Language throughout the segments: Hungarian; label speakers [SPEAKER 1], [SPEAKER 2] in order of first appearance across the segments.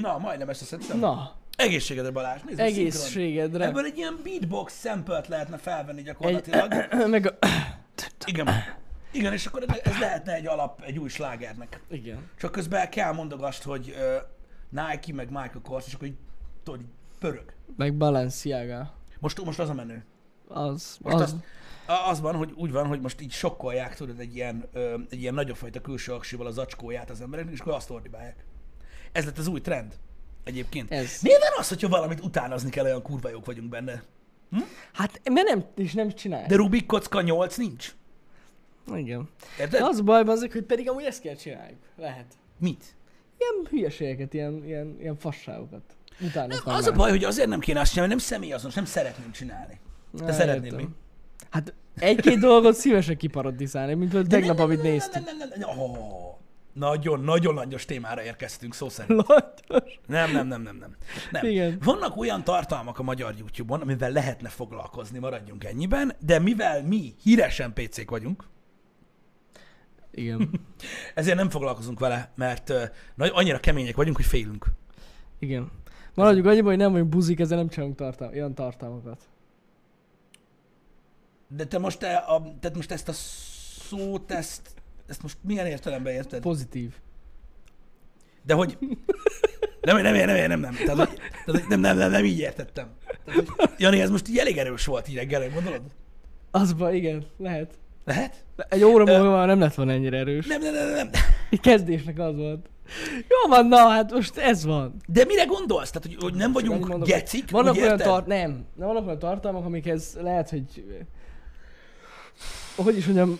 [SPEAKER 1] Na, majdnem összeszedtem.
[SPEAKER 2] Na,
[SPEAKER 1] Egészségedre Balázs, nézd a szinkron.
[SPEAKER 2] egészségedre.
[SPEAKER 1] Ebből egy ilyen beatbox szempelt lehetne felvenni gyakorlatilag.
[SPEAKER 2] Meg a...
[SPEAKER 1] Igen. Igen, és akkor ez lehetne egy alap egy új slágernek.
[SPEAKER 2] Igen.
[SPEAKER 1] Csak közben el kell mondogast, hogy ö, Nike meg Michael Kors, és akkor így, tudod, így pörög.
[SPEAKER 2] Meg Balenciaga.
[SPEAKER 1] Most, most az a menő.
[SPEAKER 2] Az,
[SPEAKER 1] Most
[SPEAKER 2] az,
[SPEAKER 1] az... Azt, az van, hogy úgy van, hogy most így sokkolják, tudod, egy ilyen, ö, egy ilyen nagyobb fajta külső aksival az acskóját az embereknek, és akkor azt ordibálják. Ez lett az új trend. Egyébként.
[SPEAKER 2] Ez.
[SPEAKER 1] Nyilván az, hogyha valamit utánozni kell, olyan kurva jók vagyunk benne.
[SPEAKER 2] Hát, mert nem, és nem csinálják.
[SPEAKER 1] De Rubik kocka 8 nincs.
[SPEAKER 2] Igen.
[SPEAKER 1] Érted?
[SPEAKER 2] De az baj van, hogy pedig amúgy ezt kell csináljuk. Lehet.
[SPEAKER 1] Mit?
[SPEAKER 2] Ilyen hülyeségeket, ilyen, ilyen, ilyen fasságokat. Utána
[SPEAKER 1] Nem, az a baj, hogy azért nem kéne azt csinálni, mert nem személyazonos, nem szeretném csinálni. Te szeretnéd mi?
[SPEAKER 2] Hát egy-két dolgot szívesen kiparodizálni, mint például tegnap,
[SPEAKER 1] Nem, nem,
[SPEAKER 2] amit
[SPEAKER 1] nem,
[SPEAKER 2] néztük.
[SPEAKER 1] nem, nem, nem, nem. Ó, Nagyon, nagyon langyos témára érkeztünk, szó szerint.
[SPEAKER 2] Langyos.
[SPEAKER 1] Nem, nem, nem, nem, nem. nem.
[SPEAKER 2] Igen.
[SPEAKER 1] Vannak olyan tartalmak a magyar YouTube-on, amivel lehetne foglalkozni, maradjunk ennyiben, de mivel mi híresen PC-k vagyunk,
[SPEAKER 2] Igen.
[SPEAKER 1] ezért nem foglalkozunk vele, mert uh, annyira kemények vagyunk, hogy félünk.
[SPEAKER 2] Igen. Maradjuk annyiban, hogy nem vagyunk buzik, ezzel nem csinálunk tartal- ilyen tartalmakat.
[SPEAKER 1] De te most, te a, tehát most ezt a szót, ezt, ezt most milyen értelemben érted?
[SPEAKER 2] Pozitív.
[SPEAKER 1] De hogy... Nem, nem, nem, nem, nem, nem. Tehát, hogy, tehát, hogy nem, nem, nem, nem így értettem. Tehát, hogy, Jani, ez most így elég erős volt így reggel, gondolod?
[SPEAKER 2] Az baj, igen, lehet.
[SPEAKER 1] Lehet?
[SPEAKER 2] Egy óra
[SPEAKER 1] Ö-
[SPEAKER 2] múlva már nem lett volna ennyire erős.
[SPEAKER 1] Nem, nem, nem, nem.
[SPEAKER 2] Egy kezdésnek az volt. Jó van, na hát most ez van.
[SPEAKER 1] De mire gondolsz? Tehát, hogy, hogy nem vagyunk
[SPEAKER 2] Annyit mondok,
[SPEAKER 1] gecik,
[SPEAKER 2] Vannak
[SPEAKER 1] úgy
[SPEAKER 2] olyan
[SPEAKER 1] érted?
[SPEAKER 2] tar- nem, de vannak olyan tartalmak, amikhez lehet, hogy... Hogy is mondjam,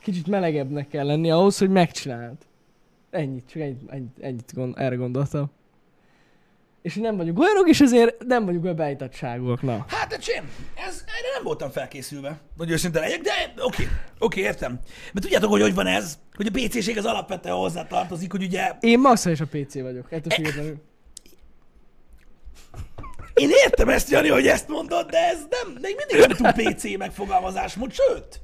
[SPEAKER 2] kicsit melegebbnek kell lenni ahhoz, hogy megcsináld. Ennyit, csak ennyit, ennyit, ennyit gond, erre gondoltam. És nem vagyunk olyanok, és ezért nem vagyunk olyan beállítottságúak, na.
[SPEAKER 1] Hát, öcsém, ez, erre nem voltam felkészülve, hogy őszinte legyek, de oké, oké, értem. Mert tudjátok, hogy hogy van ez, hogy a PC-ség az alapvetően hozzá tartozik, hogy ugye
[SPEAKER 2] Én maximális a PC vagyok, ettől
[SPEAKER 1] E-
[SPEAKER 2] függetlenül.
[SPEAKER 1] én értem ezt, Jani, hogy ezt mondod, de ez nem, még mindig nem túl PC megfogalmazás, mond, sőt.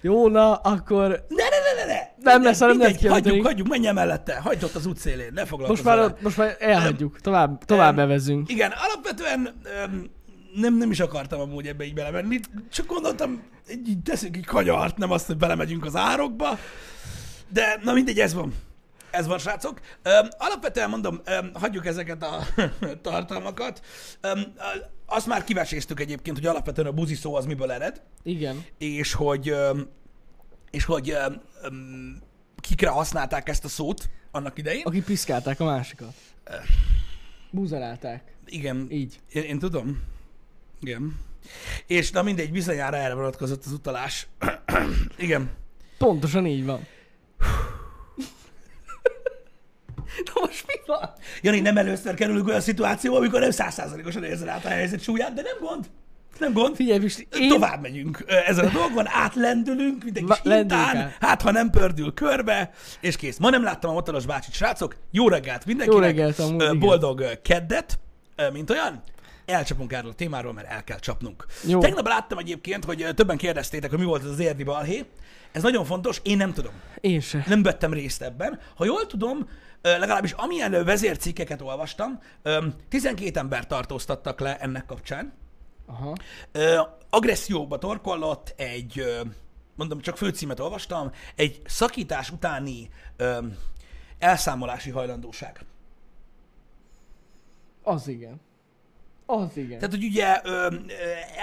[SPEAKER 2] Jó, na, akkor
[SPEAKER 1] Ne, ne, ne, ne, ne.
[SPEAKER 2] Nem lesz, hanem nem
[SPEAKER 1] mindegy,
[SPEAKER 2] kijön
[SPEAKER 1] Hagyjuk,
[SPEAKER 2] pedig.
[SPEAKER 1] hagyjuk, menjen mellette, hagyd ott az útszélén, ne
[SPEAKER 2] most
[SPEAKER 1] foglalkozz
[SPEAKER 2] már,
[SPEAKER 1] vele.
[SPEAKER 2] a- most már elhagyjuk, tovább, tovább
[SPEAKER 1] Em,
[SPEAKER 2] bevezünk.
[SPEAKER 1] Igen, alapvetően öm, nem, nem is akartam amúgy ebbe így belemenni, csak gondoltam, így, így teszünk egy kanyart, nem azt, hogy belemegyünk az árokba, de na mindegy, ez van. Ez van, srácok. Öm, alapvetően mondom, öm, hagyjuk ezeket a tartalmakat. Öm, a- azt már kiveséztük egyébként, hogy alapvetően a buzi szó az miből ered,
[SPEAKER 2] Igen.
[SPEAKER 1] és hogy, öm, és hogy öm, öm, kikre használták ezt a szót annak idején.
[SPEAKER 2] Akik piszkálták a másikat. Búzerálták.
[SPEAKER 1] Igen,
[SPEAKER 2] Így.
[SPEAKER 1] Én, én tudom. Igen. És na mindegy, bizonyára erre vonatkozott az utalás. Igen.
[SPEAKER 2] Pontosan így van. Na most mi van?
[SPEAKER 1] Jani, nem először kerülünk olyan szituációba, amikor nem százszázalékosan érzed át a helyzet súlyát, de nem gond. Nem gond.
[SPEAKER 2] Figyelj, Pisti,
[SPEAKER 1] Én...
[SPEAKER 2] én...
[SPEAKER 1] Tovább megyünk ö, ezen a dolgon, átlendülünk, mint egy
[SPEAKER 2] Va-
[SPEAKER 1] kis
[SPEAKER 2] lendüljünk
[SPEAKER 1] hintán,
[SPEAKER 2] át.
[SPEAKER 1] hát ha nem pördül körbe, és kész. Ma nem láttam a motoros bácsit, srácok. Jó reggelt mindenkinek.
[SPEAKER 2] Jó reggelt amúgy,
[SPEAKER 1] Ö,
[SPEAKER 2] igen.
[SPEAKER 1] Boldog ö, keddet, ö, mint olyan. Elcsapunk erről a témáról, mert el kell csapnunk.
[SPEAKER 2] Jó.
[SPEAKER 1] Tegnap láttam egyébként, hogy ö, többen kérdeztétek, hogy mi volt ez az érdi balhé. Ez nagyon fontos, én nem tudom.
[SPEAKER 2] Én se.
[SPEAKER 1] Nem vettem részt ebben. Ha jól tudom, ö, legalábbis amilyen ö, vezércikkeket olvastam, ö, 12 ember tartóztattak le ennek kapcsán.
[SPEAKER 2] Aha.
[SPEAKER 1] Ö, agresszióba torkollott egy, ö, mondom, csak főcímet olvastam, egy szakítás utáni ö, elszámolási hajlandóság.
[SPEAKER 2] Az igen. Az igen.
[SPEAKER 1] Tehát, hogy ugye ö, ö,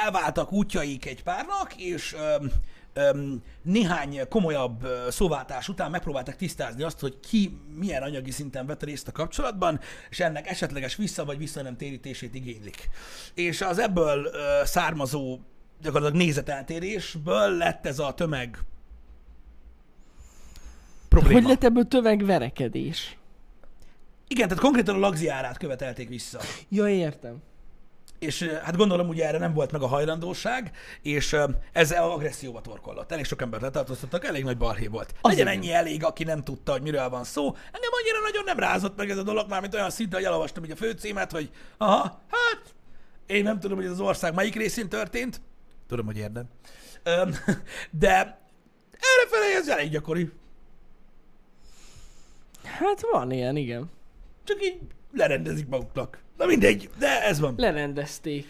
[SPEAKER 1] elváltak útjaik egy párnak, és ö, ö, néhány komolyabb ö, szóváltás után megpróbálták tisztázni azt, hogy ki milyen anyagi szinten vett részt a kapcsolatban, és ennek esetleges vissza vagy vissza nem térítését igénylik. És az ebből ö, származó gyakorlatilag nézeteltérésből lett ez a tömeg probléma.
[SPEAKER 2] Hogy lett ebből tövegverekedés?
[SPEAKER 1] Igen, tehát konkrétan a lagziárát követelték vissza.
[SPEAKER 2] Ja, értem.
[SPEAKER 1] és ö, hát gondolom ugye erre nem volt meg a hajlandóság, és ö, ez agresszióba torkollott. Elég sok embert letartóztattak, elég nagy balhé volt.
[SPEAKER 2] Az
[SPEAKER 1] Legyen
[SPEAKER 2] igen.
[SPEAKER 1] ennyi elég, aki nem tudta, hogy miről van szó. Engem annyira nagyon nem rázott meg ez a dolog, mármint olyan szinte, hogy elolvastam ugye a főcímet, hogy aha, hát én nem tudom, hogy ez az ország melyik részén történt. Tudom, hogy érdem. Öm, De errefelé ez elég gyakori.
[SPEAKER 2] Hát van ilyen, igen.
[SPEAKER 1] Csak így lerendezik maguknak. Na mindegy, de ez van.
[SPEAKER 2] Lerendezték.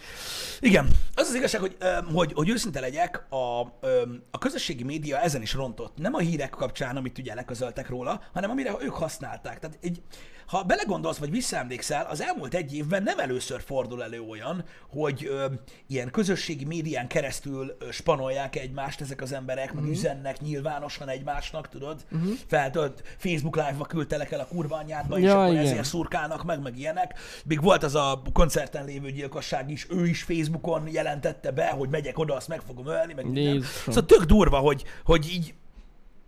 [SPEAKER 1] Igen. Az az igazság, hogy, öm, hogy, hogy őszinte legyek, a, öm, a közösségi média ezen is rontott. Nem a hírek kapcsán, amit ugye leközöltek róla, hanem amire ők használták. Tehát egy, ha belegondolsz, vagy visszaemlékszel, az elmúlt egy évben nem először fordul elő olyan, hogy öm, ilyen közösségi médián keresztül ö, spanolják egymást ezek az emberek,
[SPEAKER 2] Mhm.
[SPEAKER 1] meg üzennek nyilvánosan egymásnak, tudod? Uh-huh. Feltölt Facebook live-ba küldtelek el a kurva anyádba, és
[SPEAKER 2] Ja,
[SPEAKER 1] akkor
[SPEAKER 2] igen.
[SPEAKER 1] ezért szurkálnak meg, meg ilyenek. Még volt az a koncerten lévő gyilkosság is, ő is Facebookon jelentette be, hogy megyek oda, azt meg fogom ölni, meg minden.
[SPEAKER 2] Jézusom.
[SPEAKER 1] Szóval tök durva, hogy, hogy így,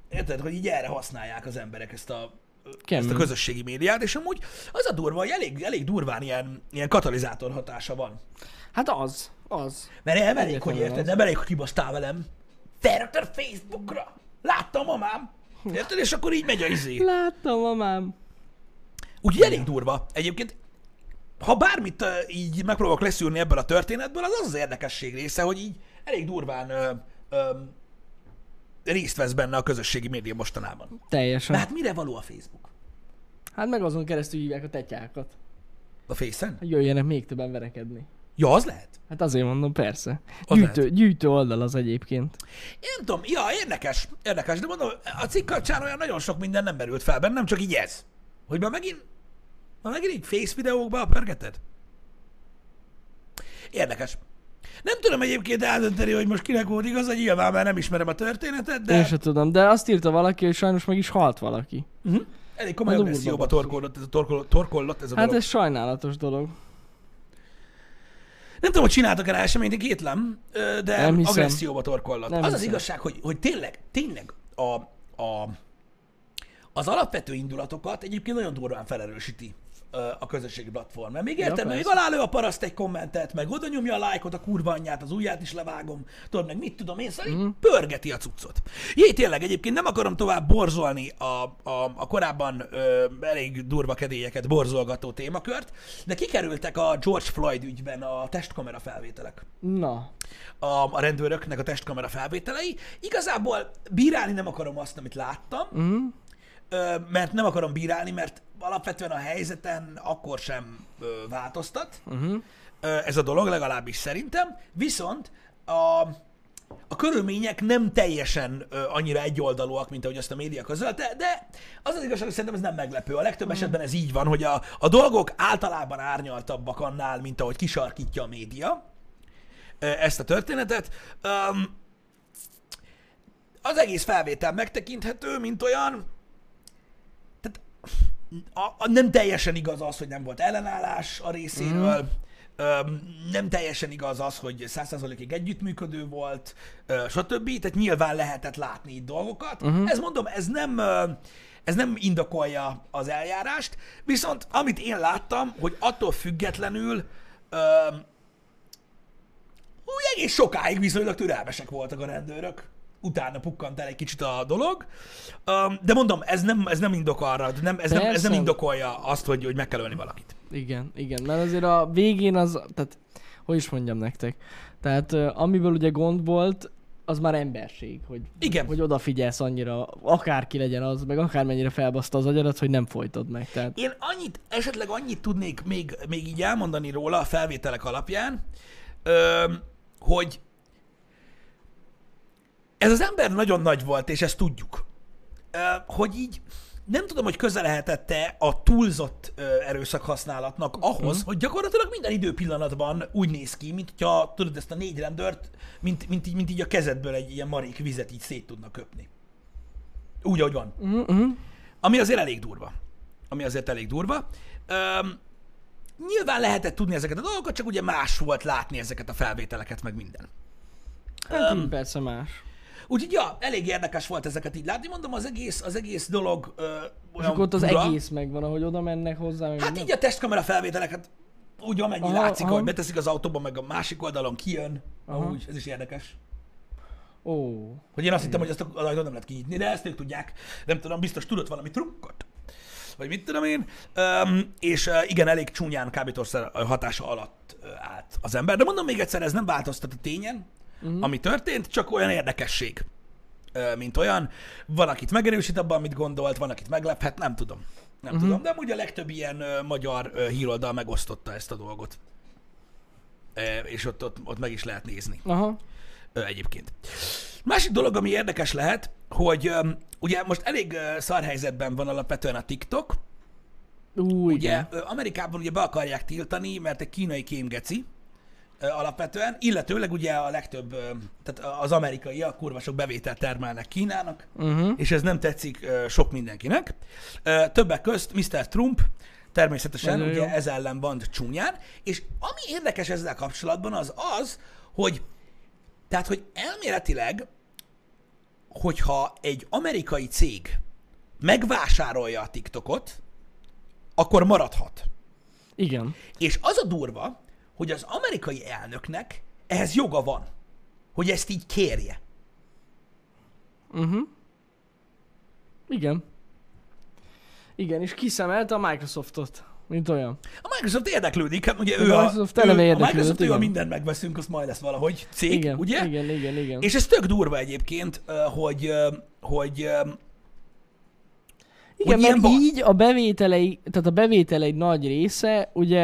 [SPEAKER 1] érted, hogy így erre használják az emberek ezt a, ezt
[SPEAKER 2] Kemény.
[SPEAKER 1] a közösségi médiát, és amúgy az a durva, hogy elég, elég durván ilyen, ilyen katalizátor hatása van.
[SPEAKER 2] Hát az, az.
[SPEAKER 1] Mert nem elég, hogy
[SPEAKER 2] Egyértelműen
[SPEAKER 1] érted,
[SPEAKER 2] az.
[SPEAKER 1] nem elég, hogy kibasztál velem. Felraktad Facebookra! Láttam mamám! Érted? És akkor így megy a izé.
[SPEAKER 2] Láttam, mamám.
[SPEAKER 1] Úgyhogy elég durva. Egyébként, ha bármit ö, így megpróbálok leszűrni ebből a történetből, az az az érdekesség része, hogy így elég durván ö, ö, részt vesz benne a közösségi média mostanában. De
[SPEAKER 2] Teljesen.
[SPEAKER 1] hát mire való a Facebook?
[SPEAKER 2] Hát meg azon keresztül hívják a tetyákat,
[SPEAKER 1] A Face-en?
[SPEAKER 2] hogy jöjjenek még többen verekedni.
[SPEAKER 1] Ja, az lehet.
[SPEAKER 2] Hát azért mondom, persze.
[SPEAKER 1] Az
[SPEAKER 2] Gyűjtő, gyűjtő oldal az egyébként.
[SPEAKER 1] Én nem tudom, ja, érdekes, érdekes, de mondom, a cikk kapcsán olyan nagyon sok minden nem merült fel bennem, csak így ez. Hogy már megint, már megint így face videókba pörgeted? Érdekes. Nem tudom egyébként eldönteni, hogy most kinek volt igaza, nyilván már nem ismerem a történetet,
[SPEAKER 2] De... Én
[SPEAKER 1] de
[SPEAKER 2] sem tudom, de azt írta valaki, hogy sajnos meg is halt valaki.
[SPEAKER 1] uh-huh. elég komoly
[SPEAKER 2] Az úrba
[SPEAKER 1] agresszióba
[SPEAKER 2] basszus.
[SPEAKER 1] torkollott ez a, torkol, torkollott ez a
[SPEAKER 2] Hát
[SPEAKER 1] dolog.
[SPEAKER 2] ez sajnálatos dolog.
[SPEAKER 1] Nem tudom, hogy csináltak-e rá eseményt, én kétlem, ö, de
[SPEAKER 2] Nem hiszem.
[SPEAKER 1] agresszióba torkollat.
[SPEAKER 2] Nem
[SPEAKER 1] az az
[SPEAKER 2] hiszem.
[SPEAKER 1] igazság, hogy, hogy tényleg, tényleg a, a, az alapvető indulatokat egyébként nagyon durván felerősíti ö, a közösségi platform. Mert még érted, mert még
[SPEAKER 2] persze.
[SPEAKER 1] alá lő a paraszt egy kommentet, meg oda nyomja a lájkot, a kurva anyját, az ujját is levágom, tudod, meg mit tudom én, szóval mm. pörgeti a cuccot. Jé, tényleg, egyébként nem akarom tovább borzolni a, a, a korábban ö, elég durva kedélyeket borzolgató témakört, de kikerültek a George Floyd ügyben a testkamera felvételek
[SPEAKER 2] Na,
[SPEAKER 1] a, a rendőröknek a testkamera felvételei. Igazából bírálni nem akarom azt, amit láttam, mm. ö, mert nem akarom bírálni, mert alapvetően a helyzeten akkor sem ö, változtat mm-hmm. ö, ez a dolog, legalábbis szerintem. Viszont a, a körülmények nem teljesen ö, annyira egyoldalúak, mint ahogy azt a média közölte, de az az igazság, hogy szerintem ez nem meglepő. A legtöbb esetben ez így van, hogy a, a dolgok általában árnyaltabbak annál, mint ahogy kisarkítja a média ö, ezt a történetet. Öm, az egész felvétel megtekinthető, mint olyan, tehát a, a nem teljesen igaz az, hogy nem volt ellenállás a részéről, mm. Öm, nem teljesen igaz az, hogy 100%-ig együttműködő volt, ö, stb. Tehát nyilván lehetett látni itt dolgokat. Uh-huh. Ez mondom, ez nem, ö, ez nem indokolja az eljárást, viszont amit én láttam, hogy attól függetlenül öm, úgy egész sokáig viszonylag türelmesek voltak a rendőrök. Utána pukkant el egy kicsit a dolog. Öm, De mondom, ez nem, ez nem indok arra, nem, ez, nem, ez
[SPEAKER 2] Persze.
[SPEAKER 1] nem indokolja azt, hogy, hogy meg kell ölni valakit.
[SPEAKER 2] igen, igen, mert azért a végén az, tehát, hogy is mondjam nektek, tehát ö, amiből ugye gond volt, az már emberség, hogy,
[SPEAKER 1] Igen.
[SPEAKER 2] hogy odafigyelsz annyira, akárki legyen az, meg akármennyire felbaszta az agyadat, hogy nem folytod meg, tehát
[SPEAKER 1] Én annyit, esetleg annyit tudnék még, még így elmondani róla a felvételek alapján, öm, hogy ez az ember nagyon nagy volt, és ezt tudjuk. Ö, hogy így nem tudom, hogy köze lehetette a túlzott ö, erőszakhasználatnak ahhoz, hogy gyakorlatilag minden időpillanatban úgy néz ki, mint hogyha tudod ezt a négy rendőrt, mint, mint, így, mint így a kezedből egy ilyen marék vizet így szét tudna köpni. Úgy, ahogy van.
[SPEAKER 2] Mhm.
[SPEAKER 1] Ami azért elég durva. Ami azért elég durva. Öm, nyilván lehetett tudni ezeket a dolgokat, csak ugye más volt látni ezeket a felvételeket, meg minden.
[SPEAKER 2] hát így persze más.
[SPEAKER 1] Úgyhogy ja, elég érdekes volt ezeket így látni. Mondom, az egész, az egész dolog ö, olyan
[SPEAKER 2] És akkor ott az
[SPEAKER 1] fura.
[SPEAKER 2] egész megvan, ahogy oda mennek hozzá, meg
[SPEAKER 1] Hát
[SPEAKER 2] minden.
[SPEAKER 1] így a testkamera felvételeket úgy amennyi aha,
[SPEAKER 2] Aha,
[SPEAKER 1] látszik, aha.
[SPEAKER 2] aha.
[SPEAKER 1] hogy beteszik az autóba, meg a másik oldalon kijön.
[SPEAKER 2] Aha.
[SPEAKER 1] Aha. Úgy, ez is érdekes.
[SPEAKER 2] Ó,
[SPEAKER 1] Hogy én azt hittem, hogy ezt a ajtót nem lehet kinyitni, de ezt ők tudják. Nem tudom, biztos tudott valami trukkot. Vagy mit tudom én. Öm, és ö, igen, elég csúnyán kábítószer hatása alatt ö, állt az ember. De mondom még egyszer, ez nem változtat a tényen, uh-huh. ami történt, csak olyan érdekesség, ö, mint olyan. Van, akit megerősít abban, amit gondolt, van, akit meglephet, nem tudom. Nem uh-huh. tudom, de amúgy a legtöbb ilyen ö, magyar ö, híroldal megosztotta ezt a dolgot. E, és ott, ott, ott meg is lehet nézni
[SPEAKER 2] Aha.
[SPEAKER 1] ö, egyébként. Másik dolog, ami érdekes lehet, hogy ö, ugye most elég ö, szar helyzetben van alapvetően a TikTok,
[SPEAKER 2] Ú,
[SPEAKER 1] Ugye
[SPEAKER 2] igen.
[SPEAKER 1] ö, Amerikában ugye be akarják tiltani, mert egy kínai kémgeci ö, alapvetően, illetőleg ugye a legtöbb, ö, tehát az amerikaiak kurva sok bevételt termelnek Kínának,
[SPEAKER 2] Uh-huh.
[SPEAKER 1] és ez nem tetszik ö, sok mindenkinek. Ö, Többek közt Mr. Trump természetesen
[SPEAKER 2] Nagyon
[SPEAKER 1] ugye
[SPEAKER 2] jó.
[SPEAKER 1] ez ellen van csúnyán, és ami érdekes ezzel kapcsolatban az az, hogy tehát, hogy elméletileg, hogyha egy amerikai cég megvásárolja a TikTokot, akkor maradhat.
[SPEAKER 2] Igen.
[SPEAKER 1] És az a durva, hogy az amerikai elnöknek ehhez joga van, hogy ezt így kérje.
[SPEAKER 2] Uh-huh. Igen. Igen, és kiszemelt a Microsoftot, mint olyan.
[SPEAKER 1] A Microsoft érdeklődik, hát ugye
[SPEAKER 2] A
[SPEAKER 1] ő a,
[SPEAKER 2] Microsoft
[SPEAKER 1] ő,
[SPEAKER 2] eleve
[SPEAKER 1] a
[SPEAKER 2] érdeklődött,
[SPEAKER 1] Microsoft ő a
[SPEAKER 2] igen.
[SPEAKER 1] mindent megveszünk, azt majd lesz valahogy cég,
[SPEAKER 2] Igen,
[SPEAKER 1] ugye?
[SPEAKER 2] igen, igen, igen.
[SPEAKER 1] És ez tök durva egyébként, ö, hogy, ö, hogy ö,
[SPEAKER 2] Igen,
[SPEAKER 1] hogy
[SPEAKER 2] mert
[SPEAKER 1] ilyen van.
[SPEAKER 2] így a bevételei, tehát a bevételei nagy része, ugye,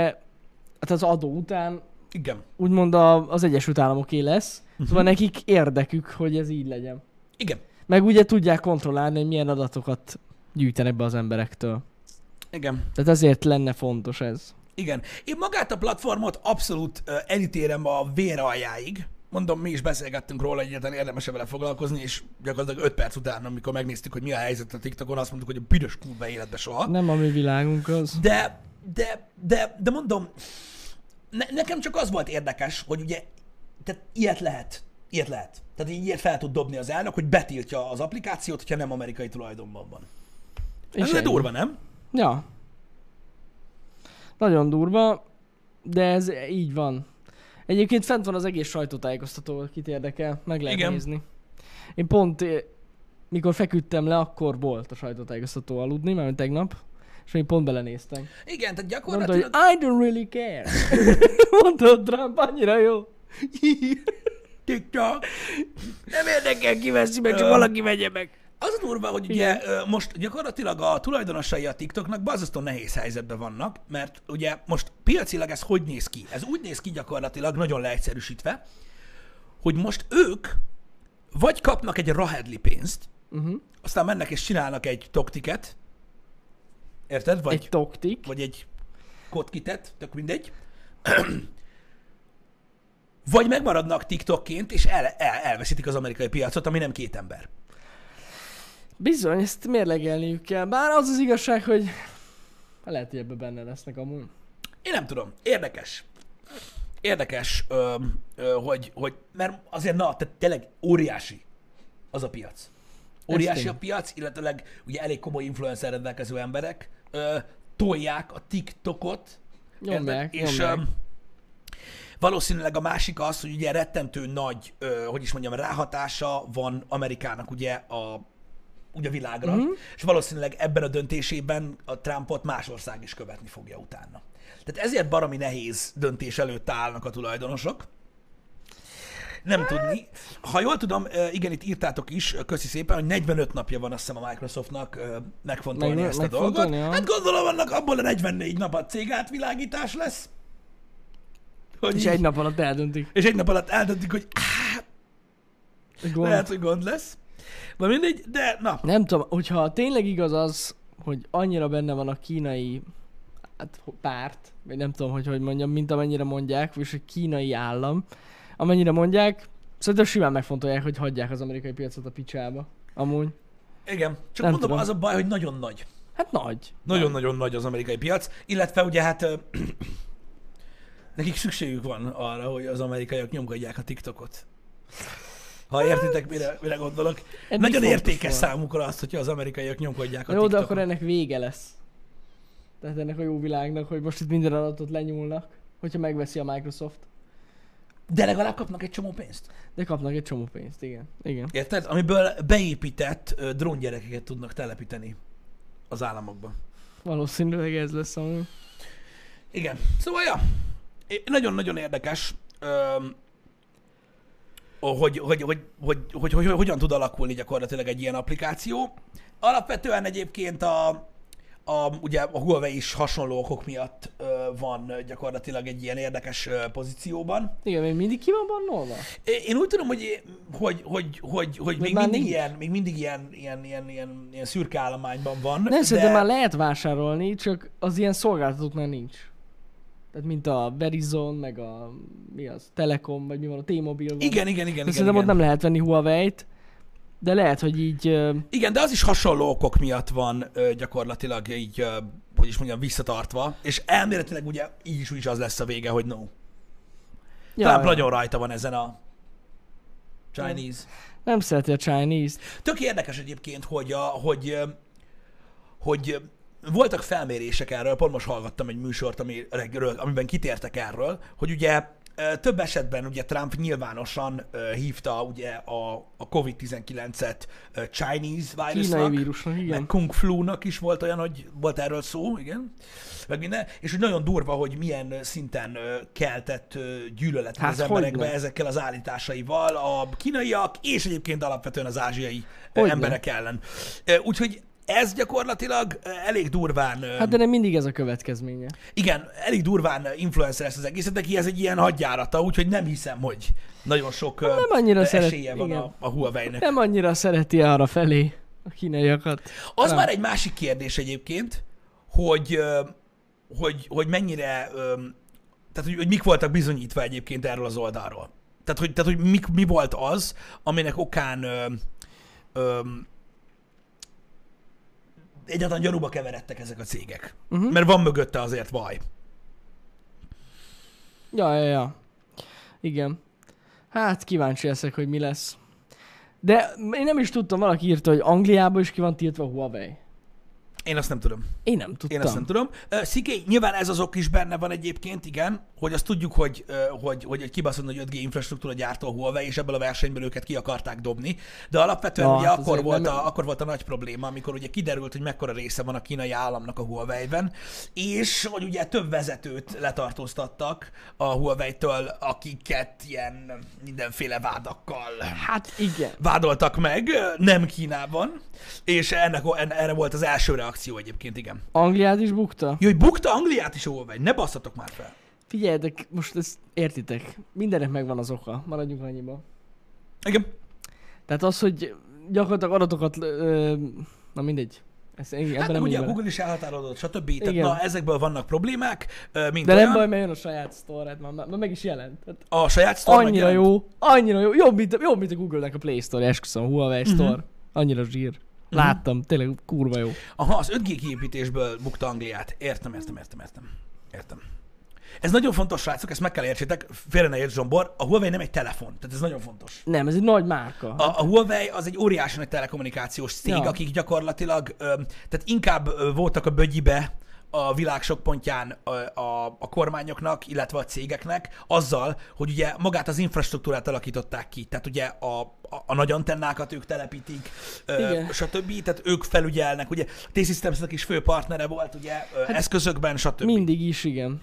[SPEAKER 2] hát az adó után
[SPEAKER 1] igen,
[SPEAKER 2] úgymond a, az Egyesült Államoké lesz,
[SPEAKER 1] Mhm.
[SPEAKER 2] szóval nekik érdekük, hogy ez így legyen.
[SPEAKER 1] igen,
[SPEAKER 2] Meg ugye tudják kontrollálni, hogy milyen adatokat gyűjtenek be az emberektől.
[SPEAKER 1] igen.
[SPEAKER 2] Tehát ezért lenne fontos ez.
[SPEAKER 1] Igen. Én magát a platformot abszolút ö, elítélem a vér aljáig. Mondom, mi is beszélgettünk róla, hogy egyáltalán érdemes vele foglalkozni, és gyakorlatilag 5 perc után, amikor megnéztük, hogy mi a helyzet a TikTokon, azt mondtuk, hogy a büdös kurva életbe soha.
[SPEAKER 2] Nem a mi világunk az.
[SPEAKER 1] De, de, de, de mondom, ne, nekem csak az volt érdekes, hogy ugye, tehát ilyet lehet, ilyet lehet. Tehát így ilyet fel tud dobni az elnök, hogy betiltja az applikációt, hogyha nem amerikai tulajdonban van.
[SPEAKER 2] És
[SPEAKER 1] Ez egy
[SPEAKER 2] ennyi.
[SPEAKER 1] durva, nem?
[SPEAKER 2] Ja. Nagyon durva, de ez így van. Egyébként fent van az egész sajtótájékoztató, kit érdekel, meg lehet
[SPEAKER 1] Igen.
[SPEAKER 2] Igen. nézni. Én pont, eh, mikor feküdtem le, akkor volt a sajtótájékoztató aludni, mert tegnap, és még pont belenéztem.
[SPEAKER 1] Igen, tehát
[SPEAKER 2] Mondta, hogy
[SPEAKER 1] gyakorlatilag...
[SPEAKER 2] I don't really care. Mondta a Trump, annyira jó.
[SPEAKER 1] TikTok.
[SPEAKER 2] Nem érdekel, ki veszi meg,
[SPEAKER 1] csak valaki
[SPEAKER 2] vegye meg.
[SPEAKER 1] Az a durva, hogy ugye ö, most gyakorlatilag a tulajdonosai a TikToknak bazasztó nehéz helyzetben vannak, mert ugye most piacilag ez hogy néz ki? Ez úgy néz ki gyakorlatilag, nagyon leegyszerűsítve, hogy most ők vagy kapnak egy rahedli pénzt,
[SPEAKER 2] Uh-huh.
[SPEAKER 1] aztán mennek és csinálnak egy toktiket, érted? Vagy,
[SPEAKER 2] Egy
[SPEAKER 1] egy
[SPEAKER 2] toktik.
[SPEAKER 1] vagy egy kotkitet, tök mindegy. vagy megmaradnak TikTokként, és el, el, elveszítik az amerikai piacot, ami nem két ember.
[SPEAKER 2] Bizony, ezt mérlegelniük kell. Bár az az igazság, hogy lehet, hogy ebbe benne lesznek amúgy.
[SPEAKER 1] Én nem tudom. Érdekes. Érdekes, ö, ö, hogy, hogy, mert azért na, tehát tényleg óriási az a piac. Óriási
[SPEAKER 2] tény.
[SPEAKER 1] a piac, illetőleg ugye elég komoly influencer rendelkező emberek ö, tolják a TikTokot. érted?
[SPEAKER 2] Nyomják,
[SPEAKER 1] És um,
[SPEAKER 2] nyomják.
[SPEAKER 1] ö, valószínűleg a másik az, hogy ugye rettentő nagy, ö, hogy is mondjam, ráhatása van Amerikának ugye a ugye a világra,
[SPEAKER 2] Mhm.
[SPEAKER 1] uh-huh. és valószínűleg ebben a döntésében a Trumpot más ország is követni fogja utána. Tehát ezért baromi nehéz döntés előtt állnak a tulajdonosok.
[SPEAKER 2] Hát-
[SPEAKER 1] Nem tudni. Ha jól tudom, ö, igen, itt írtátok is, ö, köszi szépen, hogy 45 napja van azt hiszem a Microsoftnak ö, megfontolni
[SPEAKER 2] Meg-
[SPEAKER 1] ezt a
[SPEAKER 2] megfontolni,
[SPEAKER 1] dolgot.
[SPEAKER 2] ja.
[SPEAKER 1] Hát gondolom annak abból a 44 nap a cég átvilágítás lesz. Hogy
[SPEAKER 2] És
[SPEAKER 1] így-
[SPEAKER 2] egy nap alatt eldöntik.
[SPEAKER 1] és egy nap alatt eldöntik, hogy áh,
[SPEAKER 2] Gond.
[SPEAKER 1] lehet, hogy gond lesz. Na mindegy, de na,
[SPEAKER 2] Nem tudom, hogyha tényleg igaz az, hogy annyira benne van a kínai hát, ho- párt, vagy nem tudom, hogy hogy mondjam, mint amennyire mondják, és hogy kínai állam, amennyire mondják, szerintem simán megfontolják, hogy hagyják az amerikai piacot a picsába. Amúgy.
[SPEAKER 1] igen, csak
[SPEAKER 2] Nem
[SPEAKER 1] mondom,
[SPEAKER 2] tudom.
[SPEAKER 1] az a baj, hogy nagyon nagy.
[SPEAKER 2] Hát nagy.
[SPEAKER 1] Nagyon-nagyon nagy az amerikai piac, illetve ugye hát ö, nekik szükségük van arra, hogy az amerikaiak nyomkodják a TikTokot. Ha értitek, mire, mire gondolok.
[SPEAKER 2] Eddig
[SPEAKER 1] Nagyon
[SPEAKER 2] Hát, fontos
[SPEAKER 1] értékes
[SPEAKER 2] volt.
[SPEAKER 1] számukra azt, hogyha az amerikaiak nyomkodják a
[SPEAKER 2] Jó, de
[SPEAKER 1] TikTokot.
[SPEAKER 2] akkor ennek vége lesz. Tehát ennek a jó világnak, hogy most itt minden adatot lenyúlnak, hogyha megveszi a Microsoft.
[SPEAKER 1] De legalább kapnak egy csomó pénzt.
[SPEAKER 2] De kapnak egy csomó pénzt, igen. Igen.
[SPEAKER 1] Érted? Amiből beépített ö, dróngyerekeket tudnak telepíteni az államokban.
[SPEAKER 2] Valószínűleg ez lesz amúgy.
[SPEAKER 1] Igen. Szóval, ja, é- nagyon-nagyon érdekes, öm, hogy, hogy, hogy, hogy, hogy, hogy, hogy, hogyan tud alakulni gyakorlatilag egy ilyen applikáció. Alapvetően egyébként a, A, ugye a Huawei is hasonló okok miatt ö, van ö, gyakorlatilag egy ilyen érdekes ö, pozícióban.
[SPEAKER 2] Igen, még mindig ki van bannolva?
[SPEAKER 1] É- Én úgy tudom, hogy, hogy, hogy, hogy, hogy még,
[SPEAKER 2] már
[SPEAKER 1] mindig
[SPEAKER 2] nincs.
[SPEAKER 1] ilyen, még mindig ilyen, ilyen, ilyen, ilyen, ilyen szürke állományban van.
[SPEAKER 2] Nem, szerintem már lehet vásárolni, csak az ilyen szolgáltatóknál nincs. Tehát mint a Verizon, meg a mi az, Telekom, vagy mi van, a T-Mobile. van.
[SPEAKER 1] Igen, igen, igen.
[SPEAKER 2] De
[SPEAKER 1] igen,
[SPEAKER 2] szerintem ott
[SPEAKER 1] igen.
[SPEAKER 2] nem lehet venni Huawei-t, de lehet, hogy így... ö,
[SPEAKER 1] igen, de az is hasonló okok miatt van ö, gyakorlatilag így, ö, hogy is mondjam, visszatartva, és elméletileg ugye így is, úgy is az lesz a vége, hogy no.
[SPEAKER 2] Ja,
[SPEAKER 1] Talán
[SPEAKER 2] ja.
[SPEAKER 1] nagyon rajta van ezen a Chinese.
[SPEAKER 2] Nem szereti a Chinese-t.
[SPEAKER 1] Tök érdekes egyébként, hogy, a, hogy, ö, hogy ö, voltak felmérések erről, pont most hallgattam egy műsort, ami, erről- amiben kitértek erről, hogy ugye ö, több esetben ugye Trump nyilvánosan ö, hívta ugye a, a COVID-19-et ö, Chinese
[SPEAKER 2] Kínai
[SPEAKER 1] vírusnak,
[SPEAKER 2] vírusnak,
[SPEAKER 1] meg
[SPEAKER 2] igen.
[SPEAKER 1] Kung Flu-nak is volt olyan, hogy volt erről szó, igen, meg minden, és hogy nagyon durva, hogy milyen szinten ö, keltett ö, gyűlöletet
[SPEAKER 2] Hát
[SPEAKER 1] az emberekbe
[SPEAKER 2] hogyne.
[SPEAKER 1] ezekkel az állításaival, a kínaiak, és egyébként alapvetően az ázsiai ö,
[SPEAKER 2] Hogyne.
[SPEAKER 1] emberek ellen. Ö, Úgyhogy ez gyakorlatilag ö, elég durván, ö,
[SPEAKER 2] Hát de nem mindig ez a következménye.
[SPEAKER 1] igen, elég durván influencer ezt az egészet, neki ez egy ilyen hadjárata, úgyhogy nem hiszem, hogy nagyon sok nem
[SPEAKER 2] annyira
[SPEAKER 1] esélye
[SPEAKER 2] szeret-
[SPEAKER 1] van a,
[SPEAKER 2] igen.
[SPEAKER 1] a Huawei-nek.
[SPEAKER 2] Nem annyira szereti arra felé a kínaiakat.
[SPEAKER 1] Az
[SPEAKER 2] Nem.
[SPEAKER 1] már egy másik kérdés egyébként, hogy, ö, hogy, hogy mennyire, ö, tehát hogy, hogy mik voltak bizonyítva egyébként erről az oldalról. Tehát, hogy, tehát, hogy mik, mi volt az, aminek okán ö, ö, egyáltalán gyanúba keveredtek ezek a cégek. Uh-huh. Mert van mögötte azért baj.
[SPEAKER 2] Ja, ja, ja. Igen. Hát kíváncsi leszek, hogy mi lesz. De én nem is tudtam, valaki írta, hogy Angliában is ki van tiltva Huawei.
[SPEAKER 1] Én azt nem tudom.
[SPEAKER 2] Én nem tudtam.
[SPEAKER 1] Én azt nem tudom. Ö, Sziké, nyilván ez az ok is benne van egyébként, igen, hogy azt tudjuk, hogy, ö, hogy, hogy egy kibaszott nagy 5G infrastruktúra gyártó a Huawei, és ebből a versenyből őket ki akarták dobni. De alapvetően
[SPEAKER 2] Na,
[SPEAKER 1] ugye
[SPEAKER 2] hát
[SPEAKER 1] akkor
[SPEAKER 2] azért
[SPEAKER 1] volt,
[SPEAKER 2] nem-
[SPEAKER 1] a, akkor volt a nagy probléma, amikor ugye kiderült, hogy mekkora része van a kínai államnak a Huawei-ben, és hogy ugye több vezetőt letartóztattak a Huawei-től, akiket ilyen mindenféle vádakkal
[SPEAKER 2] Hát igen.
[SPEAKER 1] vádoltak meg, ö, nem Kínában, és ennek, en- erre volt az első reakció egyébként, igen.
[SPEAKER 2] Angliát is bukta?
[SPEAKER 1] Jaj, bukta Angliát is óvaj, ne basszatok már fel.
[SPEAKER 2] Figyeljetek, most ezt értitek. Mindennek megvan az oka. Maradjunk annyiba.
[SPEAKER 1] Igen.
[SPEAKER 2] Tehát az, hogy gyakorlatilag adatokat... Ö, na mindegy. Ezt, én,
[SPEAKER 1] Hát
[SPEAKER 2] ebben
[SPEAKER 1] meg ugye a
[SPEAKER 2] nem megyek bele.
[SPEAKER 1] Google is elhatárolódott, stb. Tehát
[SPEAKER 2] Igen.
[SPEAKER 1] na, ezekből vannak problémák, ö, mint
[SPEAKER 2] De
[SPEAKER 1] olyan.
[SPEAKER 2] nem baj, mert jön a saját store, hát már, már már meg is jelent. Hát Tehát
[SPEAKER 1] A saját store
[SPEAKER 2] annyira jó, annyira jó, jobb mint, a- jobb, mint a Google-nek a Play Store, esküszöm, a Huawei
[SPEAKER 1] Mhm.
[SPEAKER 2] Store. Annyira zsír. Láttam, tényleg kurva jó.
[SPEAKER 1] Aha, az 5G kiépítésből bukta Angliát. Értem, értem, értem, értem. Értem. Ez nagyon fontos, srácok, ezt meg kell értsétek, félre ne érts, Zsombor, a Huawei nem egy telefon, tehát ez nagyon fontos.
[SPEAKER 2] Nem, ez egy nagy márka.
[SPEAKER 1] A, a Huawei az egy óriási nagy telekommunikációs cég, ja.
[SPEAKER 2] Ja.
[SPEAKER 1] akik gyakorlatilag, ö, tehát inkább ö, voltak a bögyibe a világ sok pontján a, a, a kormányoknak, illetve a cégeknek, azzal, hogy ugye magát az infrastruktúrát alakították ki. Tehát ugye a, a, a nagy antennákat ők telepítik, ö,
[SPEAKER 2] Igen.
[SPEAKER 1] stb. Tehát ők felügyelnek. Ugye a T-Systems is fő partnere volt, ugye, ö, eszközökben, stb.
[SPEAKER 2] Mindig is, igen.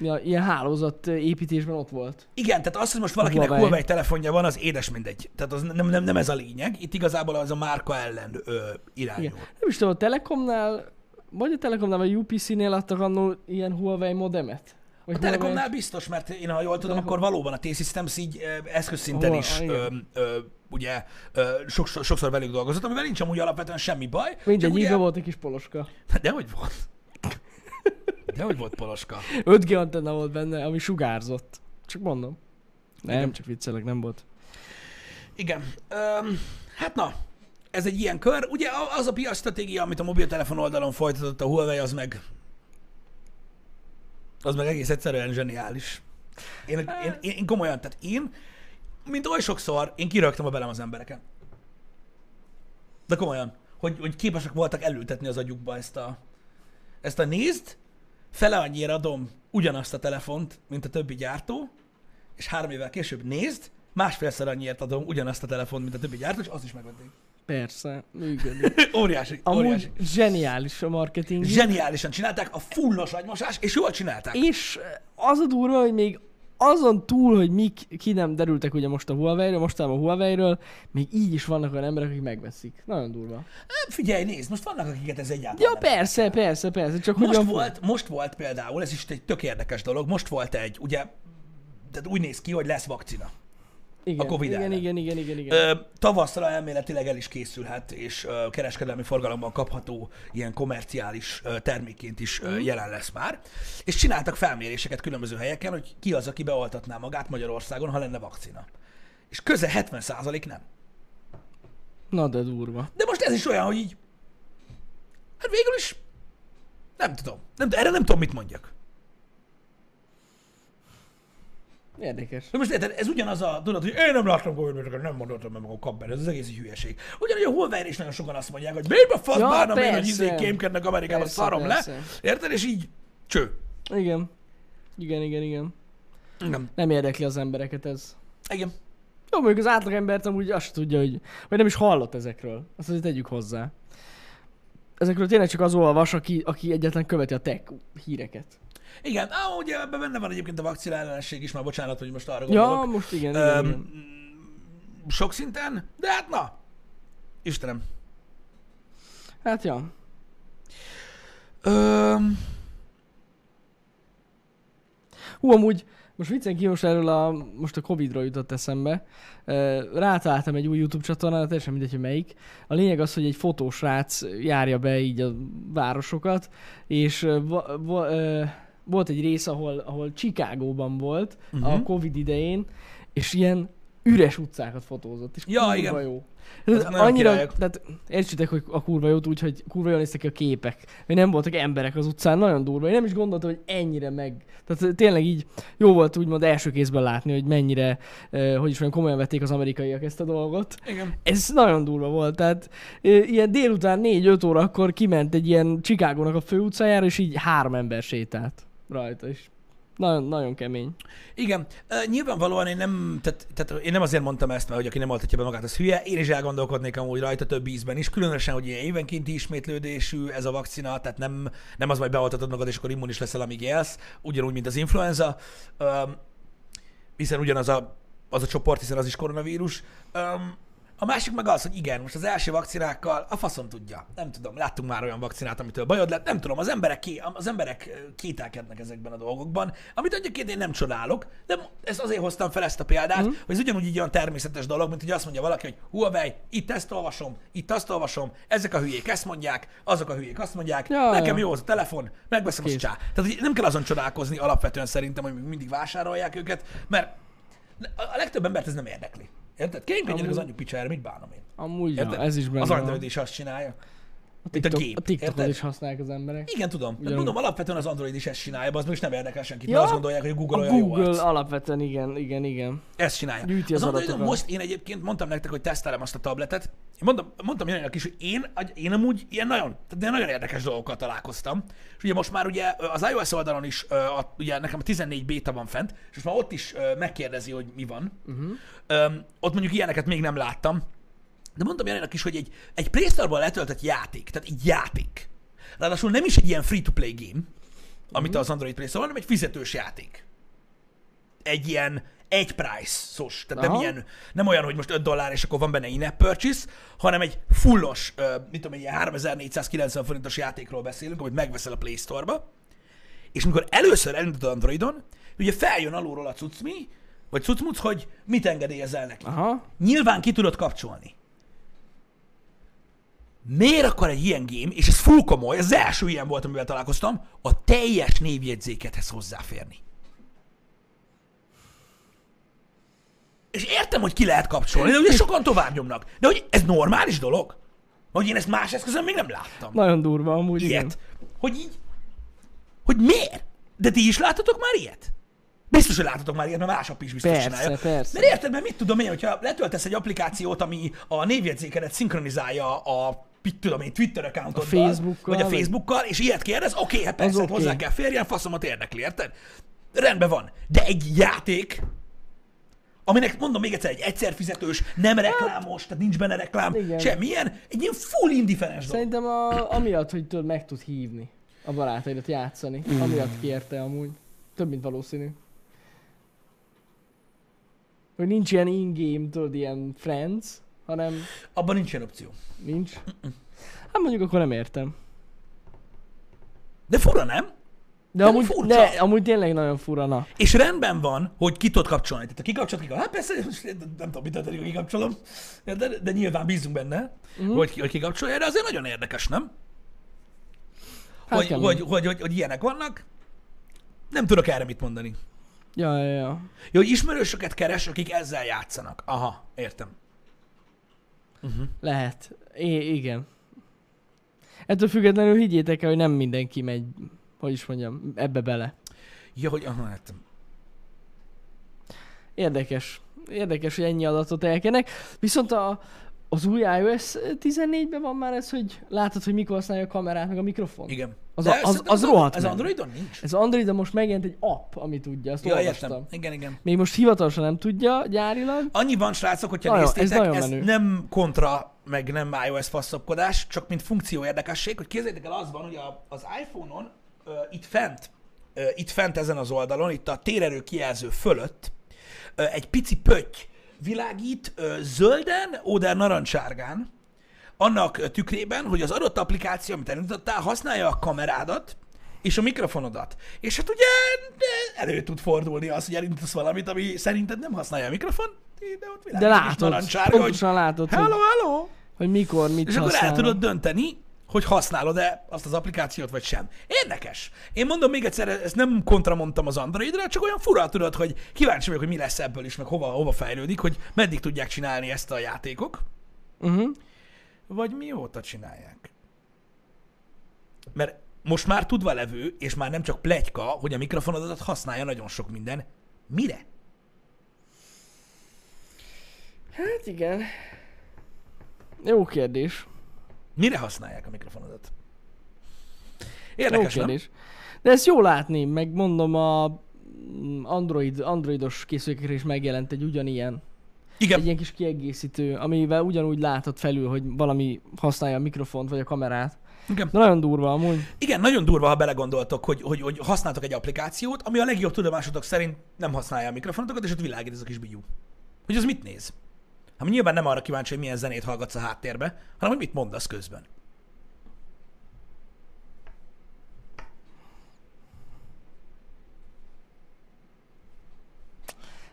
[SPEAKER 2] Ja, ilyen hálózat ö, építésben ott volt.
[SPEAKER 1] Igen, tehát az, hogy most valakinek Huawei.
[SPEAKER 2] Huawei.
[SPEAKER 1] Huawei telefonja van, az édes mindegy. Tehát az nem, nem, nem ez a lényeg. Itt igazából az a márka ellen ö, irányul.
[SPEAKER 2] Igen. Nem is tudom, a Telekomnál, vagy a Telekomnál, vagy a UPC-nél adtak annó ilyen Huawei modemet? Vagy
[SPEAKER 1] A
[SPEAKER 2] Huawei-
[SPEAKER 1] Telekomnál biztos, mert én ha jól tudom,
[SPEAKER 2] Telekom-
[SPEAKER 1] akkor valóban a T-Systems így ö, eszközszinten
[SPEAKER 2] Hol-
[SPEAKER 1] is ö,
[SPEAKER 2] igen.
[SPEAKER 1] ö, ugye ö, sokszor, sokszor velük dolgozott, amivel nincs amúgy alapvetően semmi baj.
[SPEAKER 2] Mindegy,
[SPEAKER 1] csak
[SPEAKER 2] ugye...
[SPEAKER 1] ugye...
[SPEAKER 2] volt egy kis poloska.
[SPEAKER 1] Dehogy volt. Dehogy volt Poloska.
[SPEAKER 2] 5G antenna volt benne, ami sugárzott. Csak mondom. Nem,
[SPEAKER 1] Igen.
[SPEAKER 2] csak viccelek, nem volt.
[SPEAKER 1] Igen. Öm, hát na, ez egy ilyen kör. Ugye a- az a piac stratégia, amit a mobiltelefon oldalon folytatott a Huawei, az meg az meg egész egyszerűen zseniális. Én, én, én, én komolyan, tehát én, mint oly sokszor, én kirögtem a belem az embereket. De komolyan, hogy, hogy képesek voltak elültetni az agyukba ezt a, ezt a nézd, fele annyira adom ugyanazt a telefont, mint a többi gyártó, és három évvel később nézd, másfélszer annyiért adom ugyanazt a telefont, mint a többi gyártó, és azt is megvették.
[SPEAKER 2] Persze, működik.
[SPEAKER 1] Óriási, óriási.
[SPEAKER 2] Amúgy zseniális a marketing.
[SPEAKER 1] Zseniálisan csinálták a fullos agymosás, és jól csinálták.
[SPEAKER 2] És az a eh, durva, hogy még azon túl, hogy mik ki nem derültek ugye most a Huawei-ről, mostában a Huawei-ről, még így is vannak olyan emberek, akik megveszik. Nagyon durva.
[SPEAKER 1] Hát Figyelj, nézd, most vannak, akiket ez egyáltalán
[SPEAKER 2] Ja,
[SPEAKER 1] nem
[SPEAKER 2] persze, persze, persze, csak
[SPEAKER 1] Most
[SPEAKER 2] ugyan-
[SPEAKER 1] volt, most volt például, ez is egy tök érdekes dolog, most volt egy, ugye, tehát úgy néz ki, hogy lesz vakcina.
[SPEAKER 2] igen,
[SPEAKER 1] a Covid
[SPEAKER 2] igen,
[SPEAKER 1] ellen.
[SPEAKER 2] igen, igen, igen, igen.
[SPEAKER 1] Ö, tavaszra elméletileg el is készülhet, és ö, kereskedelmi forgalomban kapható ilyen komerciális ö, termékként is ö, jelen lesz már. És csináltak felméréseket különböző helyeken, hogy ki az, aki beoltatná magát Magyarországon, ha lenne vakcina. És közel 70% nem.
[SPEAKER 2] Na de durva.
[SPEAKER 1] De most ez is olyan, hogy így... Hát végül is... Nem tudom. Nem, erre nem tudom, mit mondjak.
[SPEAKER 2] Érdekes.
[SPEAKER 1] De most érted, ez ugyanaz a tudat, hogy én nem láttam covid nem mondottam meg magam kap benne, ez az egész egy hülyeség. Ugyanúgy a Holver is nagyon sokan azt mondják, hogy miért a fasz
[SPEAKER 2] Ja,
[SPEAKER 1] ja, bánom én, hogy
[SPEAKER 2] persze.
[SPEAKER 1] izék kémkednek Amerikában,
[SPEAKER 2] Persze,
[SPEAKER 1] szarom le.
[SPEAKER 2] persze.
[SPEAKER 1] Érted? És így cső.
[SPEAKER 2] Igen. Igen, igen, igen.
[SPEAKER 1] Igen.
[SPEAKER 2] Nem érdekli az embereket ez.
[SPEAKER 1] Igen.
[SPEAKER 2] Jó, mondjuk az átlagembert amúgy azt se tudja, hogy... Vagy nem is hallott ezekről. Azt azért tegyük hozzá. Ezekről tényleg csak az olvas, aki, aki egyetlen követi a tech híreket.
[SPEAKER 1] Igen, ám ugye ebben benne van egyébként a vakcina ellenesség is, már bocsánat, hogy most arra
[SPEAKER 2] Ja,
[SPEAKER 1] gondolok.
[SPEAKER 2] most igen, igen,
[SPEAKER 1] Öm,
[SPEAKER 2] igen.
[SPEAKER 1] mm, sok szinten, de hát na. Istenem.
[SPEAKER 2] Hát ja.
[SPEAKER 1] Öm,
[SPEAKER 2] Hú, amúgy most viccen ki most erről a, most a Covid-ról jutott eszembe. Ö, Rátaláltam egy új YouTube csatornára, teljesen mindegy, hogy melyik. A lényeg az, hogy egy fotósrác járja be így a városokat, és ö, va, va, ö, volt egy rész, ahol, ahol Chicagóban volt uh-huh.
[SPEAKER 1] Mhm.
[SPEAKER 2] a Covid idején, és ilyen üres utcákat fotózott, és
[SPEAKER 1] Ja,
[SPEAKER 2] kurva
[SPEAKER 1] igen.
[SPEAKER 2] jó.
[SPEAKER 1] Azok nagyon
[SPEAKER 2] annyira,
[SPEAKER 1] Hát királyok.
[SPEAKER 2] tehát értsétek, hogy a kurva jót úgy, hogy kurva jól néztek ki a képek, hogy nem voltak emberek az utcán, nagyon durva. Én nem is gondoltam, hogy ennyire meg. Tehát tényleg így jó volt úgymond első kézben látni, hogy mennyire, eh, hogy is mondjam, komolyan vették az amerikaiak ezt a dolgot.
[SPEAKER 1] igen.
[SPEAKER 2] Ez nagyon durva volt, tehát eh, ilyen délután 4-5 órakor kiment egy ilyen Chicagónak a főutcájára, és így három ember sétált rajta, és nagyon, nagyon kemény.
[SPEAKER 1] Igen, Ö, nyilvánvalóan én nem, tehát, tehát én nem azért mondtam ezt, mert hogy aki nem oltatja be magát, az hülye. Én is elgondolkodnék amúgy rajta több ízben is, különösen, hogy ilyen évenkénti ismétlődésű ez a vakcina, tehát nem, nem az, hogy beoltatod magad, és akkor immunis leszel, amíg élsz, ugyanúgy, mint az influenza, Öm, hiszen ugyanaz a, az a csoport, hiszen az is koronavírus. Öm, a másik meg az, hogy igen, most az első vakcinákkal a faszom tudja. Nem tudom, láttunk már olyan vakcinát, amitől bajod lett. Nem tudom, az emberek, ké, az emberek ö, kételkednek ezekben a dolgokban, amit egyébként én nem csodálok, de mo- ezt azért hoztam fel ezt a példát, mm. hogy ez ugyanúgy egy olyan természetes dolog, mint hogy azt mondja valaki, hogy Huawei, itt ezt olvasom, itt azt olvasom, ezek a hülyék ezt mondják, azok a hülyék azt mondják,
[SPEAKER 2] Ja,
[SPEAKER 1] ja, nekem
[SPEAKER 2] ja.
[SPEAKER 1] jó az a telefon, megveszem azt
[SPEAKER 2] Kész.
[SPEAKER 1] csá. Tehát hogy nem kell azon csodálkozni alapvetően szerintem, hogy még mindig vásárolják őket, mert a a legtöbb embert ez nem érdekli. Érted? Kénykedjenek az
[SPEAKER 2] Amúgy-
[SPEAKER 1] anyu picsájára, mit bánom én?
[SPEAKER 2] Amúgy ja,
[SPEAKER 1] Érted?
[SPEAKER 2] ez is benne
[SPEAKER 1] Az
[SPEAKER 2] van.
[SPEAKER 1] Android is azt csinálja.
[SPEAKER 2] A,
[SPEAKER 1] mint a
[SPEAKER 2] TikTok,
[SPEAKER 1] gép,
[SPEAKER 2] a TikTokot
[SPEAKER 1] érted?
[SPEAKER 2] is használják az emberek.
[SPEAKER 1] Igen, tudom. Tehát
[SPEAKER 2] Ugyanúgy.
[SPEAKER 1] mondom, alapvetően az Android is ezt csinálja, az most nem érdekel senkit,
[SPEAKER 2] Ja,
[SPEAKER 1] mert azt gondolják, hogy a Google
[SPEAKER 2] A
[SPEAKER 1] olyan jó arc.
[SPEAKER 2] Google alapvetően igen, igen, igen.
[SPEAKER 1] Ezt csinálja.
[SPEAKER 2] Gyűjti
[SPEAKER 1] az
[SPEAKER 2] az
[SPEAKER 1] Androidon
[SPEAKER 2] adatokat.
[SPEAKER 1] most én egyébként mondtam nektek, hogy tesztelem azt a tabletet. Én mondom, mondtam Janinak is, hogy én, én amúgy ilyen nagyon, tehát ilyen nagyon érdekes dolgokkal találkoztam. És ugye most már ugye az iOS oldalon is, ö, a, ugye nekem a 14 beta van fent, és most már ott is ö, megkérdezi, hogy mi van.
[SPEAKER 2] Mhm.
[SPEAKER 1] Uh-huh. Öm, ott mondjuk ilyeneket még nem láttam. De mondtam Janinak is, hogy egy, egy Play Store-ban letöltött játék, tehát egy játék. Ráadásul nem is egy ilyen free-to-play game, amit az Android Play Store, hanem egy fizetős játék egy ilyen egy price-os, tehát nem,
[SPEAKER 2] Aha.
[SPEAKER 1] ilyen, nem olyan, hogy most 5 dollár, és akkor van benne in-app purchase, hanem egy fullos, ö, mit tudom, egy ilyen 3490 forintos játékról beszélünk, amit megveszel a Play Store-ba, és amikor először elindítod Androidon, ugye feljön alulról a cuccmi, vagy cucmuc, hogy mit engedélyezel neki.
[SPEAKER 2] Aha.
[SPEAKER 1] Nyilván ki tudod kapcsolni. Miért akar egy ilyen game, és ez full komoly, ez az első ilyen volt, amivel találkoztam, a teljes névjegyzékethez hozzáférni. És értem, hogy ki lehet kapcsolni, de ugye sokan tovább nyomnak. De hogy ez normális dolog? Hogy én ezt más eszközön még nem láttam.
[SPEAKER 2] Nagyon durva amúgy. igen.
[SPEAKER 1] Ilyet. Hogy így? Hogy miért? De ti is láttatok már ilyet? Biztos, hogy láttatok már ilyet, mert más app is biztos
[SPEAKER 2] Persze,
[SPEAKER 1] csinálja.
[SPEAKER 2] persze.
[SPEAKER 1] Mert érted, mert mit tudom én, hogyha letöltesz egy applikációt, ami a névjegyzékedet szinkronizálja a mit tudom én, Twitter accountoddal,
[SPEAKER 2] A Facebookkal,
[SPEAKER 1] vagy a
[SPEAKER 2] vagy-
[SPEAKER 1] Facebookkal, és ilyet kérdez, oké, hát persze, hát
[SPEAKER 2] oké.
[SPEAKER 1] hozzá kell férjen, faszomat érdekli, érted? Rendben van. De egy játék, aminek mondom még egyszer, egy egyszer fizetős, nem reklámos, tehát nincs benne reklám,
[SPEAKER 2] Hát- Igen.
[SPEAKER 1] semmilyen, egy ilyen full indiferens dolog.
[SPEAKER 2] Szerintem a, amiatt, hogy tudod, meg tud hívni
[SPEAKER 1] Mm.
[SPEAKER 2] a barátaidat játszani. Amiatt kérte amúgy. Több mint valószínű. Hogy nincs ilyen in-game, tudod, ilyen friends, hanem
[SPEAKER 1] Abban nincsen opció.
[SPEAKER 2] nincs. Hát mondjuk akkor nem értem.
[SPEAKER 1] De fura, nem?
[SPEAKER 2] De
[SPEAKER 1] De
[SPEAKER 2] amúgy,
[SPEAKER 1] furcsa.
[SPEAKER 2] de, amúgy tényleg nagyon fura, na.
[SPEAKER 1] És rendben van, hogy ki tudod kapcsolni. Tehát ha kikapcsolod, kikapcsolod. Hát persze, most én nem tudom, mit történik, ha kikapcsolom. De, de, de nyilván bízunk benne,
[SPEAKER 2] Mhm.
[SPEAKER 1] mm. hogy, ki- hogy kikapcsolja. De azért nagyon érdekes, nem?
[SPEAKER 2] Hát
[SPEAKER 1] Hogy,
[SPEAKER 2] kemény.
[SPEAKER 1] hogy, hogy, hogy, hogy ilyenek vannak. Nem tudok erre mit mondani.
[SPEAKER 2] Ja, ja, ja.
[SPEAKER 1] Jó, hogy ismerősöket keres, akik ezzel játszanak. Aha, értem.
[SPEAKER 2] Lehet. I- igen. Ettől függetlenül higgyétek el, hogy nem mindenki megy, hogy is mondjam, ebbe bele.
[SPEAKER 1] Ja, hogy aha, értem.
[SPEAKER 2] Érdekes. Érdekes, hogy ennyi adatot elkenek. Viszont a, az új iOS 14-ben van már ez, hogy látod, hogy mikor használja a kamerát, meg a mikrofon.
[SPEAKER 1] Igen.
[SPEAKER 2] Az
[SPEAKER 1] De
[SPEAKER 2] a- az-
[SPEAKER 1] szerintem
[SPEAKER 2] az rohadt
[SPEAKER 1] Az
[SPEAKER 2] menő.
[SPEAKER 1] Androidon nincs.
[SPEAKER 2] Ez Android, de most megjelent egy app, ami tudja, azt
[SPEAKER 1] Ja,
[SPEAKER 2] olvastam.
[SPEAKER 1] értem. Igen, igen.
[SPEAKER 2] Még most hivatalosan nem tudja gyárilag.
[SPEAKER 1] Annyi van, srácok, hogyha
[SPEAKER 2] Nagyon- ez
[SPEAKER 1] néztétek,
[SPEAKER 2] nagyon
[SPEAKER 1] ez,
[SPEAKER 2] menő.
[SPEAKER 1] nem kontra, meg nem iOS faszopkodás, csak mint funkció érdekesség, hogy képzeljétek el az van, hogy a, az iPhone-on uh, itt fent, uh, itt fent ezen az oldalon, itt a térerő kijelző fölött uh, egy pici pötty világít uh, zölden, óder narancsárgán, annak ö, tükrében, hogy az adott applikáció, amit elindítottál, használja a kamerádat és a mikrofonodat. És hát ugye de elő tud fordulni az, hogy elindítasz valamit, ami szerinted nem használja a mikrofon, de ott világít
[SPEAKER 2] De
[SPEAKER 1] a kis
[SPEAKER 2] látod,
[SPEAKER 1] narancsárga, hogy
[SPEAKER 2] pontosan látod,
[SPEAKER 1] hello,
[SPEAKER 2] hogy,
[SPEAKER 1] hello,
[SPEAKER 2] hogy mikor, mit
[SPEAKER 1] és akkor
[SPEAKER 2] használ.
[SPEAKER 1] el tudod dönteni, hogy használod-e azt az applikációt, vagy sem. Érdekes. Én mondom még egyszer, ezt nem kontramondtam az Androidra, csak olyan fura tudod, hogy kíváncsi vagyok, hogy mi lesz ebből is, meg hova, hova fejlődik, hogy meddig tudják csinálni ezt a játékok
[SPEAKER 2] Uh-huh.
[SPEAKER 1] vagy mióta csinálják? Mert most már tudva levő, és már nem csak plegyka, hogy a mikrofonodat használja nagyon sok minden. Mire?
[SPEAKER 2] Hát igen. Jó kérdés.
[SPEAKER 1] Mire használják a mikrofonodat?
[SPEAKER 2] Jó
[SPEAKER 1] Érdekes, nem?
[SPEAKER 2] kérdés. De ezt jó látni, meg mondom a mm, Android, androidos készülékekre is megjelent egy ugyanilyen, egy
[SPEAKER 1] Igen,
[SPEAKER 2] ilyen kis kiegészítő, amivel ugyanúgy látod felül, hogy valami használja a mikrofont vagy a kamerát.
[SPEAKER 1] igen.
[SPEAKER 2] De nagyon durva amúgy.
[SPEAKER 1] Igen, nagyon durva, ha belegondoltok, hogy, hogy, hogy használtok egy applikációt, ami a legjobb tudomásotok szerint nem használja a mikrofonotokat, és ott világít ez a kis bigyú. Hogy az mit néz? Hát nyilván nem arra kíváncsi, hogy milyen zenét hallgatsz a háttérbe, hanem hogy mit mondasz közben.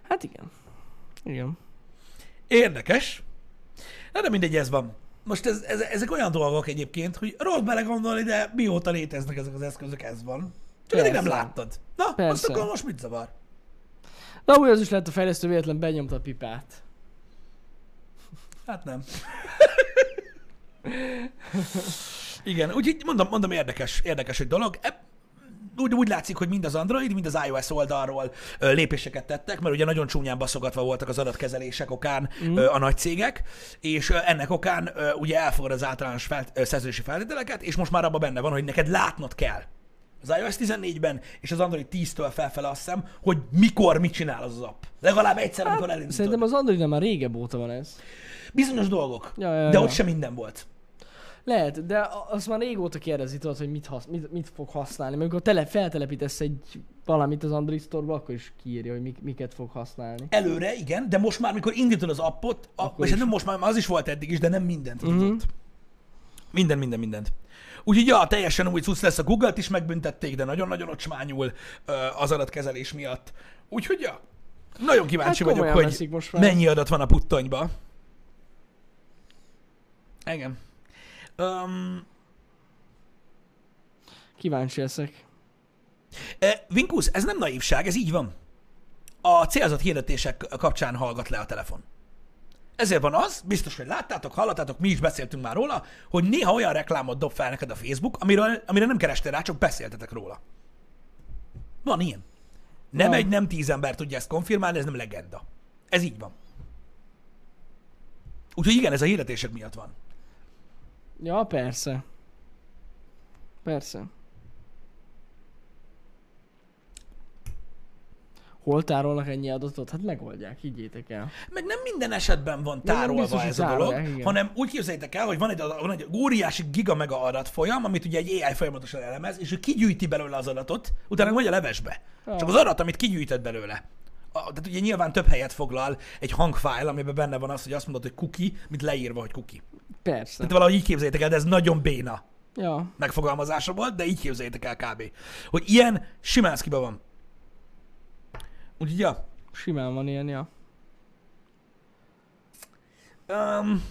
[SPEAKER 2] Hát igen. Igen.
[SPEAKER 1] Érdekes. Na, de mindegy, ez van. Most ez, ez, ezek olyan dolgok egyébként, hogy rossz belegondolni, de mióta léteznek ezek az eszközök, ez van. Csak eddig nem
[SPEAKER 2] Persze.
[SPEAKER 1] láttad. Na, Persze.
[SPEAKER 2] Persze.
[SPEAKER 1] azt akkor most mit zavar?
[SPEAKER 2] De amúgy az is lehet a fejlesztő véletlen benyomta a pipát.
[SPEAKER 1] Hát nem. Igen, úgyhogy mondom, mondom érdekes, érdekes egy dolog. Ebb, úgy, úgy látszik, hogy mind az Android, mind az iOS oldalról ö, lépéseket tettek, mert ugye nagyon csúnyán baszogatva voltak az adatkezelések okán mm. ö, a nagy cégek, és ö, ennek okán ö, ugye elfogad az általános felt, ö, szerződési feltételeket, és most már abban benne van, hogy neked látnod kell az iOS 14-ben és az Android 10-től felfele azt hiszem, hogy mikor mit csinál az az app. Legalább egyszer, amikor elindítod.
[SPEAKER 2] Szerintem az Androidnál már régebb óta van ez.
[SPEAKER 1] Bizonyos dolgok,
[SPEAKER 2] Ja, ja,
[SPEAKER 1] de
[SPEAKER 2] ja.
[SPEAKER 1] ott sem minden volt.
[SPEAKER 2] Lehet, de a- azt már régóta kérdezi, tudod, hogy mit, hasz, mit, mit fog használni. Mert Amikor tele, feltelepítesz egy valamit az Android Store-ba, akkor is kiírja, hogy mik, miket fog használni.
[SPEAKER 1] Előre, igen, de most már, mikor indítod az appot, a,
[SPEAKER 2] Akkor
[SPEAKER 1] és
[SPEAKER 2] is.
[SPEAKER 1] hát
[SPEAKER 2] Mhm.
[SPEAKER 1] nem most már, már az is volt eddig is, de nem mindent mm-hmm. tudott. Minden, minden, mindent. Úgyhogy ja, teljesen új cucc lesz, a Google-t is megbüntették, de nagyon-nagyon ocsmányul ö, az adatkezelés miatt. Úgyhogy ja, nagyon kíváncsi
[SPEAKER 2] Hát
[SPEAKER 1] vagyok,
[SPEAKER 2] komolyan
[SPEAKER 1] hogy
[SPEAKER 2] veszik most már.
[SPEAKER 1] mennyi adat van a puttonyba. Igen. Um,
[SPEAKER 2] Kíváncsi leszek.
[SPEAKER 1] Vinkusz, ez nem naívság, ez így van. A célzott hirdetések kapcsán hallgat le a telefon. Ezért van az, biztos, hogy láttátok, hallottátok, mi is beszéltünk már róla, hogy néha olyan reklámot dob fel neked a Facebook, amiről, amire nem kerestél rá, csak beszéltetek róla. Van ilyen. Nem
[SPEAKER 2] Van.
[SPEAKER 1] egy, nem tíz ember tudja ezt konfirmálni, ez nem legenda. Ez így van. Úgyhogy igen, ez a hirdetések miatt van.
[SPEAKER 2] Ja, persze. Persze. Hol tárolnak ennyi adatot? Hát megoldják, higgyétek el.
[SPEAKER 1] Meg nem minden esetben van
[SPEAKER 2] nem biztos,
[SPEAKER 1] tárolva
[SPEAKER 2] hogy
[SPEAKER 1] ez a
[SPEAKER 2] tárolják,
[SPEAKER 1] dolog,
[SPEAKER 2] igen.
[SPEAKER 1] hanem úgy képzeljétek el, hogy van egy, van egy óriási gigamega adatfolyam, amit ugye egy AI folyamatosan elemez, és ő kigyűjti belőle az adatot, utána megy a levesbe. Csak az adat, amit kigyűjtött belőle, a, tehát ugye nyilván több helyet foglal egy hangfájl, amiben benne van az, hogy azt mondod, hogy kuki, mint leírva, hogy kuki.
[SPEAKER 2] Persze.
[SPEAKER 1] Tehát valahogy így képzeljétek el, de ez nagyon béna
[SPEAKER 2] Ja.
[SPEAKER 1] megfogalmazása volt, de így képzeljétek el kb. Hogy ilyen Simánszkiban van. Úgyhogy, ja.
[SPEAKER 2] Simán van ilyen, ja.
[SPEAKER 1] Um,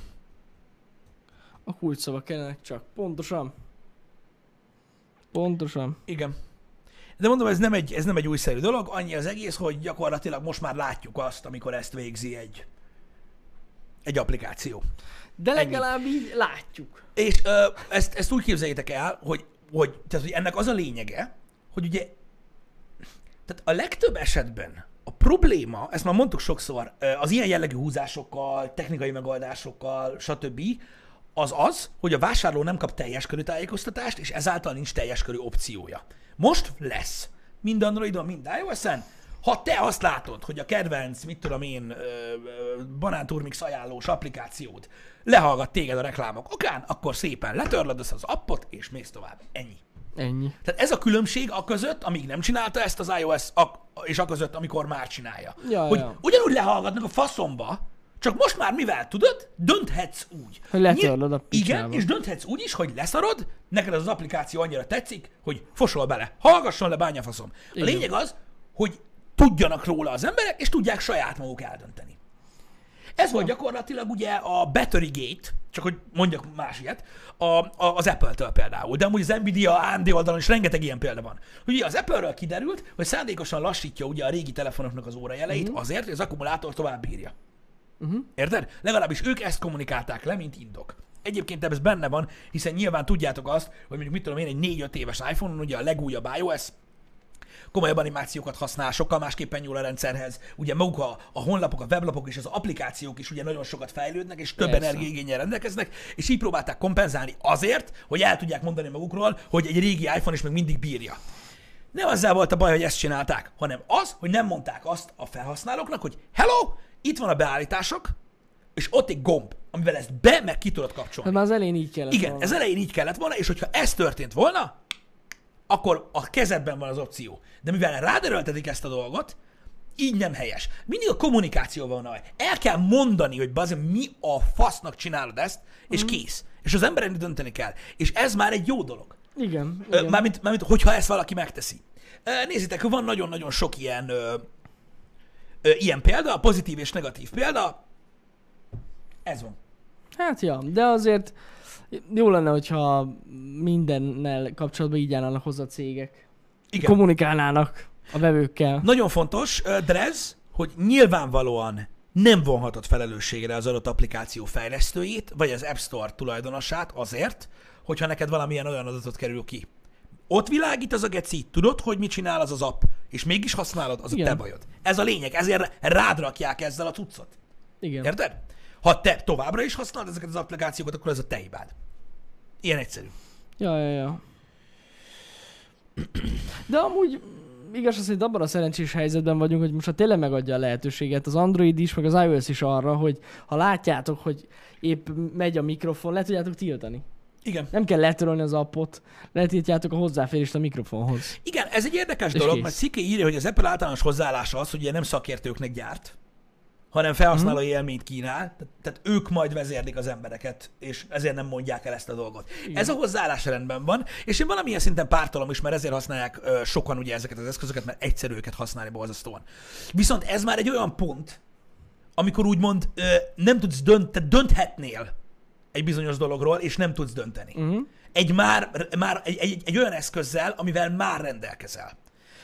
[SPEAKER 2] A kulcsszavak kellenek csak. Pontosan. Pontosan.
[SPEAKER 1] igen. De mondom, ez nem, egy, ez nem egy újszerű dolog, annyi az egész, hogy gyakorlatilag most már látjuk azt, amikor ezt végzi egy, egy applikáció.
[SPEAKER 2] De legalább így látjuk.
[SPEAKER 1] És ö, ezt, ezt úgy képzeljétek el, hogy, hogy, tehát, hogy ennek az a lényege, hogy ugye tehát a legtöbb esetben a probléma, ezt már mondtuk sokszor, ö, az ilyen jellegű húzásokkal, technikai megoldásokkal, stb., az az, hogy a vásárló nem kap teljes körű tájékoztatást, és ezáltal nincs teljes körű opciója. Most lesz. Mind Androidon, mind iOS-en. Ha te azt látod, hogy a kedvenc, mit tudom én, ö, ö, banánturmix ajánlós applikációd lehallgat téged a reklámok okán, akkor szépen letörlöd ezt az appot, és mész tovább. Ennyi.
[SPEAKER 2] Ennyi.
[SPEAKER 1] Tehát ez a különbség a között, amíg nem csinálta ezt az iOS, a, és a között, amikor már csinálja.
[SPEAKER 2] Ja,
[SPEAKER 1] hogy
[SPEAKER 2] ja.
[SPEAKER 1] ugyanúgy lehallgatnak a faszomba, csak most már mivel tudod, dönthetsz úgy.
[SPEAKER 2] Hogy letörlöd a
[SPEAKER 1] Nyil- Igen,
[SPEAKER 2] picsába.
[SPEAKER 1] és dönthetsz úgy is, hogy leszarod, neked az, az applikáció annyira tetszik, hogy fosol bele. Hallgasson le, bányafaszom. A
[SPEAKER 2] Igen.
[SPEAKER 1] lényeg az, hogy tudjanak róla az emberek, és tudják saját maguk eldönteni. Ez volt gyakorlatilag ugye a Battery Gate, csak hogy mondjak más ilyet, a, a, az Apple-től például, de amúgy az Nvidia, AMD oldalon is rengeteg ilyen példa van. Ugye az Apple-ről kiderült, hogy szándékosan lassítja ugye a régi telefonoknak az órajeleit
[SPEAKER 2] Mhm.
[SPEAKER 1] uh-huh. azért, hogy az akkumulátor tovább bírja. Uh-huh. Érted? Legalábbis ők ezt kommunikálták le, mint indok. Egyébként ez benne van, hiszen nyilván tudjátok azt, hogy mondjuk mit tudom én, egy 4-5 éves iPhone-on, ugye a legújabb iOS komolyabb animációkat használ, sokkal másképpen nyúl a rendszerhez. Ugye maguk a, a honlapok, a weblapok és az applikációk is ugye nagyon sokat fejlődnek, és több
[SPEAKER 2] Persze.
[SPEAKER 1] energiaigényel rendelkeznek, és így próbálták kompenzálni azért, hogy el tudják mondani magukról, hogy egy régi iPhone is még mindig bírja. Nem azzal volt a baj, hogy ezt csinálták, hanem az, hogy nem mondták azt a felhasználóknak, hogy hello, itt van a beállítások, és ott egy gomb, amivel ezt be meg ki tudod kapcsolni.
[SPEAKER 2] Hát már az elén így kellett
[SPEAKER 1] Igen,
[SPEAKER 2] volna.
[SPEAKER 1] ez elején így kellett volna, és hogyha ez történt volna, akkor a kezedben van az opció. De mivel ráderöltetik ezt a dolgot, így nem helyes. Mindig a kommunikációban van a baj. El kell mondani, hogy bazd, meg, mi a fasznak csinálod ezt, és kész. És az emberen dönteni kell. És ez már egy jó dolog.
[SPEAKER 2] Igen,
[SPEAKER 1] Ö,
[SPEAKER 2] igen. Már...
[SPEAKER 1] Mármint, mármint, hogyha ezt valaki megteszi. Ö, Nézzétek, van nagyon-nagyon sok ilyen, ö, ö, ilyen példa, pozitív és negatív példa. Ez van.
[SPEAKER 2] Hát ja, de azért jó lenne, hogyha mindennel kapcsolatban így állnának hozzá a cégek.
[SPEAKER 1] Igen.
[SPEAKER 2] Kommunikálnának a vevőkkel.
[SPEAKER 1] Nagyon fontos, ö, Drez, hogy nyilvánvalóan nem vonhatod felelősségre az adott applikáció fejlesztőjét, vagy az App Store tulajdonosát azért, hogyha neked valamilyen olyan adatot kerül ki. Ott világít az a geci, tudod, hogy mit csinál az az app, és mégis használod, az Igen.
[SPEAKER 2] Igen.
[SPEAKER 1] a te bajod. Ez a lényeg, ezért rád rakják ezzel a cuccot.
[SPEAKER 2] Igen.
[SPEAKER 1] Érted? Ha te továbbra is használod ezeket az applikációkat, akkor ez a te hibád. Ilyen egyszerű.
[SPEAKER 2] Ja, ja, ja. De amúgy mm, igaz az, hogy abban a szerencsés helyzetben vagyunk, hogy most ha tényleg megadja a lehetőséget az Android is, meg az iOS is arra, hogy ha látjátok, hogy épp megy a mikrofon, le tudjátok tiltani.
[SPEAKER 1] Igen.
[SPEAKER 2] Nem kell letörölni az appot, letiltjátok a hozzáférést a mikrofonhoz.
[SPEAKER 1] Igen, ez egy érdekes
[SPEAKER 2] És
[SPEAKER 1] dolog,
[SPEAKER 2] kész.
[SPEAKER 1] mert Sziki írja, hogy az Apple általános hozzáállása az, hogy ugye nem szakértőknek gyárt, hanem felhasználói élményt kínál, teh- tehát ők majd vezérlik az embereket, és ezért nem mondják el ezt a dolgot. Igen. Ez a hozzáállás rendben van, és én valamilyen szinten pártolom is, mert ezért használják ö, sokan ugye ezeket az eszközöket, mert egyszerű őket használni borzasztóan. Viszont ez már egy olyan pont, amikor úgymond ö, nem tudsz dönt, tehát dönthetnél egy bizonyos dologról, és nem tudsz dönteni. Uh-huh. Egy már, már egy, egy, egy olyan eszközzel, amivel már rendelkezel.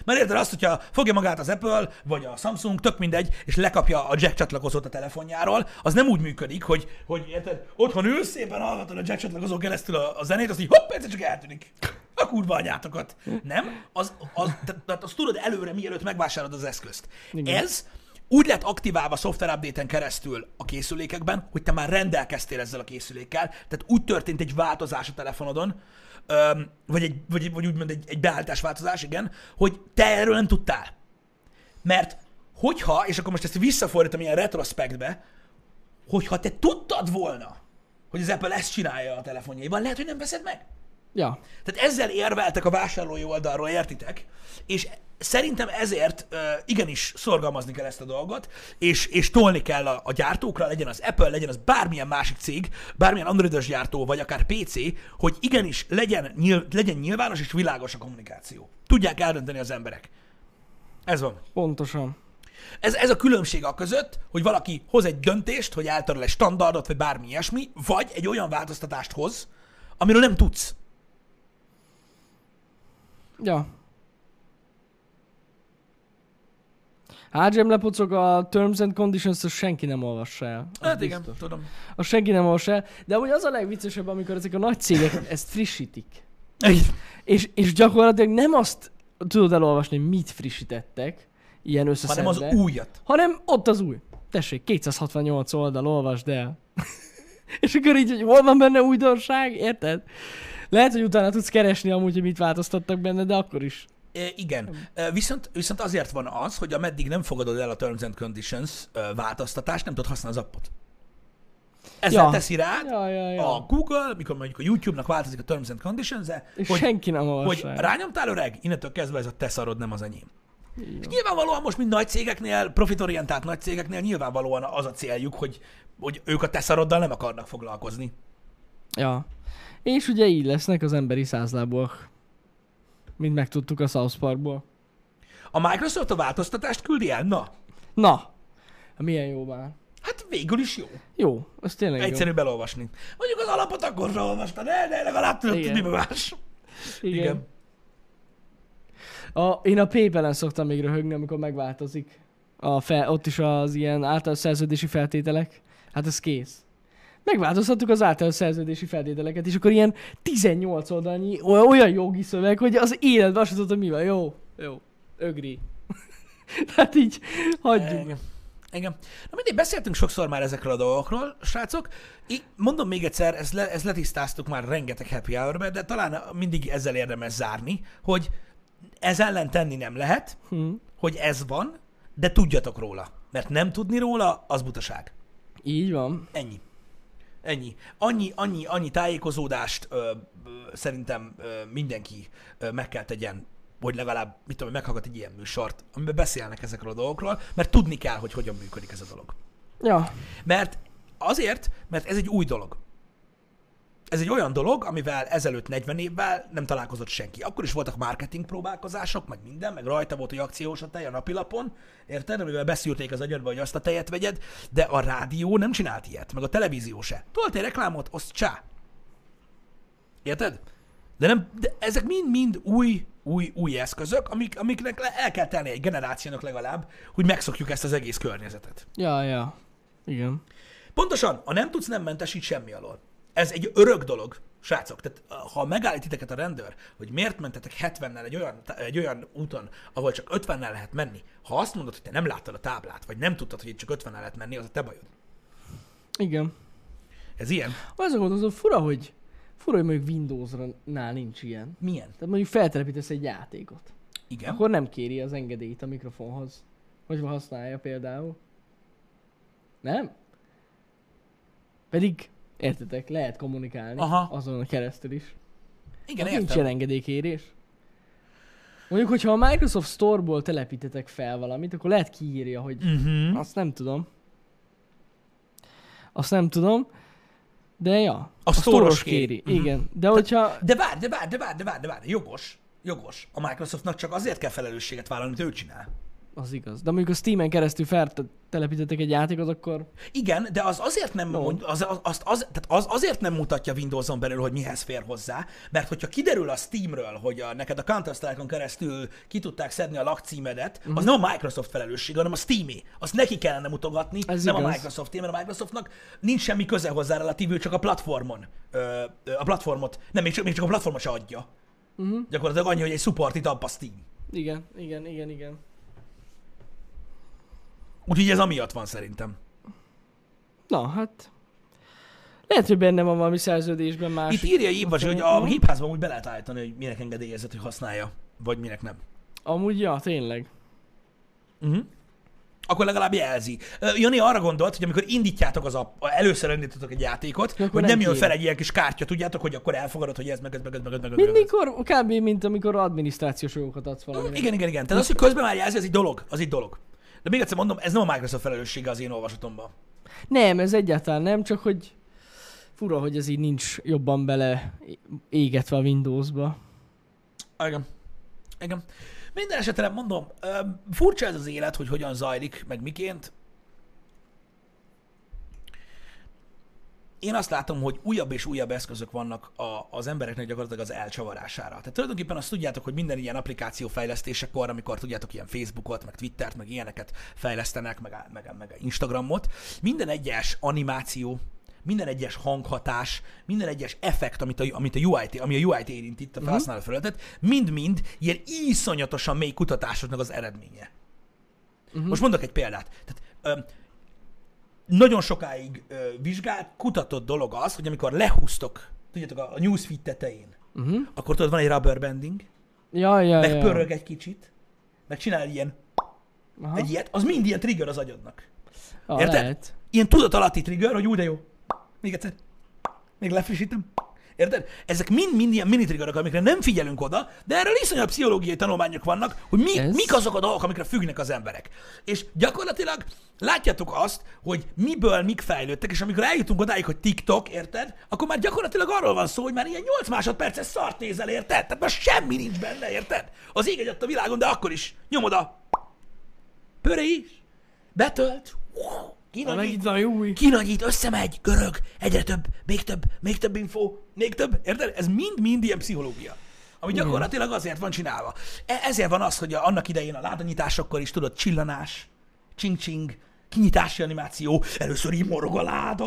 [SPEAKER 1] Mert érted azt, hogyha fogja magát az Apple, vagy a Samsung, tök mindegy, és lekapja a jack csatlakozót a telefonjáról, az nem úgy működik, hogy, hogy érted, otthon ülsz, szépen hallgatod a jack csatlakozón keresztül a, a zenét, az így hopp, egyszer csak eltűnik. A kurva anyátokat. Nem? Az, az, tehát tehát azt tudod előre, mielőtt megvásárolod az eszközt. Igen. Ez úgy lett aktiválva szoftver update-en keresztül a készülékekben, hogy te már rendelkeztél ezzel a készülékkel, tehát úgy történt egy változás a telefonodon, öm, vagy, egy, vagy, vagy úgymond egy, egy beállítás változás, igen, hogy te erről nem tudtál. Mert hogyha, és akkor most ezt visszafordítom ilyen retrospektbe, hogyha te tudtad volna, hogy az Apple ezt csinálja a telefonjaiban, lehet, hogy nem veszed meg.
[SPEAKER 2] Ja.
[SPEAKER 1] Tehát ezzel érveltek a vásárlói oldalról, értitek? És szerintem ezért ö, igenis szorgalmazni kell ezt a dolgot, és, és tolni kell a, a gyártókra, legyen az Apple, legyen az bármilyen másik cég, bármilyen androidos gyártó, vagy akár PC, hogy igenis legyen, nyil, legyen nyilvános és világos a kommunikáció. Tudják eldönteni az emberek. Ez van.
[SPEAKER 2] Pontosan.
[SPEAKER 1] Ez, ez a különbség a között, hogy valaki hoz egy döntést, hogy eltöröl egy standardot, vagy bármi ilyesmi, vagy egy olyan változtatást hoz, amiről nem tudsz.
[SPEAKER 2] Ja. HGM lepocog a Terms and Conditions, azt senki nem olvassa el. Az
[SPEAKER 1] Hát igen,
[SPEAKER 2] biztos.
[SPEAKER 1] tudom.
[SPEAKER 2] Azt senki nem olvassa el, de úgy az a legviccesebb, amikor ezek a nagy cégek ezt frissítik.
[SPEAKER 1] Így.
[SPEAKER 2] És, és gyakorlatilag nem azt tudod elolvasni, hogy mit frissítettek ilyen
[SPEAKER 1] Hanem
[SPEAKER 2] összeszedve.
[SPEAKER 1] az újat.
[SPEAKER 2] Hanem ott az új. Tessék, 268 oldal, olvasd el. és akkor így, hogy hol van benne újdonság, érted? Lehet, hogy utána tudsz keresni amúgy, hogy mit változtattak benne, de akkor is.
[SPEAKER 1] E, igen. E, viszont, viszont azért van az, hogy ameddig nem fogadod el a Terms and Conditions e, változtatást, nem tudod használni az appot. Ezzel ja.
[SPEAKER 2] Ja.
[SPEAKER 1] teszi rád
[SPEAKER 2] Ja, ja, ja.
[SPEAKER 1] a Google, mikor mondjuk a YouTube-nak változik a Terms and Conditions,
[SPEAKER 2] És
[SPEAKER 1] hogy,
[SPEAKER 2] senki nem
[SPEAKER 1] hogy
[SPEAKER 2] olvassa el.
[SPEAKER 1] rányomtál öreg, innentől kezdve ez a te szarod, nem az enyém.
[SPEAKER 2] Így
[SPEAKER 1] És
[SPEAKER 2] van.
[SPEAKER 1] nyilvánvalóan most, mint nagy cégeknél, profitorientált nagy cégeknél nyilvánvalóan az a céljuk, hogy, hogy ők a te szaroddal nem akarnak foglalkozni.
[SPEAKER 2] Ja. És ugye így lesznek az emberi százlábúak. Mint megtudtuk a South Parkból.
[SPEAKER 1] A Microsoft a változtatást küldi el? Na,
[SPEAKER 2] Na! Milyen jó már.
[SPEAKER 1] hát végül is jó.
[SPEAKER 2] Jó, ez tényleg
[SPEAKER 1] Egyszerű belolvasni. Mondjuk az alapot akkor se olvastad el, de legalább tudod,
[SPEAKER 2] Igen.
[SPEAKER 1] hogy mi más.
[SPEAKER 2] jó. Igen.
[SPEAKER 1] igen.
[SPEAKER 2] Igen. A, én a PayPal-en szoktam még röhögni, amikor megváltozik. A fel, ott is az ilyen általános szerződési feltételek. Hát ez kész. Megváltoztattuk az általános szerződési feltételeket, és akkor ilyen 18 oldalnyi o- olyan jogi szöveg, hogy az életben azt sem tudtam, mi van. Jó, jó, ögri. Tehát így hagyjuk.
[SPEAKER 1] Igen. Igen. Na mindig beszéltünk sokszor már ezekről a dolgokról, srácok. Így mondom még egyszer, ezt, le, ezt letisztáztuk már rengeteg happy hour de talán mindig ezzel érdemes zárni, hogy ez ellen tenni nem lehet,
[SPEAKER 2] Hm.
[SPEAKER 1] hogy ez van, de tudjatok róla. Mert nem tudni róla, az butaság.
[SPEAKER 2] Így van.
[SPEAKER 1] Ennyi. Ennyi. Annyi, annyi, annyi tájékozódást ö, ö, szerintem ö, mindenki ö, meg kell tegyen, hogy legalább, mit tudom, meghallgat egy ilyen műsort, amiben beszélnek ezekről a dolgokról, mert tudni kell, hogy hogyan működik ez a dolog.
[SPEAKER 2] Ja,
[SPEAKER 1] Mert azért, mert ez egy új dolog. Ez egy olyan dolog, amivel ezelőtt 40 évvel nem találkozott senki. Akkor is voltak marketing próbálkozások, meg minden, meg rajta volt, hogy akciós a tej a napilapon, érted? Amivel beszűrték az agyadba, hogy azt a tejet vegyed, de a rádió nem csinált ilyet, meg a televízió se. Tolt egy reklámot, azt csá. Érted? De, nem, de ezek mind-mind új, új, új eszközök, amik, amiknek le- el kell tenni egy generációnak legalább, hogy megszokjuk ezt az egész környezetet.
[SPEAKER 2] ja, ja. Igen.
[SPEAKER 1] Pontosan, a nem tudsz, nem mentesít semmi alól. Ez egy örök dolog, srácok. Tehát eh, ha megállít titeket a rendőr, hogy miért mentetek 70-nel egy olyan, egy olyan úton, ahol csak 50-nel lehet menni, ha azt mondod, hogy te nem láttad a táblát, vagy nem tudtad, hogy itt csak 50-nel lehet menni, az a te bajod.
[SPEAKER 2] Igen.
[SPEAKER 1] Ez ilyen?
[SPEAKER 2] Azon gondolkozom, fura, hogy fura, hogy mondjuk Windows-nál nincs ilyen.
[SPEAKER 1] Milyen?
[SPEAKER 2] Tehát mondjuk feltelepítesz egy játékot.
[SPEAKER 1] Igen.
[SPEAKER 2] Akkor nem kéri az engedélyt a mikrofonhoz. Hogy van használja például. Nem? Pedig, értetek, lehet kommunikálni
[SPEAKER 1] Aha.
[SPEAKER 2] azon keresztül is.
[SPEAKER 1] Igen,
[SPEAKER 2] Nincs
[SPEAKER 1] értem.
[SPEAKER 2] ilyen engedélykérés. Mondjuk, hogyha a Microsoft Store-ból telepítetek fel valamit, akkor lehet kiírja, hogy
[SPEAKER 1] Uh-huh.
[SPEAKER 2] azt nem tudom. Azt nem tudom. De ja. A,
[SPEAKER 1] store-os Mhm.
[SPEAKER 2] store-os
[SPEAKER 1] kéri.
[SPEAKER 2] kéri. Igen. De hogyha...
[SPEAKER 1] De várj, de várj, de várj, de várj, de várj, jogos. Jogos. A Microsoftnak csak azért kell felelősséget vállalni, amit ő csinál.
[SPEAKER 2] Az igaz. De mondjuk a Steam-en keresztül feltelepítettek egy játékot, akkor...
[SPEAKER 1] Igen, de az azért nem,
[SPEAKER 2] Jó.
[SPEAKER 1] mond, az, az, az, az, tehát az, azért nem mutatja Windowson belül, hogy mihez fér hozzá, mert hogyha kiderül a Steamről, hogy a, neked a Counter-Strike-on keresztül ki tudták szedni a lakcímedet,
[SPEAKER 2] Mhm.
[SPEAKER 1] az nem a Microsoft felelőssége, hanem a Steamé. Azt neki kellene mutogatni,
[SPEAKER 2] Ez
[SPEAKER 1] nem a
[SPEAKER 2] igaz.
[SPEAKER 1] Microsoft, mert a Microsoftnak nincs semmi köze hozzá relatívül, csak a platformon. Ö, ö, a platformot, nem, még csak, még csak a platformot se adja.
[SPEAKER 2] Mhm.
[SPEAKER 1] Uh-huh. Gyakorlatilag annyi, hogy egy supportit ad a Steam.
[SPEAKER 2] Igen, igen, igen, igen.
[SPEAKER 1] Úgyhogy ez amiatt van szerintem.
[SPEAKER 2] Na, hát... Lehet, hogy benne van valami szerződésben más.
[SPEAKER 1] Itt írja Ibas, hogy a gépházban úgy be lehet állítani, hogy minek engedélyezett, hogy használja, vagy minek nem.
[SPEAKER 2] Amúgy, ja, tényleg.
[SPEAKER 1] Uh-huh. akkor legalább jelzi. Ö, Jani arra gondolt, hogy amikor indítjátok az app, először indítotok egy játékot,
[SPEAKER 2] akkor
[SPEAKER 1] hogy
[SPEAKER 2] nem
[SPEAKER 1] nem jön
[SPEAKER 2] kér.
[SPEAKER 1] fel egy ilyen kis kártya, tudjátok, hogy akkor elfogadod, hogy ez meg ez meg ez meg ez meg ez, meg ez.
[SPEAKER 2] Mindikor, kb. mint amikor adminisztrációs jogokat adsz valaminek.
[SPEAKER 1] Igen, igen, igen. Tehát az, hogy közben már jelzi, az egy dolog. Az egy dolog. De még egyszer mondom, ez nem a Microsoft felelőssége az én olvasatomban.
[SPEAKER 2] Nem, ez egyáltalán nem, csak hogy fura, hogy ez így nincs jobban bele égetve a Windowsba. Ah,
[SPEAKER 1] Igen. Igen. Minden esetre mondom, ö, furcsa ez az élet, hogy hogyan zajlik, meg miként. Én azt látom, hogy újabb és újabb eszközök vannak a, az embereknek gyakorlatilag az elcsavarására. Tehát tulajdonképpen azt tudjátok, hogy minden ilyen applikáció fejlesztésekor, amikor tudjátok ilyen Facebookot, meg Twittert, meg ilyeneket fejlesztenek, meg, meg, meg Instagramot, minden egyes animáció, minden egyes hanghatás, minden egyes effekt, amit a, amit a UI-t, ami a UI-t érint itt a felhasználó felületet, mind-mind ilyen iszonyatosan mély kutatásoknak az eredménye. Uh-huh. Most mondok egy példát. Tehát, ö, nagyon sokáig ö, vizsgált, kutatott dolog az, hogy amikor lehúztok, tudjátok, a, a newsfeed tetején, uh-huh. akkor tudod, van egy rubber banding,
[SPEAKER 2] Ja, ja, ja.
[SPEAKER 1] megpörög egy kicsit, meg csinál ilyen,
[SPEAKER 2] Aha.
[SPEAKER 1] egy ilyet, az mind ilyen trigger az agyadnak.
[SPEAKER 2] Ah,
[SPEAKER 1] Érted?
[SPEAKER 2] Lehet.
[SPEAKER 1] Ilyen tudatalatti trigger, hogy úgy de jó. Még egyszer. Még lefrissítem. Érted? Ezek mind-mind ilyen mini triggerek, amikre nem figyelünk oda, de erről iszonyabb pszichológiai tanulmányok vannak, hogy mi,
[SPEAKER 2] Ez?
[SPEAKER 1] mik azok a dolgok, amikre függnek az emberek. És gyakorlatilag látjátok azt, hogy miből mik fejlődtek, és amikor eljutunk odáig, hogy TikTok, érted? Akkor már gyakorlatilag arról van szó, hogy már ilyen 8 másodperces szart nézel, érted? Tehát már semmi nincs benne, érted? Az ég egy a világon, de akkor is nyomod a pörés, betölt,
[SPEAKER 2] Ah,
[SPEAKER 1] kinagyít,
[SPEAKER 2] Megint van új.
[SPEAKER 1] kinagyít, összemegy, görög, egyre több, még több, még több info, még több, érted? Ez mind-mind ilyen pszichológia. Ami gyakorlatilag azért van csinálva. E- ezért van az, hogy a, annak idején a ládanyitásokkor is tudod, csillanás, csing-csing, kinyitási animáció, először így morog a láda,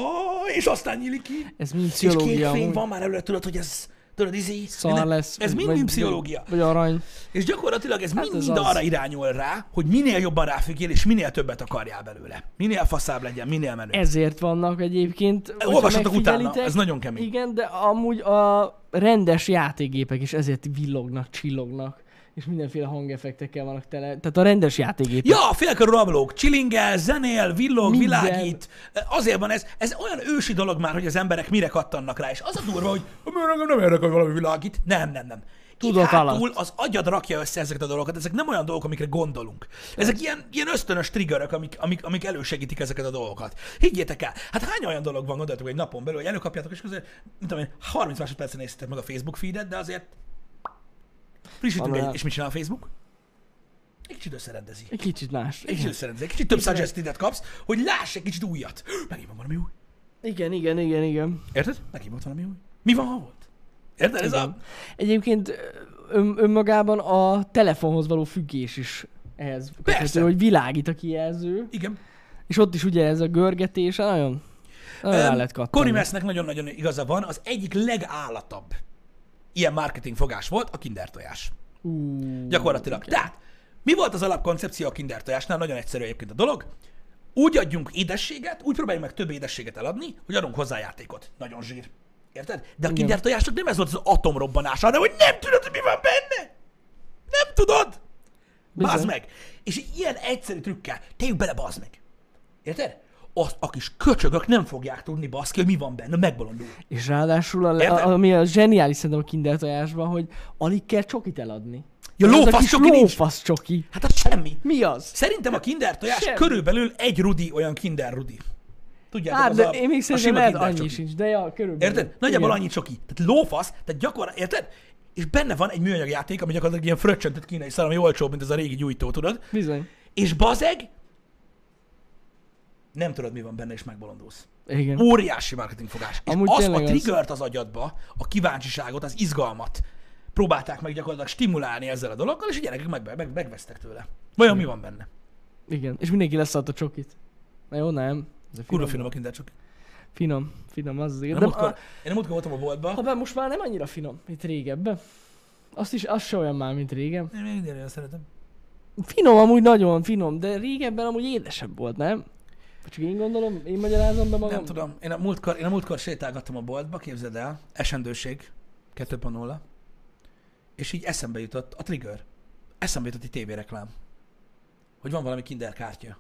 [SPEAKER 1] és aztán nyílik ki.
[SPEAKER 2] Ez mind
[SPEAKER 1] És kék
[SPEAKER 2] pszichológia.
[SPEAKER 1] fény
[SPEAKER 2] amúgy.
[SPEAKER 1] van már előre, tudod, hogy ez, tudod, izé,
[SPEAKER 2] Szar
[SPEAKER 1] minden-
[SPEAKER 2] Szóval
[SPEAKER 1] ez
[SPEAKER 2] lesz. vagy-
[SPEAKER 1] mind-mind
[SPEAKER 2] vagy-
[SPEAKER 1] pszichológia.
[SPEAKER 2] Vagy arany.
[SPEAKER 1] És gyakorlatilag ez mind,
[SPEAKER 2] ez
[SPEAKER 1] mind
[SPEAKER 2] az.
[SPEAKER 1] arra irányul rá, hogy minél jobban ráfüggél, és minél többet akarjál belőle. Minél faszább legyen, minél menő.
[SPEAKER 2] Ezért vannak egyébként. hogyha
[SPEAKER 1] olvassatok utána,
[SPEAKER 2] megfigyelitek,
[SPEAKER 1] ez nagyon kemény.
[SPEAKER 2] Igen, de amúgy a rendes játékgépek is ezért villognak, csillognak, és mindenféle hangeffektekkel vannak tele. Tehát a rendes játékgépek.
[SPEAKER 1] Ja, félkörű rablók, csilingel, zenél, villog,
[SPEAKER 2] Minden.
[SPEAKER 1] világít. Azért van ez, ez olyan ősi dolog már, hogy az emberek mire kattannak rá, és az a durva, hogy "Miért engem nem érdekel, hogy valami világít. Nem, nem, nem. Itt
[SPEAKER 2] Tudat
[SPEAKER 1] hátul
[SPEAKER 2] alatt.
[SPEAKER 1] az agyad rakja össze ezeket a dolgokat, ezek nem olyan dolgok, amikre gondolunk. Ezek ilyen, ilyen ösztönös triggerök, amik, amik, amik elősegítik ezeket a dolgokat. Higgyétek el, hát hány olyan dolog van, gondoltok, hogy egy napon belül, hogy előkapjátok, és közül, mint tudom én, 30 másodpercen néztétek meg a Facebook feedet, de azért frissítünk
[SPEAKER 2] Van
[SPEAKER 1] egy,
[SPEAKER 2] olyan.
[SPEAKER 1] és mit csinál a Facebook? Egy kicsit összerendezi.
[SPEAKER 2] Egy kicsit más.
[SPEAKER 1] Egy
[SPEAKER 2] Igen.
[SPEAKER 1] kicsit szerencsé, kicsit több suggestidet kapsz, hogy láss egy kicsit újat. Megint van valami új.
[SPEAKER 2] igen, igen, igen, igen.
[SPEAKER 1] Érted? Megint volt valami új. Mi van, ha volt? Érted? Ez a...
[SPEAKER 2] Igen. Egyébként ön, önmagában a telefonhoz való függés is ehhez
[SPEAKER 1] Persze.
[SPEAKER 2] köthető, hogy világít a kijelző,
[SPEAKER 1] Igen.
[SPEAKER 2] és ott is ugye ez a görgetés, nagyon, nagyon rá lehet kattani.
[SPEAKER 1] Korimesznek nagyon-nagyon igaza van, az egyik legállatabb ilyen marketing fogás volt a kinder tojás.
[SPEAKER 2] Ú,
[SPEAKER 1] Gyakorlatilag. Tehát, mi volt az alapkoncepció a kinder tojásnál? Nagyon egyszerű egyébként a dolog. Úgy adjunk édességet, úgy próbáljuk meg több édességet eladni, hogy adunk hozzá játékot. Nagyon zsír. Érted? De a kinder tojásnak nem ez volt az atomrobbanása, hanem hogy nem tudod, hogy mi van benne. Nem tudod.
[SPEAKER 2] Bizony.
[SPEAKER 1] Bazd meg! És egy ilyen egyszerű trükkel, tegyük bele, bazd meg. Érted? Azt a kis köcsögök nem fogják tudni, baszki, hogy mi van benne, megbolondul.
[SPEAKER 2] És ráadásul, a,
[SPEAKER 1] Érted?
[SPEAKER 2] a, ami a zseniális szerintem a kinder tojásban, hogy alig kell csokit eladni.
[SPEAKER 1] Ja,
[SPEAKER 2] Ez a
[SPEAKER 1] lófasz
[SPEAKER 2] kis
[SPEAKER 1] csoki nincs.
[SPEAKER 2] lófasz csoki.
[SPEAKER 1] Hát az semmi.
[SPEAKER 2] Mi az?
[SPEAKER 1] Szerintem a kinder tojás
[SPEAKER 2] Semmi.
[SPEAKER 1] körülbelül egy rudi olyan kinder rudi. Tudjátok,
[SPEAKER 2] Hát,
[SPEAKER 1] az
[SPEAKER 2] de
[SPEAKER 1] a,
[SPEAKER 2] én még
[SPEAKER 1] a
[SPEAKER 2] szerintem
[SPEAKER 1] sima
[SPEAKER 2] lehet
[SPEAKER 1] Kinder
[SPEAKER 2] annyi
[SPEAKER 1] csoki.
[SPEAKER 2] sincs, de ja, körülbelül.
[SPEAKER 1] Érted? Nagyjából
[SPEAKER 2] Igen.
[SPEAKER 1] annyi csoki. Tehát lófasz, tehát gyakorlat, érted? És benne van egy műanyag játék, ami gyakorlatilag ilyen fröccsöntött kínai szar, ami olcsóbb, mint ez a régi gyújtó, tudod?
[SPEAKER 2] Bizony.
[SPEAKER 1] És bazeg, nem tudod, mi van benne, és megbolondulsz.
[SPEAKER 2] Igen.
[SPEAKER 1] Óriási marketingfogás. És
[SPEAKER 2] Amúgy
[SPEAKER 1] az a
[SPEAKER 2] tényleg az.
[SPEAKER 1] triggert az agyadba, a kíváncsiságot, az izgalmat próbálták meg gyakorlatilag stimulálni ezzel a dologgal, és a gyerekek meg, meg, megvesztek tőle. Vajon mi van benne?
[SPEAKER 2] Igen. És mindenki leszadt a csokit. Na jó, nem. Ez a
[SPEAKER 1] Kurva finom a kinder csak.
[SPEAKER 2] Finom, finom az az
[SPEAKER 1] Én
[SPEAKER 2] igaz.
[SPEAKER 1] a
[SPEAKER 2] De
[SPEAKER 1] múltkor,
[SPEAKER 2] a,
[SPEAKER 1] én a múltkor voltam a boltba,
[SPEAKER 2] ha bár most már nem annyira finom, mint régebben. Azt is, az se olyan már, mint régen.
[SPEAKER 1] én mindig olyan szeretem.
[SPEAKER 2] Finom amúgy nagyon finom, de régebben amúgy édesebb volt, nem? Vagy Csak én gondolom, én magyarázom be magam.
[SPEAKER 1] Nem tudom, én a múltkor, én a múltkor sétálgattam a boltba, képzeld el, esendőség 2.0, és így eszembe jutott a trigger. Eszembe jutott egy tévéreklám, hogy van valami kinder kártya.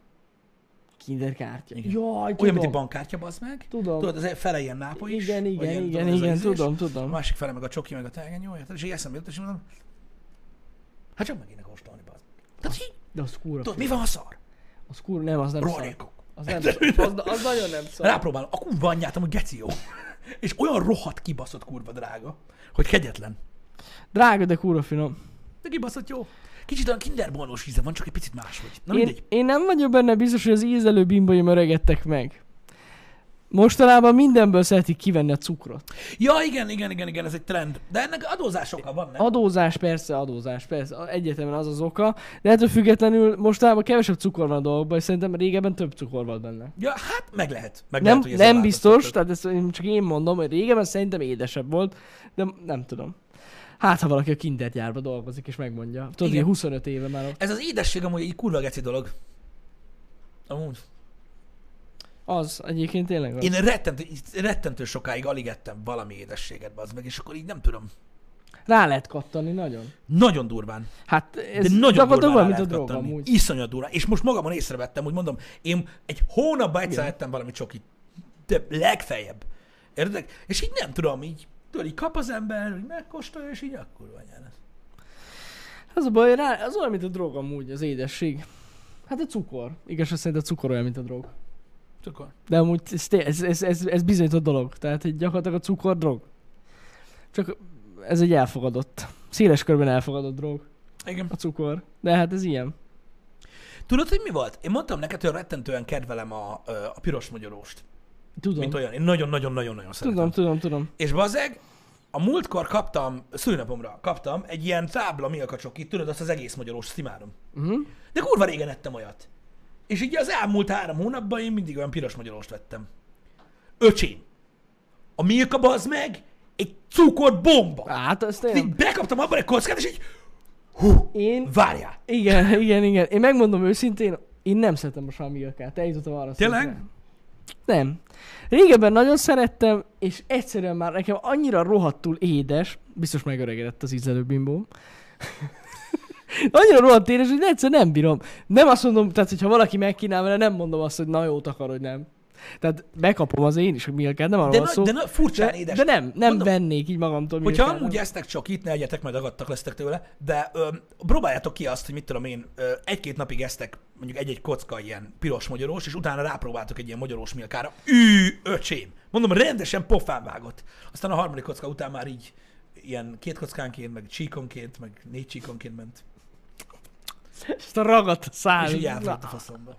[SPEAKER 2] Kinderkártya.
[SPEAKER 1] Igen.
[SPEAKER 2] Jaj, tudom.
[SPEAKER 1] Olyan, mint egy bankkártya, bazd meg.
[SPEAKER 2] Tudom.
[SPEAKER 1] Tudod, az fele ilyen nápoly is.
[SPEAKER 2] Igen,
[SPEAKER 1] vagy
[SPEAKER 2] igen,
[SPEAKER 1] ilyen, tudod,
[SPEAKER 2] igen,
[SPEAKER 1] ez a
[SPEAKER 2] igen,
[SPEAKER 1] ízés.
[SPEAKER 2] tudom,
[SPEAKER 1] A
[SPEAKER 2] tudom.
[SPEAKER 1] másik fele meg a csoki, meg a tehegenyója. És így eszembe jutott, és mondom, hát csak meg kéne kóstolni, bazd meg. Tehát így,
[SPEAKER 2] De az kurva.
[SPEAKER 1] tudod,
[SPEAKER 2] finom.
[SPEAKER 1] mi van a szar?
[SPEAKER 2] Az kurva, nem, az nem szar.
[SPEAKER 1] Rohadékok.
[SPEAKER 2] Az nem szar. Az, az nagyon nem szar.
[SPEAKER 1] Rápróbálom, a kurva anyját, hogy geci jó. És olyan rohadt kibaszott kurva drága, hogy kegyetlen.
[SPEAKER 2] Drága, de kurva finom.
[SPEAKER 1] De kibaszott jó. Kicsit olyan kinderbonós íze van, csak egy picit máshogy. Na
[SPEAKER 2] Én,
[SPEAKER 1] mindegy.
[SPEAKER 2] én nem vagyok benne biztos, hogy az ízelő bimbaim öregedtek meg. Mostanában mindenből szeretik kivenni a cukrot.
[SPEAKER 1] Ja, igen, igen, igen, igen, ez egy trend. De ennek adózásokkal van, nem?
[SPEAKER 2] Adózás, persze, adózás, persze, a- egyetemen az az oka, de ettől függetlenül mostában kevesebb cukor van a dolgokban, és szerintem régebben több cukor volt benne.
[SPEAKER 1] Ja, hát meg lehet. Meg
[SPEAKER 2] Nem,
[SPEAKER 1] lehet, hogy ezzel
[SPEAKER 2] nem biztos,
[SPEAKER 1] változtatod.
[SPEAKER 2] tehát ezt én csak én mondom, hogy régebben szerintem édesebb volt, de nem tudom. Hát, ha valaki a kindergyárba dolgozik és megmondja. Tudod,
[SPEAKER 1] Igen.
[SPEAKER 2] hogy 25 éve már ott.
[SPEAKER 1] Ez az édesség amúgy egy kurva geci dolog. Amúgy.
[SPEAKER 2] Az egyébként tényleg az.
[SPEAKER 1] Én rettentő, rettentő sokáig alig ettem valami édességet, bazd meg, és akkor így nem tudom.
[SPEAKER 2] Rá lehet kattani nagyon.
[SPEAKER 1] Nagyon durván.
[SPEAKER 2] Hát ez
[SPEAKER 1] De nagyon
[SPEAKER 2] gyakorlatilag
[SPEAKER 1] durván
[SPEAKER 2] olyan,
[SPEAKER 1] rá
[SPEAKER 2] mint a
[SPEAKER 1] lehet
[SPEAKER 2] drog
[SPEAKER 1] kattanni.
[SPEAKER 2] amúgy.
[SPEAKER 1] Iszonyat durván. És most magamon észrevettem, hogy mondom, én egy hónapban egyszer
[SPEAKER 2] Igen.
[SPEAKER 1] ettem valami csokit. De legfeljebb. Érted? És így nem tudom, így, tudod, így kap az ember, hogy megkóstolja, és így akkor van jelen.
[SPEAKER 2] Az a baj, rá, az olyan, mint a drog amúgy, az édesség. Hát a cukor. Igaz, azt szerint a cukor olyan, mint a drog.
[SPEAKER 1] Cukor.
[SPEAKER 2] De amúgy ez, té- ez, ez, ez, ez bizonyított dolog. Tehát egy gyakorlatilag a cukor drog. Csak ez egy elfogadott. Széles körben elfogadott drog.
[SPEAKER 1] Igen.
[SPEAKER 2] A cukor. De hát ez ilyen.
[SPEAKER 1] Tudod, hogy mi volt? Én mondtam neked, hogy rettentően kedvelem a, ö, a piros magyaróst.
[SPEAKER 2] Tudom.
[SPEAKER 1] Mint olyan. Én nagyon-nagyon-nagyon-nagyon szeretem.
[SPEAKER 2] tudom, tudom, tudom.
[SPEAKER 1] És bazeg, a múltkor kaptam, szülnapomra kaptam egy ilyen tábla miakacsokit, tudod, azt az egész magyarós imádom.
[SPEAKER 2] Uh-huh.
[SPEAKER 1] De kurva régen ettem olyat. És így az elmúlt három hónapban én mindig olyan piros magyaróst vettem. Öcsém, a Milka bazd meg egy cukorbomba.
[SPEAKER 2] Hát azt
[SPEAKER 1] Így
[SPEAKER 2] én...
[SPEAKER 1] bekaptam abban egy kockát, és így hú,
[SPEAKER 2] én...
[SPEAKER 1] várjál.
[SPEAKER 2] Igen, igen, igen. Én megmondom őszintén, én nem szeretem most a milkát. Eljutottam arra.
[SPEAKER 1] Tényleg?
[SPEAKER 2] szintre. Nem. Régebben nagyon szerettem, és egyszerűen már nekem annyira rohadtul édes, biztos megöregedett az ízelő bimbóm, annyira rohadt édes, hogy egyszerűen nem bírom. Nem azt mondom, tehát hogyha valaki megkínál vele, nem mondom azt, hogy na jót akar, hogy nem. Tehát bekapom az én is a milkát, nem arról
[SPEAKER 1] De,
[SPEAKER 2] van szó.
[SPEAKER 1] na, de na, furcsán
[SPEAKER 2] de,
[SPEAKER 1] édes.
[SPEAKER 2] de, nem, nem
[SPEAKER 1] Mondom,
[SPEAKER 2] vennék így magamtól
[SPEAKER 1] Hogyha
[SPEAKER 2] milkát,
[SPEAKER 1] amúgy
[SPEAKER 2] nem.
[SPEAKER 1] esztek csak itt, ne egyetek, majd agadtak lesztek tőle, de ö, próbáljátok ki azt, hogy mit tudom én, ö, egy-két napig esztek mondjuk egy-egy kocka ilyen piros magyarós, és utána rápróbáltok egy ilyen magyarós milkára. Ű, öcsém! Mondom, rendesen pofán vágott. Aztán a harmadik kocka után már így ilyen két kockánként, meg csíkonként, meg négy csíkonként ment.
[SPEAKER 2] Ezt a ragadt a
[SPEAKER 1] e- És
[SPEAKER 2] száj.
[SPEAKER 1] így átvált a
[SPEAKER 2] Na,
[SPEAKER 1] faszomba.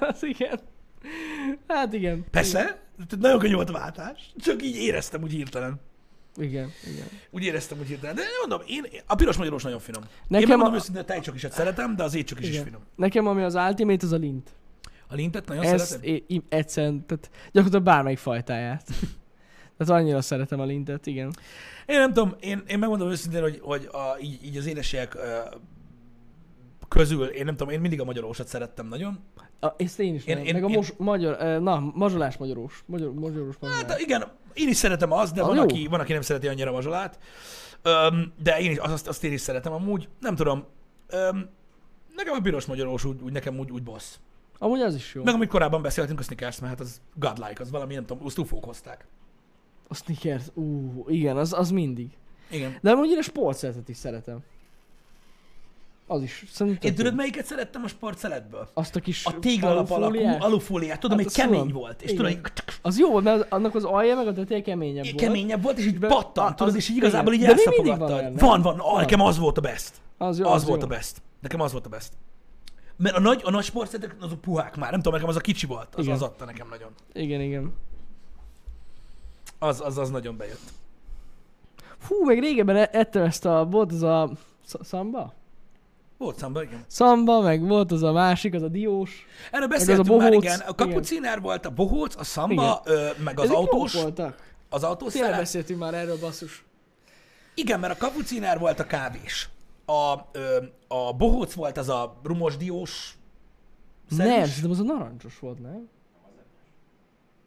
[SPEAKER 2] az igen. Hát igen.
[SPEAKER 1] Persze, tehát nagyon könnyű volt a váltás, csak így éreztem úgy hirtelen.
[SPEAKER 2] Igen, igen.
[SPEAKER 1] Úgy éreztem úgy hirtelen. De mondom, én, a piros magyarós nagyon finom. Nekem
[SPEAKER 2] Nekem
[SPEAKER 1] én megmondom a...
[SPEAKER 2] a-
[SPEAKER 1] őszintén, a tejcsok is szeretem, de az étcsok is, is
[SPEAKER 2] Igen.
[SPEAKER 1] finom.
[SPEAKER 2] Nekem ami az ultimate, az a lint.
[SPEAKER 1] A lintet nagyon Ez...
[SPEAKER 2] Ez
[SPEAKER 1] szeretem.
[SPEAKER 2] é- im- egyszerűen, tehát gyakorlatilag bármelyik fajtáját. tehát annyira szeretem a lintet, igen.
[SPEAKER 1] Én nem tudom, én, én megmondom őszintén, hogy, hogy a, így, így az édességek ö, közül, én nem tudom, én mindig a magyarósat szerettem nagyon.
[SPEAKER 2] A, ezt én is
[SPEAKER 1] Én-
[SPEAKER 2] én,
[SPEAKER 1] én-
[SPEAKER 2] meg a
[SPEAKER 1] én-
[SPEAKER 2] mos- magyar, eh, na, mazsolás magyarós. Magyar, magyarós mazsolás.
[SPEAKER 1] Hát igen, én is szeretem azt, de
[SPEAKER 2] Az
[SPEAKER 1] van
[SPEAKER 2] Mm. Ah, jó.
[SPEAKER 1] aki, van, aki nem szereti annyira a mazsolát. Öm, de én is, azt, azt én is szeretem amúgy. Nem tudom, öm, nekem a piros magyarós úgy, úgy nekem úgy, úgy bossz.
[SPEAKER 2] Amúgy az is jó.
[SPEAKER 1] Meg amit korábban beszéltünk, a Snickers, mert hát az godlike, az valami, nem tudom, azt ufók hozták.
[SPEAKER 2] A sneakers, ú, igen, az, az mindig.
[SPEAKER 1] Igen.
[SPEAKER 2] De amúgy én a sportszetet is szeretem. Az is, szerintem.
[SPEAKER 1] Én tudod, melyiket szerettem a sportszeletből?
[SPEAKER 2] Azt a kis
[SPEAKER 1] A téglalap alakú
[SPEAKER 2] alufóliát?
[SPEAKER 1] alufóliát, tudom,
[SPEAKER 2] Hát
[SPEAKER 1] hogy
[SPEAKER 2] azt
[SPEAKER 1] kemény
[SPEAKER 2] tudom.
[SPEAKER 1] volt. És
[SPEAKER 2] Igen.
[SPEAKER 1] tudod, így-
[SPEAKER 2] Az jó volt, mert az- annak az alja meg a teteje keményebb
[SPEAKER 1] Volt.
[SPEAKER 2] volt.
[SPEAKER 1] keményebb volt, és így
[SPEAKER 2] Be-
[SPEAKER 1] pattant,
[SPEAKER 2] a-
[SPEAKER 1] tudod,
[SPEAKER 2] az-
[SPEAKER 1] és így igazából így
[SPEAKER 2] igen. De mi mindig van
[SPEAKER 1] elszapogattad.
[SPEAKER 2] benne?
[SPEAKER 1] Van, van, ah,
[SPEAKER 2] Van.
[SPEAKER 1] nekem az volt a best.
[SPEAKER 2] Az, jó,
[SPEAKER 1] Az volt
[SPEAKER 2] jó.
[SPEAKER 1] a best. Nekem az volt a best. Mert a nagy, a nagy sportszetek, azok puhák már, nem tudom, nekem az a kicsi volt, az,
[SPEAKER 2] Igen.
[SPEAKER 1] az adta nekem nagyon.
[SPEAKER 2] Igen, igen.
[SPEAKER 1] Az, az, az nagyon bejött.
[SPEAKER 2] Hú, meg régebben e- ettem ezt a, volt az a sz- szamba?
[SPEAKER 1] Volt számba, igen.
[SPEAKER 2] Szamba, meg volt az a másik, az a diós.
[SPEAKER 1] Erről beszéltünk már,
[SPEAKER 2] bohóc,
[SPEAKER 1] igen. A kapuciner volt, a bohóc, a szamba, ö, meg az
[SPEAKER 2] Ezek jók
[SPEAKER 1] autós,
[SPEAKER 2] voltak.
[SPEAKER 1] az autós
[SPEAKER 2] Tényleg
[SPEAKER 1] szerep.
[SPEAKER 2] beszéltünk már erről, basszus.
[SPEAKER 1] Igen, mert a kapuciner volt a kávés. A, ö, a bohóc volt az a rumos diós szerűs.
[SPEAKER 2] Nem, szerintem az a narancsos volt, nem?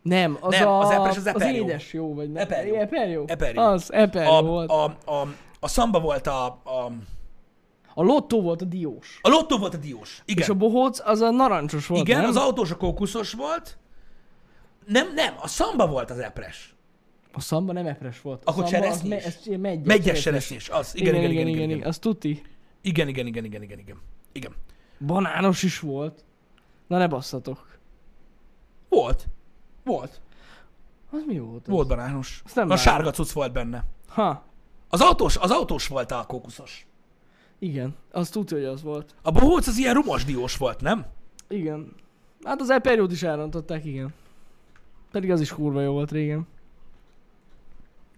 [SPEAKER 2] Nem, az
[SPEAKER 1] Nem,
[SPEAKER 2] a...
[SPEAKER 1] az epres, az
[SPEAKER 2] az
[SPEAKER 1] eperjó.
[SPEAKER 2] édes jó, vagy nem?
[SPEAKER 1] Eperjó.
[SPEAKER 2] Eperjó.
[SPEAKER 1] Eperjó.
[SPEAKER 2] Az eperjó
[SPEAKER 1] a,
[SPEAKER 2] volt.
[SPEAKER 1] a, a, a szamba volt a, a,
[SPEAKER 2] A lottó volt a diós.
[SPEAKER 1] A lottó volt a diós. Igen.
[SPEAKER 2] És a bohóc az a narancsos volt,
[SPEAKER 1] Igen,
[SPEAKER 2] nem?
[SPEAKER 1] az autós a kókuszos volt. Nem, nem, a szamba volt az epres.
[SPEAKER 2] A szamba nem epres volt. A
[SPEAKER 1] Akkor
[SPEAKER 2] szamba az
[SPEAKER 1] cseresznyi
[SPEAKER 2] me-
[SPEAKER 1] is.
[SPEAKER 2] ez ilyen megyes,
[SPEAKER 1] Megyes
[SPEAKER 2] cseresznyi.
[SPEAKER 1] seresztés, az. Igen, igen, igen, igen, igen.
[SPEAKER 2] Az tuti.
[SPEAKER 1] Igen, igen, igen, igen, igen, igen. Igen.
[SPEAKER 2] Banános is volt. Na ne basszatok.
[SPEAKER 1] Volt. Volt.
[SPEAKER 2] Az mi volt? az?
[SPEAKER 1] Volt banános.
[SPEAKER 2] Azt nem
[SPEAKER 1] A
[SPEAKER 2] vágom.
[SPEAKER 1] sárga cucc volt benne.
[SPEAKER 2] Ha,
[SPEAKER 1] Az autós, az autós volt a kókuszos.
[SPEAKER 2] igen. Az tudja, hogy az volt.
[SPEAKER 1] A bohóc az ilyen rumos diós volt, nem?
[SPEAKER 2] Igen. Hát az Eperjót is elrontották, igen. Pedig az is kurva jó volt régen.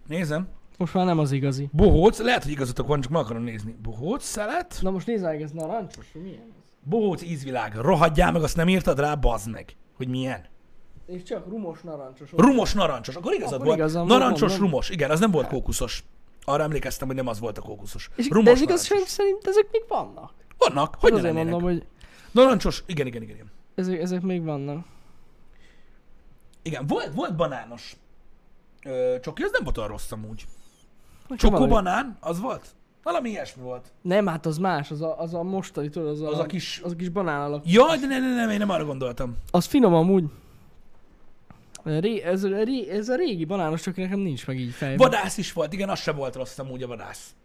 [SPEAKER 1] Nézem.
[SPEAKER 2] Most már nem az igazi.
[SPEAKER 1] Bohóc, lehet, hogy igazatok van, csak meg akarom nézni. Bohóc, szelet.
[SPEAKER 2] Na most nézzál, ez narancsos, hogy milyen az.
[SPEAKER 1] Bohóc ízvilág. Rohadjál meg, azt nem írtad rá, bazd meg. Hogy milyen.
[SPEAKER 2] És csak rumos narancsos. volt.
[SPEAKER 1] Rumos narancsos. Akkor igazad
[SPEAKER 2] Akkor
[SPEAKER 1] volt.
[SPEAKER 2] igazam volt,
[SPEAKER 1] narancsos,
[SPEAKER 2] mondom. Hát.
[SPEAKER 1] rumos. Igen, az nem volt kókuszos. Arra emlékeztem, hogy nem az volt a kókuszos.
[SPEAKER 2] És, de
[SPEAKER 1] rumos
[SPEAKER 2] ezek az sem
[SPEAKER 1] narancsos.
[SPEAKER 2] szerint ezek még vannak.
[SPEAKER 1] Vannak, hogy
[SPEAKER 2] Hogy
[SPEAKER 1] ne
[SPEAKER 2] Hát azért
[SPEAKER 1] lennének.
[SPEAKER 2] mondom, hogy
[SPEAKER 1] Narancsos, igen, igen, igen. igen.
[SPEAKER 2] ezek, ezek még vannak.
[SPEAKER 1] Igen, volt, volt banános ö, csoki, az nem volt olyan rossz amúgy.
[SPEAKER 2] Nekem
[SPEAKER 1] Csokó
[SPEAKER 2] valahogy-
[SPEAKER 1] banán, az volt? Valami ilyesmi volt.
[SPEAKER 2] Nem, hát az más, az a, az a mostani, tudod, az a,
[SPEAKER 1] Az a kis-
[SPEAKER 2] az a kis banán alak.
[SPEAKER 1] Jaj, de ne, ne, nem, én nem arra gondoltam.
[SPEAKER 2] Az finom amúgy. Ré, ez, a- ré, ez a régi banános, csak nekem nincs meg így fejben.
[SPEAKER 1] Vadász is volt, igen, az se volt rossz amúgy a vadász.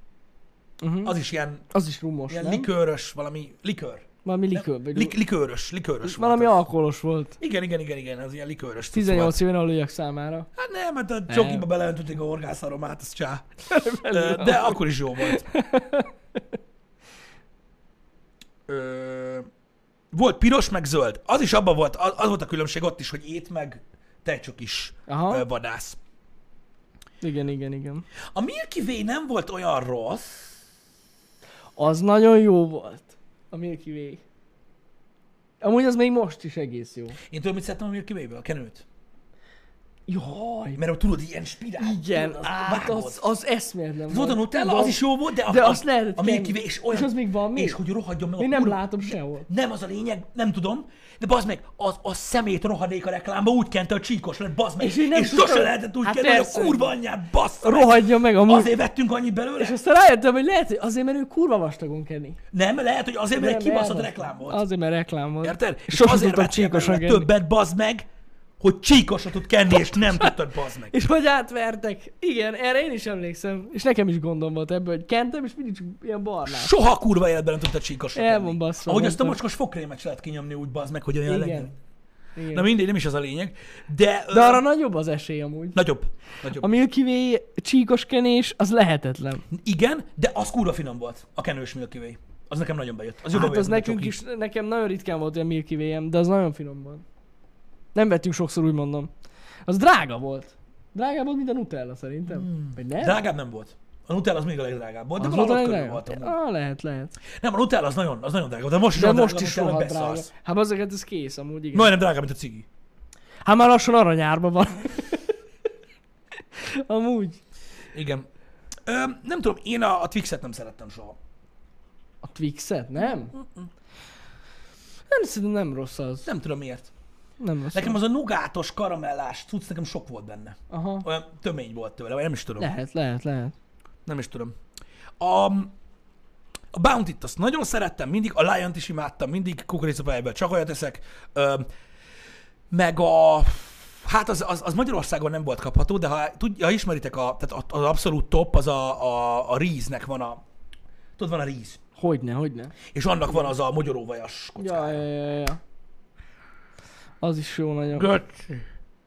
[SPEAKER 2] uh-huh. az,
[SPEAKER 1] Az is ilyen,
[SPEAKER 2] az is rumos,
[SPEAKER 1] ilyen
[SPEAKER 2] nem? Likör,
[SPEAKER 1] likőrös, valami likőr.
[SPEAKER 2] valami likör, vagy
[SPEAKER 1] Lik, likőrös, likőrös
[SPEAKER 2] valami
[SPEAKER 1] volt. az.
[SPEAKER 2] alkoholos volt.
[SPEAKER 1] Igen, igen, igen, igen, az ilyen likőrös. cucc
[SPEAKER 2] 18 éven alulják számára.
[SPEAKER 1] volt. Hát nem, mert a csokiba
[SPEAKER 2] Nem.
[SPEAKER 1] beleöntötték a horgászaromát, az csá. Ö, De akkor is jó volt. Ö, Volt piros, meg zöld. Az is abban volt, az az volt a különbség ott is, hogy ét meg tejcsok is
[SPEAKER 2] Aha,
[SPEAKER 1] ö, vadász.
[SPEAKER 2] igen, igen, igen.
[SPEAKER 1] A Milky Way nem volt olyan rossz.
[SPEAKER 2] Az nagyon jó volt. A Milky Way. Amúgy az még most is egész jó.
[SPEAKER 1] Én tudom, mit szerettem a Milky Way-ből, a kenőt.
[SPEAKER 2] Jaj,
[SPEAKER 1] Mert ott tudod, ilyen spirál.
[SPEAKER 2] igen,
[SPEAKER 1] tudod,
[SPEAKER 2] át,
[SPEAKER 1] vágod.
[SPEAKER 2] az, az eszméletlen
[SPEAKER 1] Az volt a Nutella, az is jó volt, de,
[SPEAKER 2] De
[SPEAKER 1] a,
[SPEAKER 2] azt lehetett
[SPEAKER 1] a Milky
[SPEAKER 2] kenni.
[SPEAKER 1] Way, és
[SPEAKER 2] És
[SPEAKER 1] olyan,
[SPEAKER 2] az még van még?
[SPEAKER 1] és hogy rohadjon meg a
[SPEAKER 2] Én nem
[SPEAKER 1] kurva-
[SPEAKER 2] látom sehol.
[SPEAKER 1] Nem az a lényeg, nem tudom, de bazd meg, az, a szemét rohadék a reklámba úgy kente, hogy csíkos lett, bazd meg,
[SPEAKER 2] És
[SPEAKER 1] és,
[SPEAKER 2] így nem
[SPEAKER 1] és
[SPEAKER 2] tudtam.
[SPEAKER 1] sose lehetett úgy
[SPEAKER 2] Hát
[SPEAKER 1] hát kenni, hogy
[SPEAKER 2] persze.
[SPEAKER 1] a kurva anyját, bassz meg.
[SPEAKER 2] Rohadja meg amúgy.
[SPEAKER 1] Azért vettünk annyit belőle?
[SPEAKER 2] És aztán rájöttem, hogy lehet, hogy azért, mert ő kurva vastagon kenni.
[SPEAKER 1] Nem, lehet, hogy azért, mert
[SPEAKER 2] Nem,
[SPEAKER 1] egy kibaszott
[SPEAKER 2] elvasztó.
[SPEAKER 1] reklám volt.
[SPEAKER 2] Azért, mert reklám volt.
[SPEAKER 1] Érted? És
[SPEAKER 2] sosem
[SPEAKER 1] azért
[SPEAKER 2] tudtam
[SPEAKER 1] vettél
[SPEAKER 2] csíkosan
[SPEAKER 1] belőle
[SPEAKER 2] kenni.
[SPEAKER 1] többet, bazd meg, hogy csíkosra tud kenni, és nem tudtad, bazd meg.
[SPEAKER 2] És hogy átvertek. Igen, erre én is emlékszem. És nekem is gondom volt ebből, hogy kentem, és mindig csak ilyen barnás.
[SPEAKER 1] Soha kurva életben nem tudtad csíkosra
[SPEAKER 2] El
[SPEAKER 1] kenni.
[SPEAKER 2] van basszva,
[SPEAKER 1] Ahogy azt a
[SPEAKER 2] mondtam.
[SPEAKER 1] mocskos fokrémet se lehet kinyomni úgy, bazd meg, hogy olyan
[SPEAKER 2] Igen.
[SPEAKER 1] legyen.
[SPEAKER 2] Igen.
[SPEAKER 1] Na mindegy, nem is az a lényeg. De, ö,
[SPEAKER 2] De arra nagyobb az esély amúgy.
[SPEAKER 1] Nagyobb. nagyobb.
[SPEAKER 2] A Milky Way csíkos kenés, az lehetetlen.
[SPEAKER 1] Igen, de az kurva finom volt, a kenős Milky Way. Az nekem nagyon bejött. Az jobban
[SPEAKER 2] Hát az
[SPEAKER 1] bejött, mint a
[SPEAKER 2] nekünk
[SPEAKER 1] csoki.
[SPEAKER 2] is, nekem nagyon ritkán volt ilyen Milky way de az nagyon finom volt. Nem vettünk sokszor, úgy mondom. Az drága volt. Drágább volt, mint a Nutella szerintem. Vagy nem?
[SPEAKER 1] Hmm. Drágább nem volt. A Nutella az még a legdrágább volt, de
[SPEAKER 2] Az
[SPEAKER 1] valahol
[SPEAKER 2] volt
[SPEAKER 1] ott
[SPEAKER 2] a
[SPEAKER 1] körül
[SPEAKER 2] legdrágább?
[SPEAKER 1] volt amúgy.
[SPEAKER 2] Ah, lehet, lehet.
[SPEAKER 1] Nem, a Nutella az nagyon, az nagyon drága volt, de most is
[SPEAKER 2] De
[SPEAKER 1] olyan
[SPEAKER 2] most
[SPEAKER 1] drága,
[SPEAKER 2] is
[SPEAKER 1] a Nutella,
[SPEAKER 2] rohadt drága.
[SPEAKER 1] beszarsz.
[SPEAKER 2] Hát azok, hát ez kész amúgy, igen.
[SPEAKER 1] Majdnem drágább, mint a cigi.
[SPEAKER 2] Hát már lassan aranyárban van. amúgy.
[SPEAKER 1] Igen. Ö, nem tudom, én a, a Twixet nem szerettem soha.
[SPEAKER 2] A Twixet, nem? Nem, szerintem nem rossz az.
[SPEAKER 1] Nem tudom miért.
[SPEAKER 2] Nem rossz.
[SPEAKER 1] Nekem az a nugátos, karamellás cucc, nekem sok volt benne.
[SPEAKER 2] Aha.
[SPEAKER 1] Olyan tömény volt tőle, vagy nem is tudom.
[SPEAKER 2] Lehet, lehet, lehet.
[SPEAKER 1] Nem is tudom. A, a Bounty-t azt nagyon szerettem, mindig, a Lion-t is imádtam, mindig kukoricapájából csak olyat eszek. Ö, meg a... Hát az, az, az, Magyarországon nem volt kapható, de ha, tud, ha ismeritek, a, tehát az abszolút top, az a, a, a ríznek van a... Tudod, van a ríz.
[SPEAKER 2] Hogyne, hogyne.
[SPEAKER 1] És annak van az a magyaróvajas kockája.
[SPEAKER 2] Ja, ja, ja, ja, ja. Az is jó nagyon.
[SPEAKER 1] Göcsi.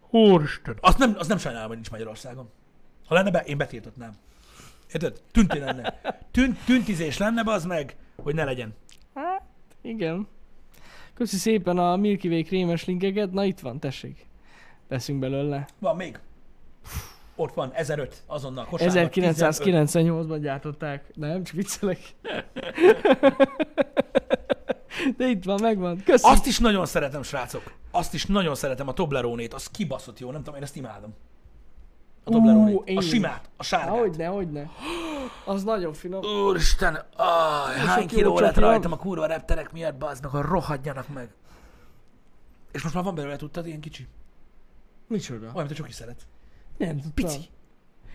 [SPEAKER 1] Úristen. Azt nem, azt nem sajnálom, hogy nincs Magyarországon. Ha lenne be, én betiltatnám. Érted? Tünti lenne. Tünt, tüntizés lenne, az meg, hogy ne legyen.
[SPEAKER 2] Hát, igen. Köszi szépen a Milky Way krémes linkeket. Na itt van, tessék. Veszünk belőle.
[SPEAKER 1] Van még. Ott van, 1005, azonnal kosárba.
[SPEAKER 2] 1998-ban gyártották. Nem, csak viccelek. De itt van, megvan. Köszi.
[SPEAKER 1] Azt is nagyon szeretem, srácok. Azt is nagyon szeretem, a Toblerone-t. Az kibaszott jó, nem tudom, én ezt imádom. A
[SPEAKER 2] Ú,
[SPEAKER 1] Toblerone.
[SPEAKER 2] én
[SPEAKER 1] a
[SPEAKER 2] is.
[SPEAKER 1] simát, a sárgát.
[SPEAKER 2] Hogyne, hogyne. Az nagyon finom.
[SPEAKER 1] Úristen, aj, hány
[SPEAKER 2] sok jó
[SPEAKER 1] kiló lett
[SPEAKER 2] csoki van.
[SPEAKER 1] rajtam a kurva repterek miatt, bazd meg, hogy rohadjanak meg. És most már van belőle, tudtad, ilyen kicsi.
[SPEAKER 2] Micsoda?
[SPEAKER 1] Olyan, mint a csoki szeret.
[SPEAKER 2] Nem tudtam.
[SPEAKER 1] Pici.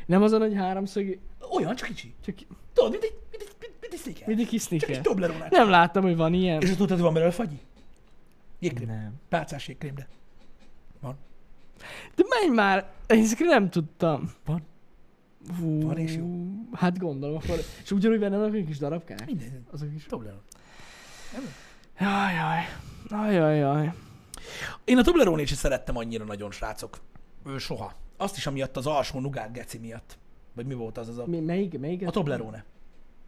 [SPEAKER 2] Nem az a nagy háromszög...
[SPEAKER 1] Olyan, csak kicsi.
[SPEAKER 2] Csak...
[SPEAKER 1] Tudod, mint egy, mint egy, mint egy egy sneaker.
[SPEAKER 2] Mindig kis
[SPEAKER 1] Csak egy
[SPEAKER 2] sneaker.
[SPEAKER 1] Toblerone.
[SPEAKER 2] Nem láttam, hogy van ilyen.
[SPEAKER 1] És tudtad, hogy van belőle fagyi? Jégkrém.
[SPEAKER 2] Nem.
[SPEAKER 1] Pálcás jégkrém, de.
[SPEAKER 2] De menj már! Én ezt nem tudtam.
[SPEAKER 1] Van.
[SPEAKER 2] Hú,
[SPEAKER 1] Van és jó.
[SPEAKER 2] Hát gondolom, akkor... És ugyanúgy benne vannak egy kis darabkák?
[SPEAKER 1] Minden.
[SPEAKER 2] Azok is.
[SPEAKER 1] Toblerone.
[SPEAKER 2] Jaj, jaj. Jaj, jaj,
[SPEAKER 1] Én a toblerone is szerettem annyira nagyon, srácok. Ő soha. Azt is amiatt az alsó nugár geci miatt. Vagy mi volt az az a...
[SPEAKER 2] Mi, melyik, melyik?
[SPEAKER 1] A Toblerone.
[SPEAKER 2] Nem,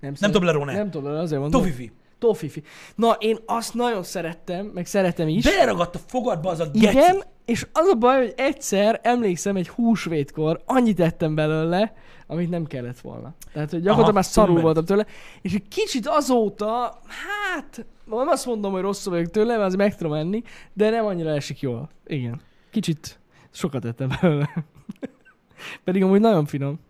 [SPEAKER 1] Nem
[SPEAKER 2] szeret-
[SPEAKER 1] Toblerone.
[SPEAKER 2] Nem Toblerone, azért mondom.
[SPEAKER 1] Tovifi.
[SPEAKER 2] Tofifi. Na, én azt nagyon szerettem, meg szeretem is.
[SPEAKER 1] Beleragadt a fogadba az a geci.
[SPEAKER 2] Igen, és az a baj, hogy egyszer emlékszem egy húsvétkor annyit ettem belőle, amit nem kellett volna. Tehát, hogy gyakorlatilag
[SPEAKER 1] Aha,
[SPEAKER 2] már szarul
[SPEAKER 1] túlment.
[SPEAKER 2] voltam tőle, és egy kicsit azóta, hát, nem azt mondom, hogy rosszul vagyok tőle, mert az meg tudom enni, de nem annyira esik jól. Igen. Kicsit sokat ettem belőle. Pedig amúgy nagyon finom.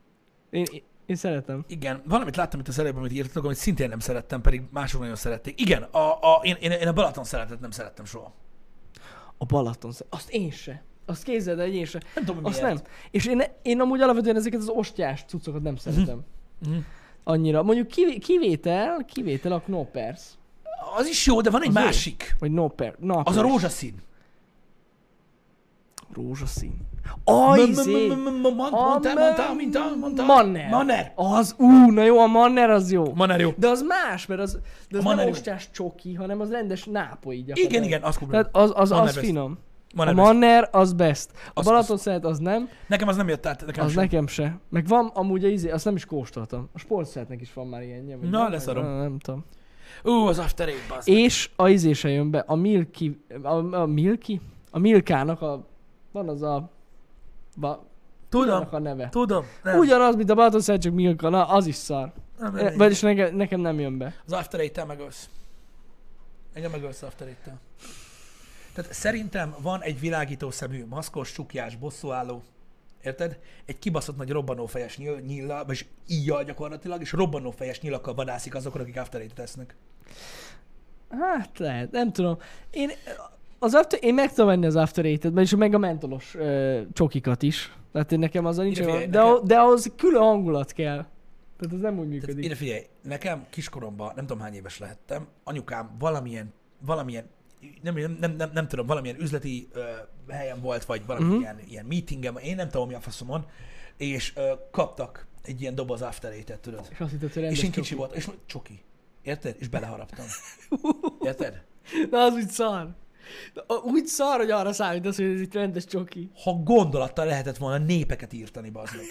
[SPEAKER 2] Én, én, én szeretem.
[SPEAKER 1] Igen, valamit láttam itt az előbb, amit írtatok, amit szintén nem szerettem, pedig mások nagyon szerették. Igen, a, a, én, én, én a Balaton szeretet nem szerettem soha.
[SPEAKER 2] A Balaton, szá- azt én se. Azt képzeld, el, hogy én se.
[SPEAKER 1] Nem tudom, hogy
[SPEAKER 2] Azt
[SPEAKER 1] miért.
[SPEAKER 2] nem. És én, én amúgy alapvetően ezeket az ostyás cuccokat nem szeretem.
[SPEAKER 1] Mhm.
[SPEAKER 2] Annyira. Mondjuk kivé- kivétel, kivétel a Knoppers.
[SPEAKER 1] Az is jó, de van egy
[SPEAKER 2] Az jó.
[SPEAKER 1] másik.
[SPEAKER 2] Vagy Knopper.
[SPEAKER 1] Az a rózsaszín.
[SPEAKER 2] Rózsaszín. Ajzé!
[SPEAKER 1] Mondtál, mondtál, mondtál, mondtál.
[SPEAKER 2] izé. Manner.
[SPEAKER 1] Manner.
[SPEAKER 2] Az, ú, na jó, a Manner az jó.
[SPEAKER 1] Manner jó.
[SPEAKER 2] De az más, mert az, de az
[SPEAKER 1] A
[SPEAKER 2] nem
[SPEAKER 1] Manner jó.
[SPEAKER 2] ostyás csoki, hanem az rendes nápoi gyakorlatilag.
[SPEAKER 1] Igen, igen, azt
[SPEAKER 2] Tehát
[SPEAKER 1] kuplom.
[SPEAKER 2] az, az,
[SPEAKER 1] Manner
[SPEAKER 2] az
[SPEAKER 1] best.
[SPEAKER 2] finom. A
[SPEAKER 1] Manner. best.
[SPEAKER 2] Manner az best. A
[SPEAKER 1] Az-
[SPEAKER 2] Balaton szeret az nem,
[SPEAKER 1] Nekem az nem jött át, nekem
[SPEAKER 2] az
[SPEAKER 1] sem.
[SPEAKER 2] nekem se. Meg van amúgy a izé, azt nem is kóstoltam. A sportszeretnek is van már ilyenje. vagy
[SPEAKER 1] Na,
[SPEAKER 2] nem?
[SPEAKER 1] leszarom.
[SPEAKER 2] Nem, nem tudom.
[SPEAKER 1] Ú, az After Eight, bazd.
[SPEAKER 2] És a izé se jön be, a Milky, a, a Milky? A Milkának a, van az a, ba,
[SPEAKER 1] Tudom,
[SPEAKER 2] annak a neve.
[SPEAKER 1] tudom. Nem,
[SPEAKER 2] Ugyanaz, mint a Balatonszert, csak Milka, na az is szar.
[SPEAKER 1] nem, nem,
[SPEAKER 2] E,
[SPEAKER 1] nem.
[SPEAKER 2] Vagyis nekem, nekem nem jön be.
[SPEAKER 1] Az After Eight-tel megölsz. Engem megölsz After Eight-tel. Tehát szerintem van egy világító szemű, maszkos, csukjás, bosszúálló, érted? Egy kibaszott nagy robbanófejes nyil, nyilla, vagyis íjjal gyakorlatilag, és robbanófejes nyilakkal vadászik azokra, akik After Eight tesznek.
[SPEAKER 2] Hát lehet, nem tudom. Én, az after, én meg tudom venni az After Eight-et, vagyis meg a mentolos ö, csokikat is. Tehát én nekem azzal nincs
[SPEAKER 1] Ide
[SPEAKER 2] olyan,
[SPEAKER 1] figyelj,
[SPEAKER 2] de,
[SPEAKER 1] nekem-
[SPEAKER 2] ahhoz- de ahhoz külön hangulat kell. Tehát ez nem úgy
[SPEAKER 1] Tehát
[SPEAKER 2] működik.
[SPEAKER 1] ide figyelj, nekem kiskoromban, nem tudom hány éves lehettem, anyukám valamilyen, valamilyen nem, nem, nem, nem, nem tudom, valamilyen üzleti ö, helyen volt, vagy valamilyen
[SPEAKER 2] Mhm.
[SPEAKER 1] ilyen, ilyen meetingem, én nem tudom, mi a faszomon, és ö, kaptak egy ilyen doboz after Eight-et, tudod.
[SPEAKER 2] És azt hittem, hogy
[SPEAKER 1] És
[SPEAKER 2] rendes
[SPEAKER 1] én
[SPEAKER 2] csoki.
[SPEAKER 1] kicsi voltam, és mondom, csoki. Érted? És beleharaptam. Érted?
[SPEAKER 2] Na az úgy szar. Na, a- úgy szar, hogy arra számítasz, hogy ez itt rendes csoki.
[SPEAKER 1] Ha gondolattal lehetett volna népeket írtani, bazd meg.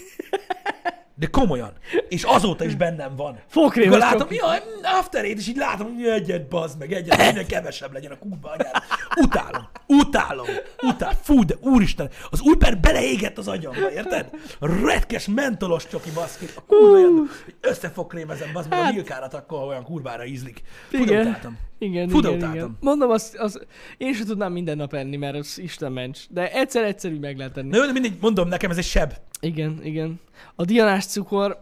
[SPEAKER 1] De komolyan. És azóta is bennem van.
[SPEAKER 2] Fokrémes
[SPEAKER 1] Mikor látom,
[SPEAKER 2] csoki.
[SPEAKER 1] jaj, after eight, és így látom, hogy egyet, bazd meg, egyet, minél kevesebb legyen a kútba anyád. Utálom, utálom, utál, fú, de úristen, az Uber beleégett az agyamba, érted? Retkes, mentolos csoki baszkit, a kurva uh. összefokrémezem, bazd meg, a
[SPEAKER 2] Hát.
[SPEAKER 1] nyilkárat akkor ha olyan kurvára ízlik. Fú, de
[SPEAKER 2] Igen.
[SPEAKER 1] utáltam.
[SPEAKER 2] Igen,
[SPEAKER 1] Fú, de
[SPEAKER 2] igen,
[SPEAKER 1] utáltam.
[SPEAKER 2] igen. Mondom, azt, az, én sem tudnám minden nap enni, mert az Isten ments. De egyszer egyszerű meg lehet enni.
[SPEAKER 1] Na jó, de mindegy, mondom, nekem ez egy seb.
[SPEAKER 2] Igen, igen. A dianás cukor,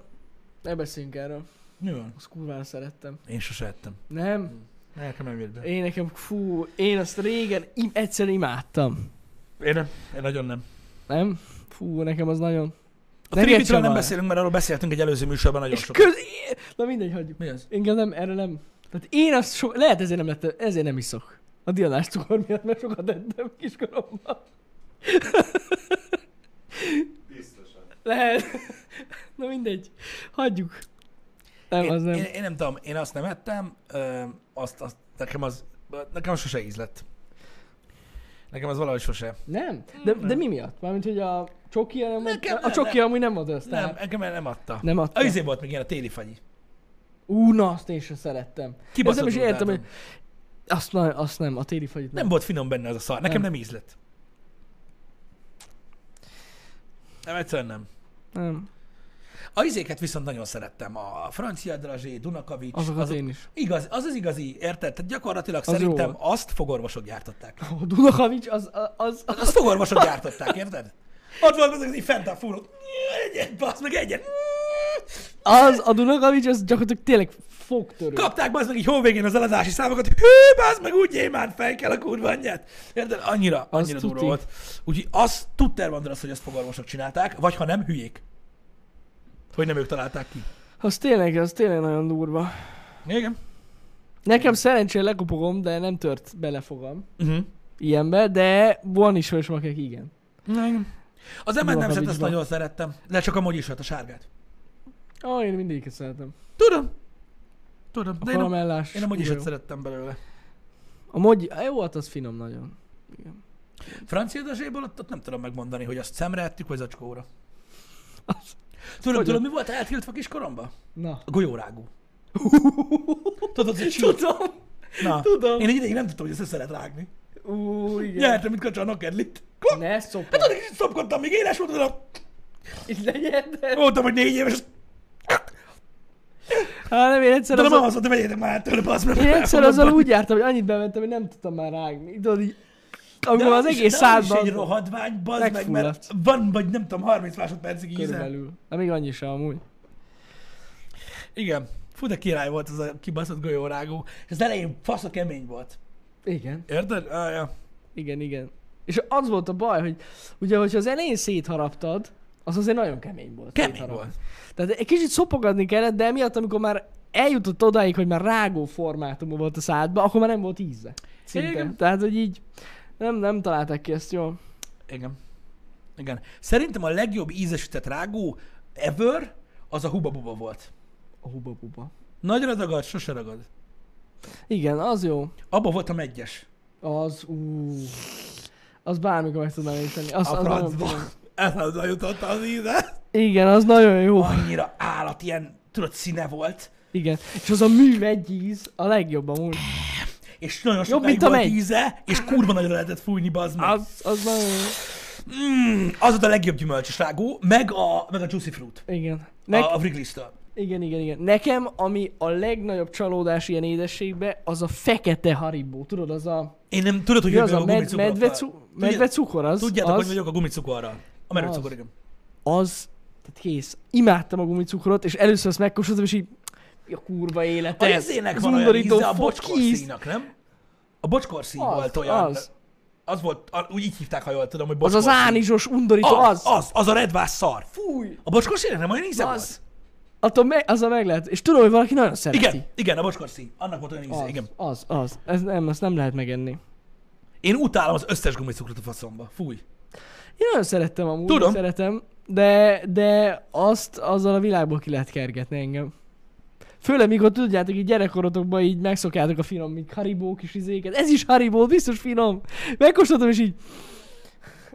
[SPEAKER 2] ne beszéljünk erről.
[SPEAKER 1] Mi van?
[SPEAKER 2] Azt kurvára szerettem.
[SPEAKER 1] Én sose ettem.
[SPEAKER 2] Nem?
[SPEAKER 1] Nekem nem jött be.
[SPEAKER 2] Én nekem, fú, én azt régen im, egyszer imádtam.
[SPEAKER 1] Én nem. Én nagyon nem.
[SPEAKER 2] Nem? Fú, nekem az nagyon...
[SPEAKER 1] A
[SPEAKER 2] Neked
[SPEAKER 1] trivitről
[SPEAKER 2] sem
[SPEAKER 1] nem
[SPEAKER 2] van.
[SPEAKER 1] beszélünk, mert arról beszéltünk egy előző műsorban nagyon
[SPEAKER 2] És
[SPEAKER 1] sokat.
[SPEAKER 2] köz... Na mindegy, hagyjuk.
[SPEAKER 1] Mi az?
[SPEAKER 2] Engem nem, erre nem. Tehát én azt so... lehet ezért nem lettem, ezért nem iszok. A dianás cukor miatt, mert sokat ettem kiskoromban.
[SPEAKER 3] Biztosan.
[SPEAKER 2] Lehet. Na mindegy. Hagyjuk. Nem,
[SPEAKER 1] Én,
[SPEAKER 2] az nem.
[SPEAKER 1] Én, én, nem tudom, én azt nem ettem, ö, azt, azt, nekem az, nekem az sose ízlett. Nekem az valahogy sose.
[SPEAKER 2] Nem? De, de mi miatt? Mármint, hogy a csoki nem
[SPEAKER 1] Hmm. Nekem
[SPEAKER 2] Nekem, A
[SPEAKER 1] nem,
[SPEAKER 2] csoki amúgy nem volt aztán.
[SPEAKER 1] Nem,
[SPEAKER 2] Nem.
[SPEAKER 1] nekem el nem adta.
[SPEAKER 2] Nem
[SPEAKER 1] A
[SPEAKER 2] adta.
[SPEAKER 1] izé volt még ilyen a téli fagyi.
[SPEAKER 2] Ú, na azt én sem szerettem. Ezt
[SPEAKER 1] Kibaszott
[SPEAKER 2] nem is értem, hogy...
[SPEAKER 1] utáltam.
[SPEAKER 2] Azt, na, azt nem, a téli fagyit nem.
[SPEAKER 1] Nem volt finom benne az a szar. Nekem nem, nem ízlett. Nem, egyszerűen nem.
[SPEAKER 2] nem.
[SPEAKER 1] A izéket viszont nagyon szerettem. A francia drazsé, Dunakavics.
[SPEAKER 2] Azokat az... én is.
[SPEAKER 1] Igaz, az az igazi, érted? Tehát gyakorlatilag
[SPEAKER 2] Az
[SPEAKER 1] az szerintem
[SPEAKER 2] jó
[SPEAKER 1] jó. azt fogorvosok gyártották.
[SPEAKER 2] A Dunahavics az, az, az,
[SPEAKER 1] Az- Azt fogorvosok gyártották, érted? Ott volt azok, így fent a fúrok. Egyet, basz meg egyet.
[SPEAKER 2] az a Dunahavics az gyakorlatilag tényleg fogtörő.
[SPEAKER 1] Kapták basz meg így hóvégén az eladási számokat. Hű, basz meg úgy gyémánt fej kell a kurva anyját. Érted? Annyira,
[SPEAKER 2] Az
[SPEAKER 1] annyira durva
[SPEAKER 2] tuti.
[SPEAKER 1] volt. Úgyhogy az tudter van az, hogy azt fogorvosok csinálták, vagy ha nem, hülyék. Hogy nem ők találták ki.
[SPEAKER 2] Az tényleg, az tényleg nagyon durva.
[SPEAKER 1] Igen.
[SPEAKER 2] Nekem szerencsére lekopogom, de nem tört bele fogam
[SPEAKER 1] Uh-huh.
[SPEAKER 2] ilyenbe, de van is vagyis akik igen.
[SPEAKER 1] igen. Az emelt
[SPEAKER 2] Milosevic
[SPEAKER 1] nemzet ezt
[SPEAKER 2] van.
[SPEAKER 1] nagyon szerettem, de csak amúgy is volt a sárgát.
[SPEAKER 2] Ó, én mindig szeretem.
[SPEAKER 1] Tudom. Tudom.
[SPEAKER 2] A
[SPEAKER 1] De én, a-
[SPEAKER 2] karamellás.
[SPEAKER 1] én amúgy is
[SPEAKER 2] kurva
[SPEAKER 1] ezt
[SPEAKER 2] jó.
[SPEAKER 1] szerettem belőle.
[SPEAKER 2] A mogy, jó volt, az finom nagyon.
[SPEAKER 1] Francia dezséból ott, ott nem tudom megmondani, hogy azt szemre ettük, vagy zacskóra.
[SPEAKER 2] Az-
[SPEAKER 1] Tudom,
[SPEAKER 2] Hogy-
[SPEAKER 1] tudom, mi volt eltiltva kiskoromban?
[SPEAKER 2] Na.
[SPEAKER 1] A golyórágú. Tudod, hogy csírt?
[SPEAKER 2] Tudom,
[SPEAKER 1] Na.
[SPEAKER 2] tudom.
[SPEAKER 1] Én egy ideig nem tudtam, hogy ezt össze lehet rágni.
[SPEAKER 2] Ú, igen.
[SPEAKER 1] Nyertem, mint kacsa a nokedlit.
[SPEAKER 2] Ne szopod.
[SPEAKER 1] Hát addig is szopkodtam, még éles volt, de
[SPEAKER 2] Itt legyen, de...
[SPEAKER 1] voltam, hogy négy éves,
[SPEAKER 2] Hát nem, én egyszer
[SPEAKER 1] de nem
[SPEAKER 2] azzal,
[SPEAKER 1] az, hogy vegyétek már tőle, bassz, mert
[SPEAKER 2] én egyszer azzal
[SPEAKER 1] felfogom.
[SPEAKER 2] úgy jártam, hogy annyit bementem, hogy nem tudtam már rágni. Tudod, így... Amikor
[SPEAKER 1] De
[SPEAKER 2] az
[SPEAKER 1] is-
[SPEAKER 2] egész
[SPEAKER 1] de az is
[SPEAKER 2] szádban...
[SPEAKER 1] egy rohadvány, bazd meg, mert
[SPEAKER 2] Megfulladt.
[SPEAKER 1] van, vagy nem tudom, 30 másodpercig íze.
[SPEAKER 2] Körülbelül. De még annyi sem amúgy.
[SPEAKER 1] Igen. Fú, de király volt az a kibaszott golyórágó. És az elején fasz a kemény volt.
[SPEAKER 2] Igen.
[SPEAKER 1] Érted? Ah, ja.
[SPEAKER 2] Igen, igen. És az volt a baj, hogy ugye, hogyha az elején szétharaptad, az azért nagyon kemény volt.
[SPEAKER 1] Kemény
[SPEAKER 2] szétharapni.
[SPEAKER 1] volt.
[SPEAKER 2] Tehát egy kicsit szopogatni kellett, de emiatt, amikor már eljutott odáig, hogy már rágó formátumú volt a szádba, akkor már nem volt íze. Szinte.
[SPEAKER 1] Igen.
[SPEAKER 2] Tehát, hogy így nem, nem találták ki ezt jól.
[SPEAKER 1] Igen. Igen. Szerintem a legjobb ízesített rágó ever az a Huba Buba volt.
[SPEAKER 2] A huba buba.
[SPEAKER 1] Nagyra ragad, sose ragad.
[SPEAKER 2] Igen, az jó.
[SPEAKER 1] Abba voltam egyes.
[SPEAKER 2] Az, ú. Az bármikor meg tudnám érteni. Az,
[SPEAKER 1] A
[SPEAKER 2] az nagyon
[SPEAKER 1] francba.
[SPEAKER 2] finom.
[SPEAKER 1] Eszembe jutott az íze.
[SPEAKER 2] Igen, az nagyon jó.
[SPEAKER 1] Annyira állat, ilyen, tudod, színe volt.
[SPEAKER 2] Igen. És az a művegyíz a legjobb amúgy.
[SPEAKER 1] És nagyon sokáig
[SPEAKER 2] mint a
[SPEAKER 1] volt
[SPEAKER 2] megy.
[SPEAKER 1] íze, és kurva nagyra lehetett fújni, bazd meg.
[SPEAKER 2] Az, az nagyon jó.
[SPEAKER 1] Mm, az ott a legjobb gyümölcsös rágó, meg a, meg a juicy fruit.
[SPEAKER 2] Igen.
[SPEAKER 1] Meg...
[SPEAKER 2] Nek-
[SPEAKER 1] A, a Wrigley-től.
[SPEAKER 2] Igen, igen, igen. Nekem, ami a legnagyobb csalódás ilyen édességbe, az a fekete haribó. Tudod, az a...
[SPEAKER 1] Én nem tudod, hogy
[SPEAKER 2] Mi az
[SPEAKER 1] vagyok
[SPEAKER 2] a
[SPEAKER 1] a
[SPEAKER 2] med-
[SPEAKER 1] gumicukorral.
[SPEAKER 2] medve, cu- medve cukor? Az,
[SPEAKER 1] Tudjátok,
[SPEAKER 2] az,
[SPEAKER 1] hogy vagyok a gumicukorral. A merőcukor, igen.
[SPEAKER 2] az, tehát kész. Imádtam a gumicukrot, és először ezt megkóstoltam, és így, mi a kurva
[SPEAKER 1] A
[SPEAKER 2] élet ez?
[SPEAKER 1] izének
[SPEAKER 2] Az
[SPEAKER 1] van olyan
[SPEAKER 2] undorító
[SPEAKER 1] íze, a
[SPEAKER 2] fo- íz.
[SPEAKER 1] bocskorszínnak, nem? A bocskorszín
[SPEAKER 2] Az,
[SPEAKER 1] volt olyan.
[SPEAKER 2] az.
[SPEAKER 1] az volt, a- úgy így hívták, ha jól tudom, hogy
[SPEAKER 2] Az az
[SPEAKER 1] bocskorszín.
[SPEAKER 2] ánizsos undorító,
[SPEAKER 1] az,
[SPEAKER 2] az.
[SPEAKER 1] az, az a redvás szar.
[SPEAKER 2] Fúj!
[SPEAKER 1] A bocskorszínnek nem olyan íze
[SPEAKER 2] Az.
[SPEAKER 1] volt?
[SPEAKER 2] Attól me- az a meg lehet. És tudom, hogy valaki nagyon szereti.
[SPEAKER 1] Igen, igen, a bocskorszín. Annak volt olyan íze,
[SPEAKER 2] Az,
[SPEAKER 1] igen.
[SPEAKER 2] az, az. Ez nem, azt nem lehet megenni.
[SPEAKER 1] Én utálom az összes gumicukrot a faszomba. Fúj.
[SPEAKER 2] Én nagyon szerettem amúgy,
[SPEAKER 1] Tudom.
[SPEAKER 2] Tudom. szeretem, de, de azt azzal a világból ki lehet kergetni engem. Főleg, mikor tudjátok, így gyerekkorotokban így megszokjátok a finom, mint haribó kis izéket. Ez is haribó, biztos finom. Megkóstoltam, és így...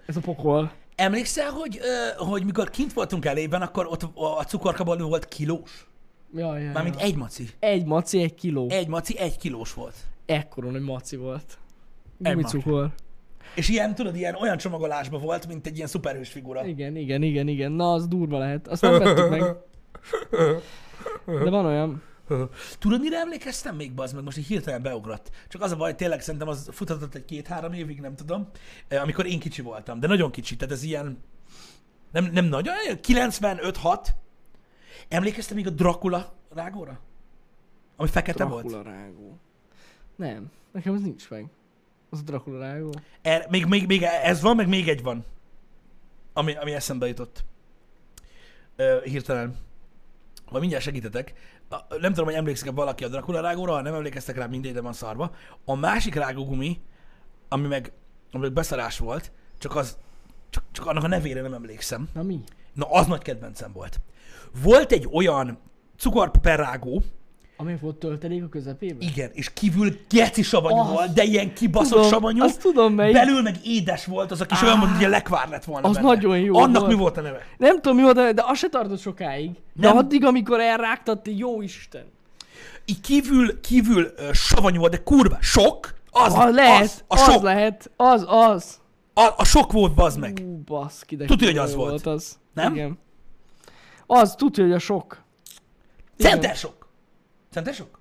[SPEAKER 2] Ez a pokol.
[SPEAKER 1] Emlékszel, hogy, ö, hogy mikor kint voltunk elében, akkor ott a a cukorkabaló volt kilós?
[SPEAKER 2] Jaj, jaj,
[SPEAKER 1] Mármint
[SPEAKER 2] jaj.
[SPEAKER 1] egy maci.
[SPEAKER 2] egy maci, egy kiló. Egy...
[SPEAKER 1] Egy maci, egy kilós volt.
[SPEAKER 2] Ekkora nagy maci volt.
[SPEAKER 1] Egy
[SPEAKER 2] Gumicukor.
[SPEAKER 1] És ilyen, tudod, ilyen olyan csomagolásban volt, mint egy ilyen szuperhős figura.
[SPEAKER 2] Igen, igen, igen, igen. Na, az durva lehet. Azt nem vettük meg. De van olyan.
[SPEAKER 1] Tudod, mire emlékeztem még, bazd meg, most így hirtelen beugrott. Csak az a baj, tényleg szerintem az futhatott egy két-három évig, nem tudom, eh, amikor én kicsi voltam, de nagyon kicsi, tehát ez ilyen, nem, nem nagyon, 95-6. Emlékeztem még a Dracula rágóra? Ami fekete volt.
[SPEAKER 2] Dracula rágó. E, Nem, nekem az nincs meg. Az a Dracula rágó.
[SPEAKER 1] Er, még, még, még ez van, meg még egy van, ami, ami eszembe jutott. Ö, hirtelen. Majd mindjárt segítetek. A, nem tudom, hogy emlékszik-e valaki a Dracula rágóra, ha nem emlékeztek rá, mindegy, de van szarva. A másik rágógumi, ami meg, ami meg beszarás volt, csak az, csak, csak annak a nevére nem emlékszem.
[SPEAKER 2] Na mi?
[SPEAKER 1] Na, az nagy kedvencem volt. Volt egy olyan cukorperágó,
[SPEAKER 2] Ami volt töltelék a közepében?
[SPEAKER 1] igen, és kívül geci savanyú
[SPEAKER 2] Az.
[SPEAKER 1] volt, de ilyen kibaszott
[SPEAKER 2] Tudom,
[SPEAKER 1] savanyú.
[SPEAKER 2] azt tudom melyik. Ah,
[SPEAKER 1] Belül meg édes volt az a kis olyan, mint hogy lekvár lett volna
[SPEAKER 2] Az
[SPEAKER 1] benne.
[SPEAKER 2] nagyon jó
[SPEAKER 1] Annak
[SPEAKER 2] volt.
[SPEAKER 1] mi volt a neve?
[SPEAKER 2] Nem tudom mi volt, a- de az se tartott sokáig. De
[SPEAKER 1] Nem.
[SPEAKER 2] addig, amikor elrágtad, te jó Isten.
[SPEAKER 1] Így kívül, kívül uh, savanyú volt, de kurva, sok. Az,
[SPEAKER 2] Az Ah, lehet,
[SPEAKER 1] az,
[SPEAKER 2] az,
[SPEAKER 1] a sok,
[SPEAKER 2] lehet, az, az.
[SPEAKER 1] a, a sok volt, bazd meg.
[SPEAKER 2] Ú, baszki, de
[SPEAKER 1] Tudja,
[SPEAKER 2] kurva
[SPEAKER 1] hogy az
[SPEAKER 2] jó
[SPEAKER 1] volt.
[SPEAKER 2] az.
[SPEAKER 1] Nem?
[SPEAKER 2] Igen. Az, tudja, hogy a sok. Igen.
[SPEAKER 1] Center sok. Center sok?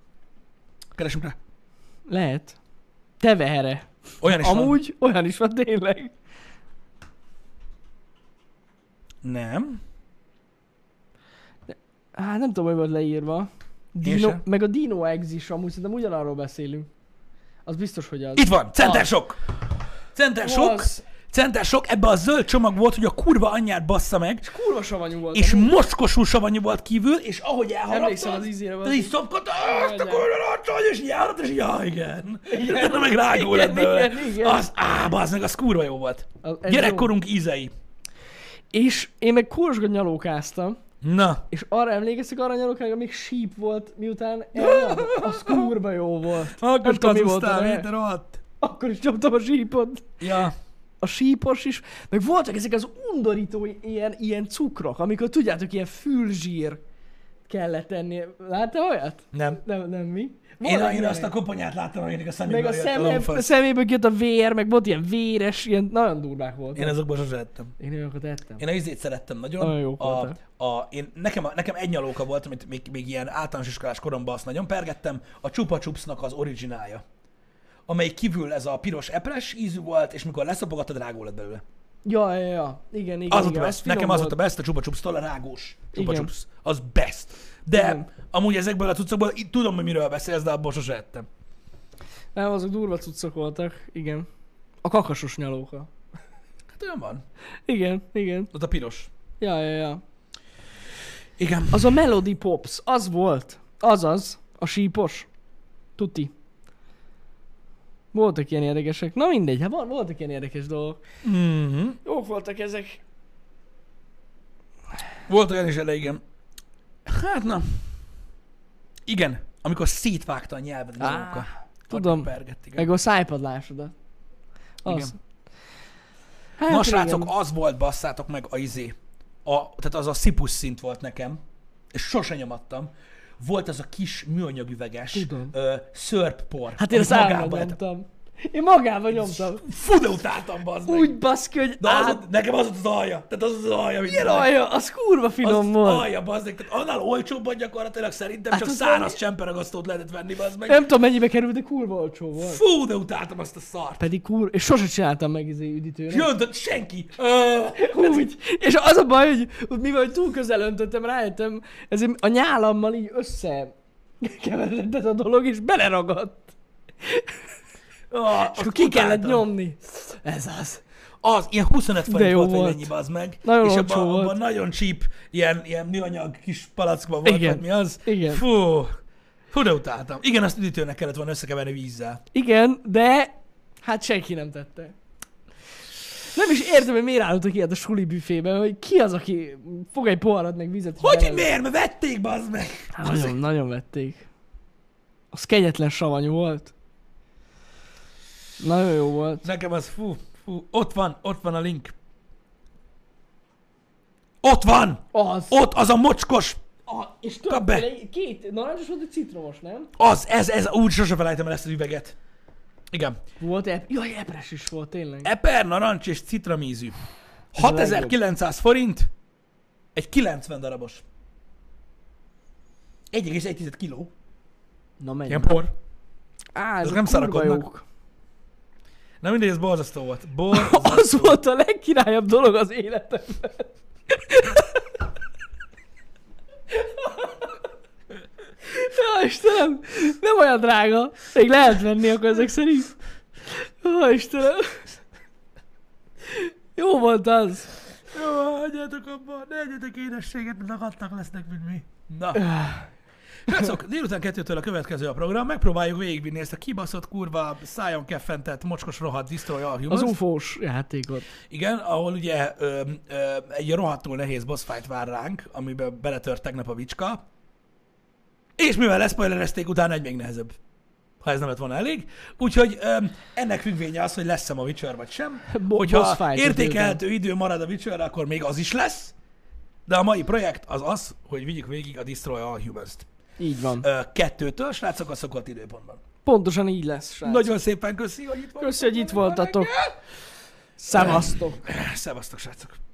[SPEAKER 1] Keresünk rá.
[SPEAKER 2] Lehet. Tevere.
[SPEAKER 1] Olyan is van.
[SPEAKER 2] Amúgy olyan is van tényleg.
[SPEAKER 1] Nem.
[SPEAKER 2] Hát nem tudom, hogy volt leírva. Dino,
[SPEAKER 1] sem.
[SPEAKER 2] meg a Dino Eggs is amúgy, szerintem ugyanarról beszélünk. Az biztos, hogy az.
[SPEAKER 1] Itt van, center
[SPEAKER 2] Az.
[SPEAKER 1] sok. Center sok.
[SPEAKER 2] Ah. Az.
[SPEAKER 1] center sok, ebbe a zöld csomag volt, hogy a kurva anyját bassza meg,
[SPEAKER 2] Kurva savanyú volt.
[SPEAKER 1] és mocskosú savanyú volt kívül, és ahogy
[SPEAKER 2] Emlékszem
[SPEAKER 1] elharaptad,
[SPEAKER 2] az ízére
[SPEAKER 1] az
[SPEAKER 2] volt.
[SPEAKER 1] így szopkodta, azt a
[SPEAKER 2] Igen.
[SPEAKER 1] kurva racsony, és így elharaptad, és így, ja, igen. igen. meg rágó lett
[SPEAKER 2] igen,
[SPEAKER 1] belőle.
[SPEAKER 2] igen, igen.
[SPEAKER 1] Az, á, bazd meg, az kurva jó volt.
[SPEAKER 2] Az- ez
[SPEAKER 1] Gyerekkorunk ízei.
[SPEAKER 2] És én meg kurosga nyalókáztam,
[SPEAKER 1] Na,
[SPEAKER 2] és arra emlékeztek arra a nyalókára, még síp volt, miután elnyaltam. Az kurva jó volt.
[SPEAKER 1] akkor
[SPEAKER 2] tudom, mi volt a
[SPEAKER 1] kazusztál,
[SPEAKER 2] neve.
[SPEAKER 1] mint a rohadt.
[SPEAKER 2] Akkor is csaptam a sípot.
[SPEAKER 1] Ja.
[SPEAKER 2] A sípos is. Meg voltak ezek az undorító ilyen, ilyen cukrok, amikor tudjátok, ilyen fülzsír kellett tenni. Láttál olyat?
[SPEAKER 1] Nem.
[SPEAKER 2] Nem, nem mi.
[SPEAKER 1] Én,
[SPEAKER 2] Voltak
[SPEAKER 1] én azt a
[SPEAKER 2] ilyenek.
[SPEAKER 1] koponyát láttam, aminek a szemébe
[SPEAKER 2] meg a,
[SPEAKER 1] jött
[SPEAKER 2] szeme,
[SPEAKER 1] lomfasz.
[SPEAKER 2] a szeméből jött a vér, meg volt ilyen véres, ilyen nagyon durvák volt.
[SPEAKER 1] Én azokból sose ettem.
[SPEAKER 2] Én olyanokat ettem.
[SPEAKER 1] Én a izét szerettem nagyon.
[SPEAKER 2] Nagyon jók
[SPEAKER 1] a,
[SPEAKER 2] voltak.
[SPEAKER 1] a, én, nekem, a- nekem egy nyalóka volt, amit még, még ilyen általános iskolás koromban azt nagyon pergettem, a Chupa Chupsnak az originálja amely kívül ez a piros epres ízű volt, és mikor leszapogattad, rágó lett belőle.
[SPEAKER 2] Ja, ja, ja. Igen, igen,
[SPEAKER 1] Az volt a
[SPEAKER 2] igen.
[SPEAKER 1] best.
[SPEAKER 2] finom
[SPEAKER 1] Nekem az volt
[SPEAKER 2] volt.
[SPEAKER 1] a best, a Chupa Chups a rágós Chupa
[SPEAKER 2] Igen.
[SPEAKER 1] Chups. Az best. De
[SPEAKER 2] Igen.
[SPEAKER 1] amúgy ezekből a cuccokból itt tudom, hogy miről beszélsz, de abból sose ettem.
[SPEAKER 2] Nem, azok durva cuccok voltak, igen. A kakasos nyalóka.
[SPEAKER 1] Hát olyan van.
[SPEAKER 2] Igen, igen.
[SPEAKER 1] Ott a piros.
[SPEAKER 2] Ja, ja, ja.
[SPEAKER 1] Igen.
[SPEAKER 2] Az a Melody Pops, az volt. Azaz, a sípos. Tuti. Voltak ilyen érdekesek. Na mindegy, hát vol- voltak ilyen érdekes dolgok.
[SPEAKER 1] Mm-hmm.
[SPEAKER 2] Jók voltak ezek.
[SPEAKER 1] Volt olyan is ele, igen. Hát na. Igen, amikor szétvágta a nyelved az
[SPEAKER 2] Á,
[SPEAKER 1] anyuka.
[SPEAKER 2] tudom.
[SPEAKER 1] Pergett, igen.
[SPEAKER 2] Meg a szájpadlásodat. Az.
[SPEAKER 1] Igen.
[SPEAKER 2] Hát
[SPEAKER 1] Na
[SPEAKER 2] igen.
[SPEAKER 1] srácok, az volt, basszátok meg a izé. A, tehát az a szipus szint volt nekem, és sose nyomattam. Volt az a kis műanyagüveges
[SPEAKER 2] Tudom.
[SPEAKER 1] ö, szörppor.
[SPEAKER 2] Hát én
[SPEAKER 1] amit
[SPEAKER 2] azt állandóan
[SPEAKER 1] magába ette-
[SPEAKER 2] nyomtam. Én magába nyomtam.
[SPEAKER 1] Fú, de utáltam, bazd meg.
[SPEAKER 2] Úgy hát- baszki, hogy
[SPEAKER 1] De az,
[SPEAKER 2] át...
[SPEAKER 1] volt- nekem az volt az alja. Tehát az volt az alja. Milyen
[SPEAKER 2] Jaj, az kurva
[SPEAKER 1] Az
[SPEAKER 2] finom volt.
[SPEAKER 1] alja, bazd meg. Tehát annál olcsóbban gyakorlatilag szerintem
[SPEAKER 2] Hát
[SPEAKER 1] csak
[SPEAKER 2] az
[SPEAKER 1] száraz
[SPEAKER 2] valami-
[SPEAKER 1] csemperagasztót lehetett venni, bazd meg.
[SPEAKER 2] Nem tudom mennyibe került, de kurva olcsó volt.
[SPEAKER 1] Fú, de utáltam azt a szart.
[SPEAKER 2] Pedig kur... És sose csináltam meg izé üdítőre.
[SPEAKER 1] Jön, senki. Ö,
[SPEAKER 2] Úgy. És az a baj, hogy hogy mivel hogy túl közel öntöttem, rájöttem, ezért a nyálammal így össze keveredett a dolog, és beleragadt.
[SPEAKER 1] ö,
[SPEAKER 2] És akkor ki kellett
[SPEAKER 1] utáltam.
[SPEAKER 2] nyomni. Ez az.
[SPEAKER 1] Az, ilyen 25 forint
[SPEAKER 2] jó
[SPEAKER 1] volt, vagy
[SPEAKER 2] volt.
[SPEAKER 1] ennyi az meg.
[SPEAKER 2] Nagyon
[SPEAKER 1] és
[SPEAKER 2] olcsó
[SPEAKER 1] abban,
[SPEAKER 2] volt.
[SPEAKER 1] abban nagyon csíp, ilyen, ilyen műanyag kis palackban volt,
[SPEAKER 2] Igen.
[SPEAKER 1] vagy mi az.
[SPEAKER 2] Igen.
[SPEAKER 1] Fú, fú, de utáltam. Igen, azt üdítőnek kellett volna összekeverni vízzel.
[SPEAKER 2] Igen, de hát senki nem tette. Nem is értem, hogy miért állottak ilyet a suli büfében, hogy ki az, aki fog egy poharat meg vizet. és
[SPEAKER 1] Hogy, hogy
[SPEAKER 2] belelő.
[SPEAKER 1] miért? Mert vették, bazd meg.
[SPEAKER 2] Hát Nagyon, nagyon vették. Az kegyetlen savanyú volt. Nagyon jó volt.
[SPEAKER 1] Nekem az, fú, fú, ott van, ott van a link. Ott van!
[SPEAKER 2] Az.
[SPEAKER 1] Ott az a mocskos!
[SPEAKER 2] A, és
[SPEAKER 1] Kap
[SPEAKER 2] több,
[SPEAKER 1] be.
[SPEAKER 2] bele- két narancsos volt, egy citromos, nem?
[SPEAKER 1] Az, ez, ez, úgy sose felejtem el ezt az üveget. Igen.
[SPEAKER 2] Volt ep... Jaj, epres is volt, tényleg.
[SPEAKER 1] Eper, narancs és citromízű.
[SPEAKER 2] Ez a legjobb.
[SPEAKER 1] 6900 forint, egy 90 darabos. 1,1 kiló.
[SPEAKER 2] Na menj.
[SPEAKER 1] Ilyen por.
[SPEAKER 2] Á,
[SPEAKER 1] Azok
[SPEAKER 2] ezek
[SPEAKER 1] nem
[SPEAKER 2] kurva
[SPEAKER 1] szarakodnak.
[SPEAKER 2] jók.
[SPEAKER 1] Na mindegy, ez borzasztó volt. Borzasztó.
[SPEAKER 2] Az volt a legkirályabb dolog az életemben. Ja, Istenem, nem olyan drága. Még lehet venni akkor ezek szerint. Ja, Istenem. Jó volt az.
[SPEAKER 1] Jó, hagyjátok abba, ne egyetek édességet, mert akadtak lesznek, mint mi. Na. Srácok, délután kettőtől a következő a program, megpróbáljuk végigvinni ezt a kibaszott, kurva, szájon keffentett, mocskos rohadt Destroy All Humans.
[SPEAKER 2] Az ufós játékot.
[SPEAKER 1] Igen, ahol ugye ö, ö, egy rohadtul nehéz boss fight vár ránk, amiben beletört tegnap a vicska. És mivel leszpoilerezték, utána egy még nehezebb. Ha ez nem lett volna elég. Úgyhogy ö, ennek függvénye az, hogy lesz-e ma Witcher vagy sem.
[SPEAKER 2] Bo- boss
[SPEAKER 1] Hogyha
[SPEAKER 2] fight
[SPEAKER 1] értékelhető idő marad a Witcher, akkor még az is lesz. De a mai projekt az az, hogy vigyük végig a Destroy All Humans-t.
[SPEAKER 2] Így van.
[SPEAKER 1] Ö, kettőtől, srácok, a szokott időpontban.
[SPEAKER 2] Pontosan így lesz, srác.
[SPEAKER 1] Nagyon szépen köszi, hogy itt voltatok.
[SPEAKER 2] Köszi, hogy itt voltatok. Szevasztok.
[SPEAKER 1] Szevasztok, srácok.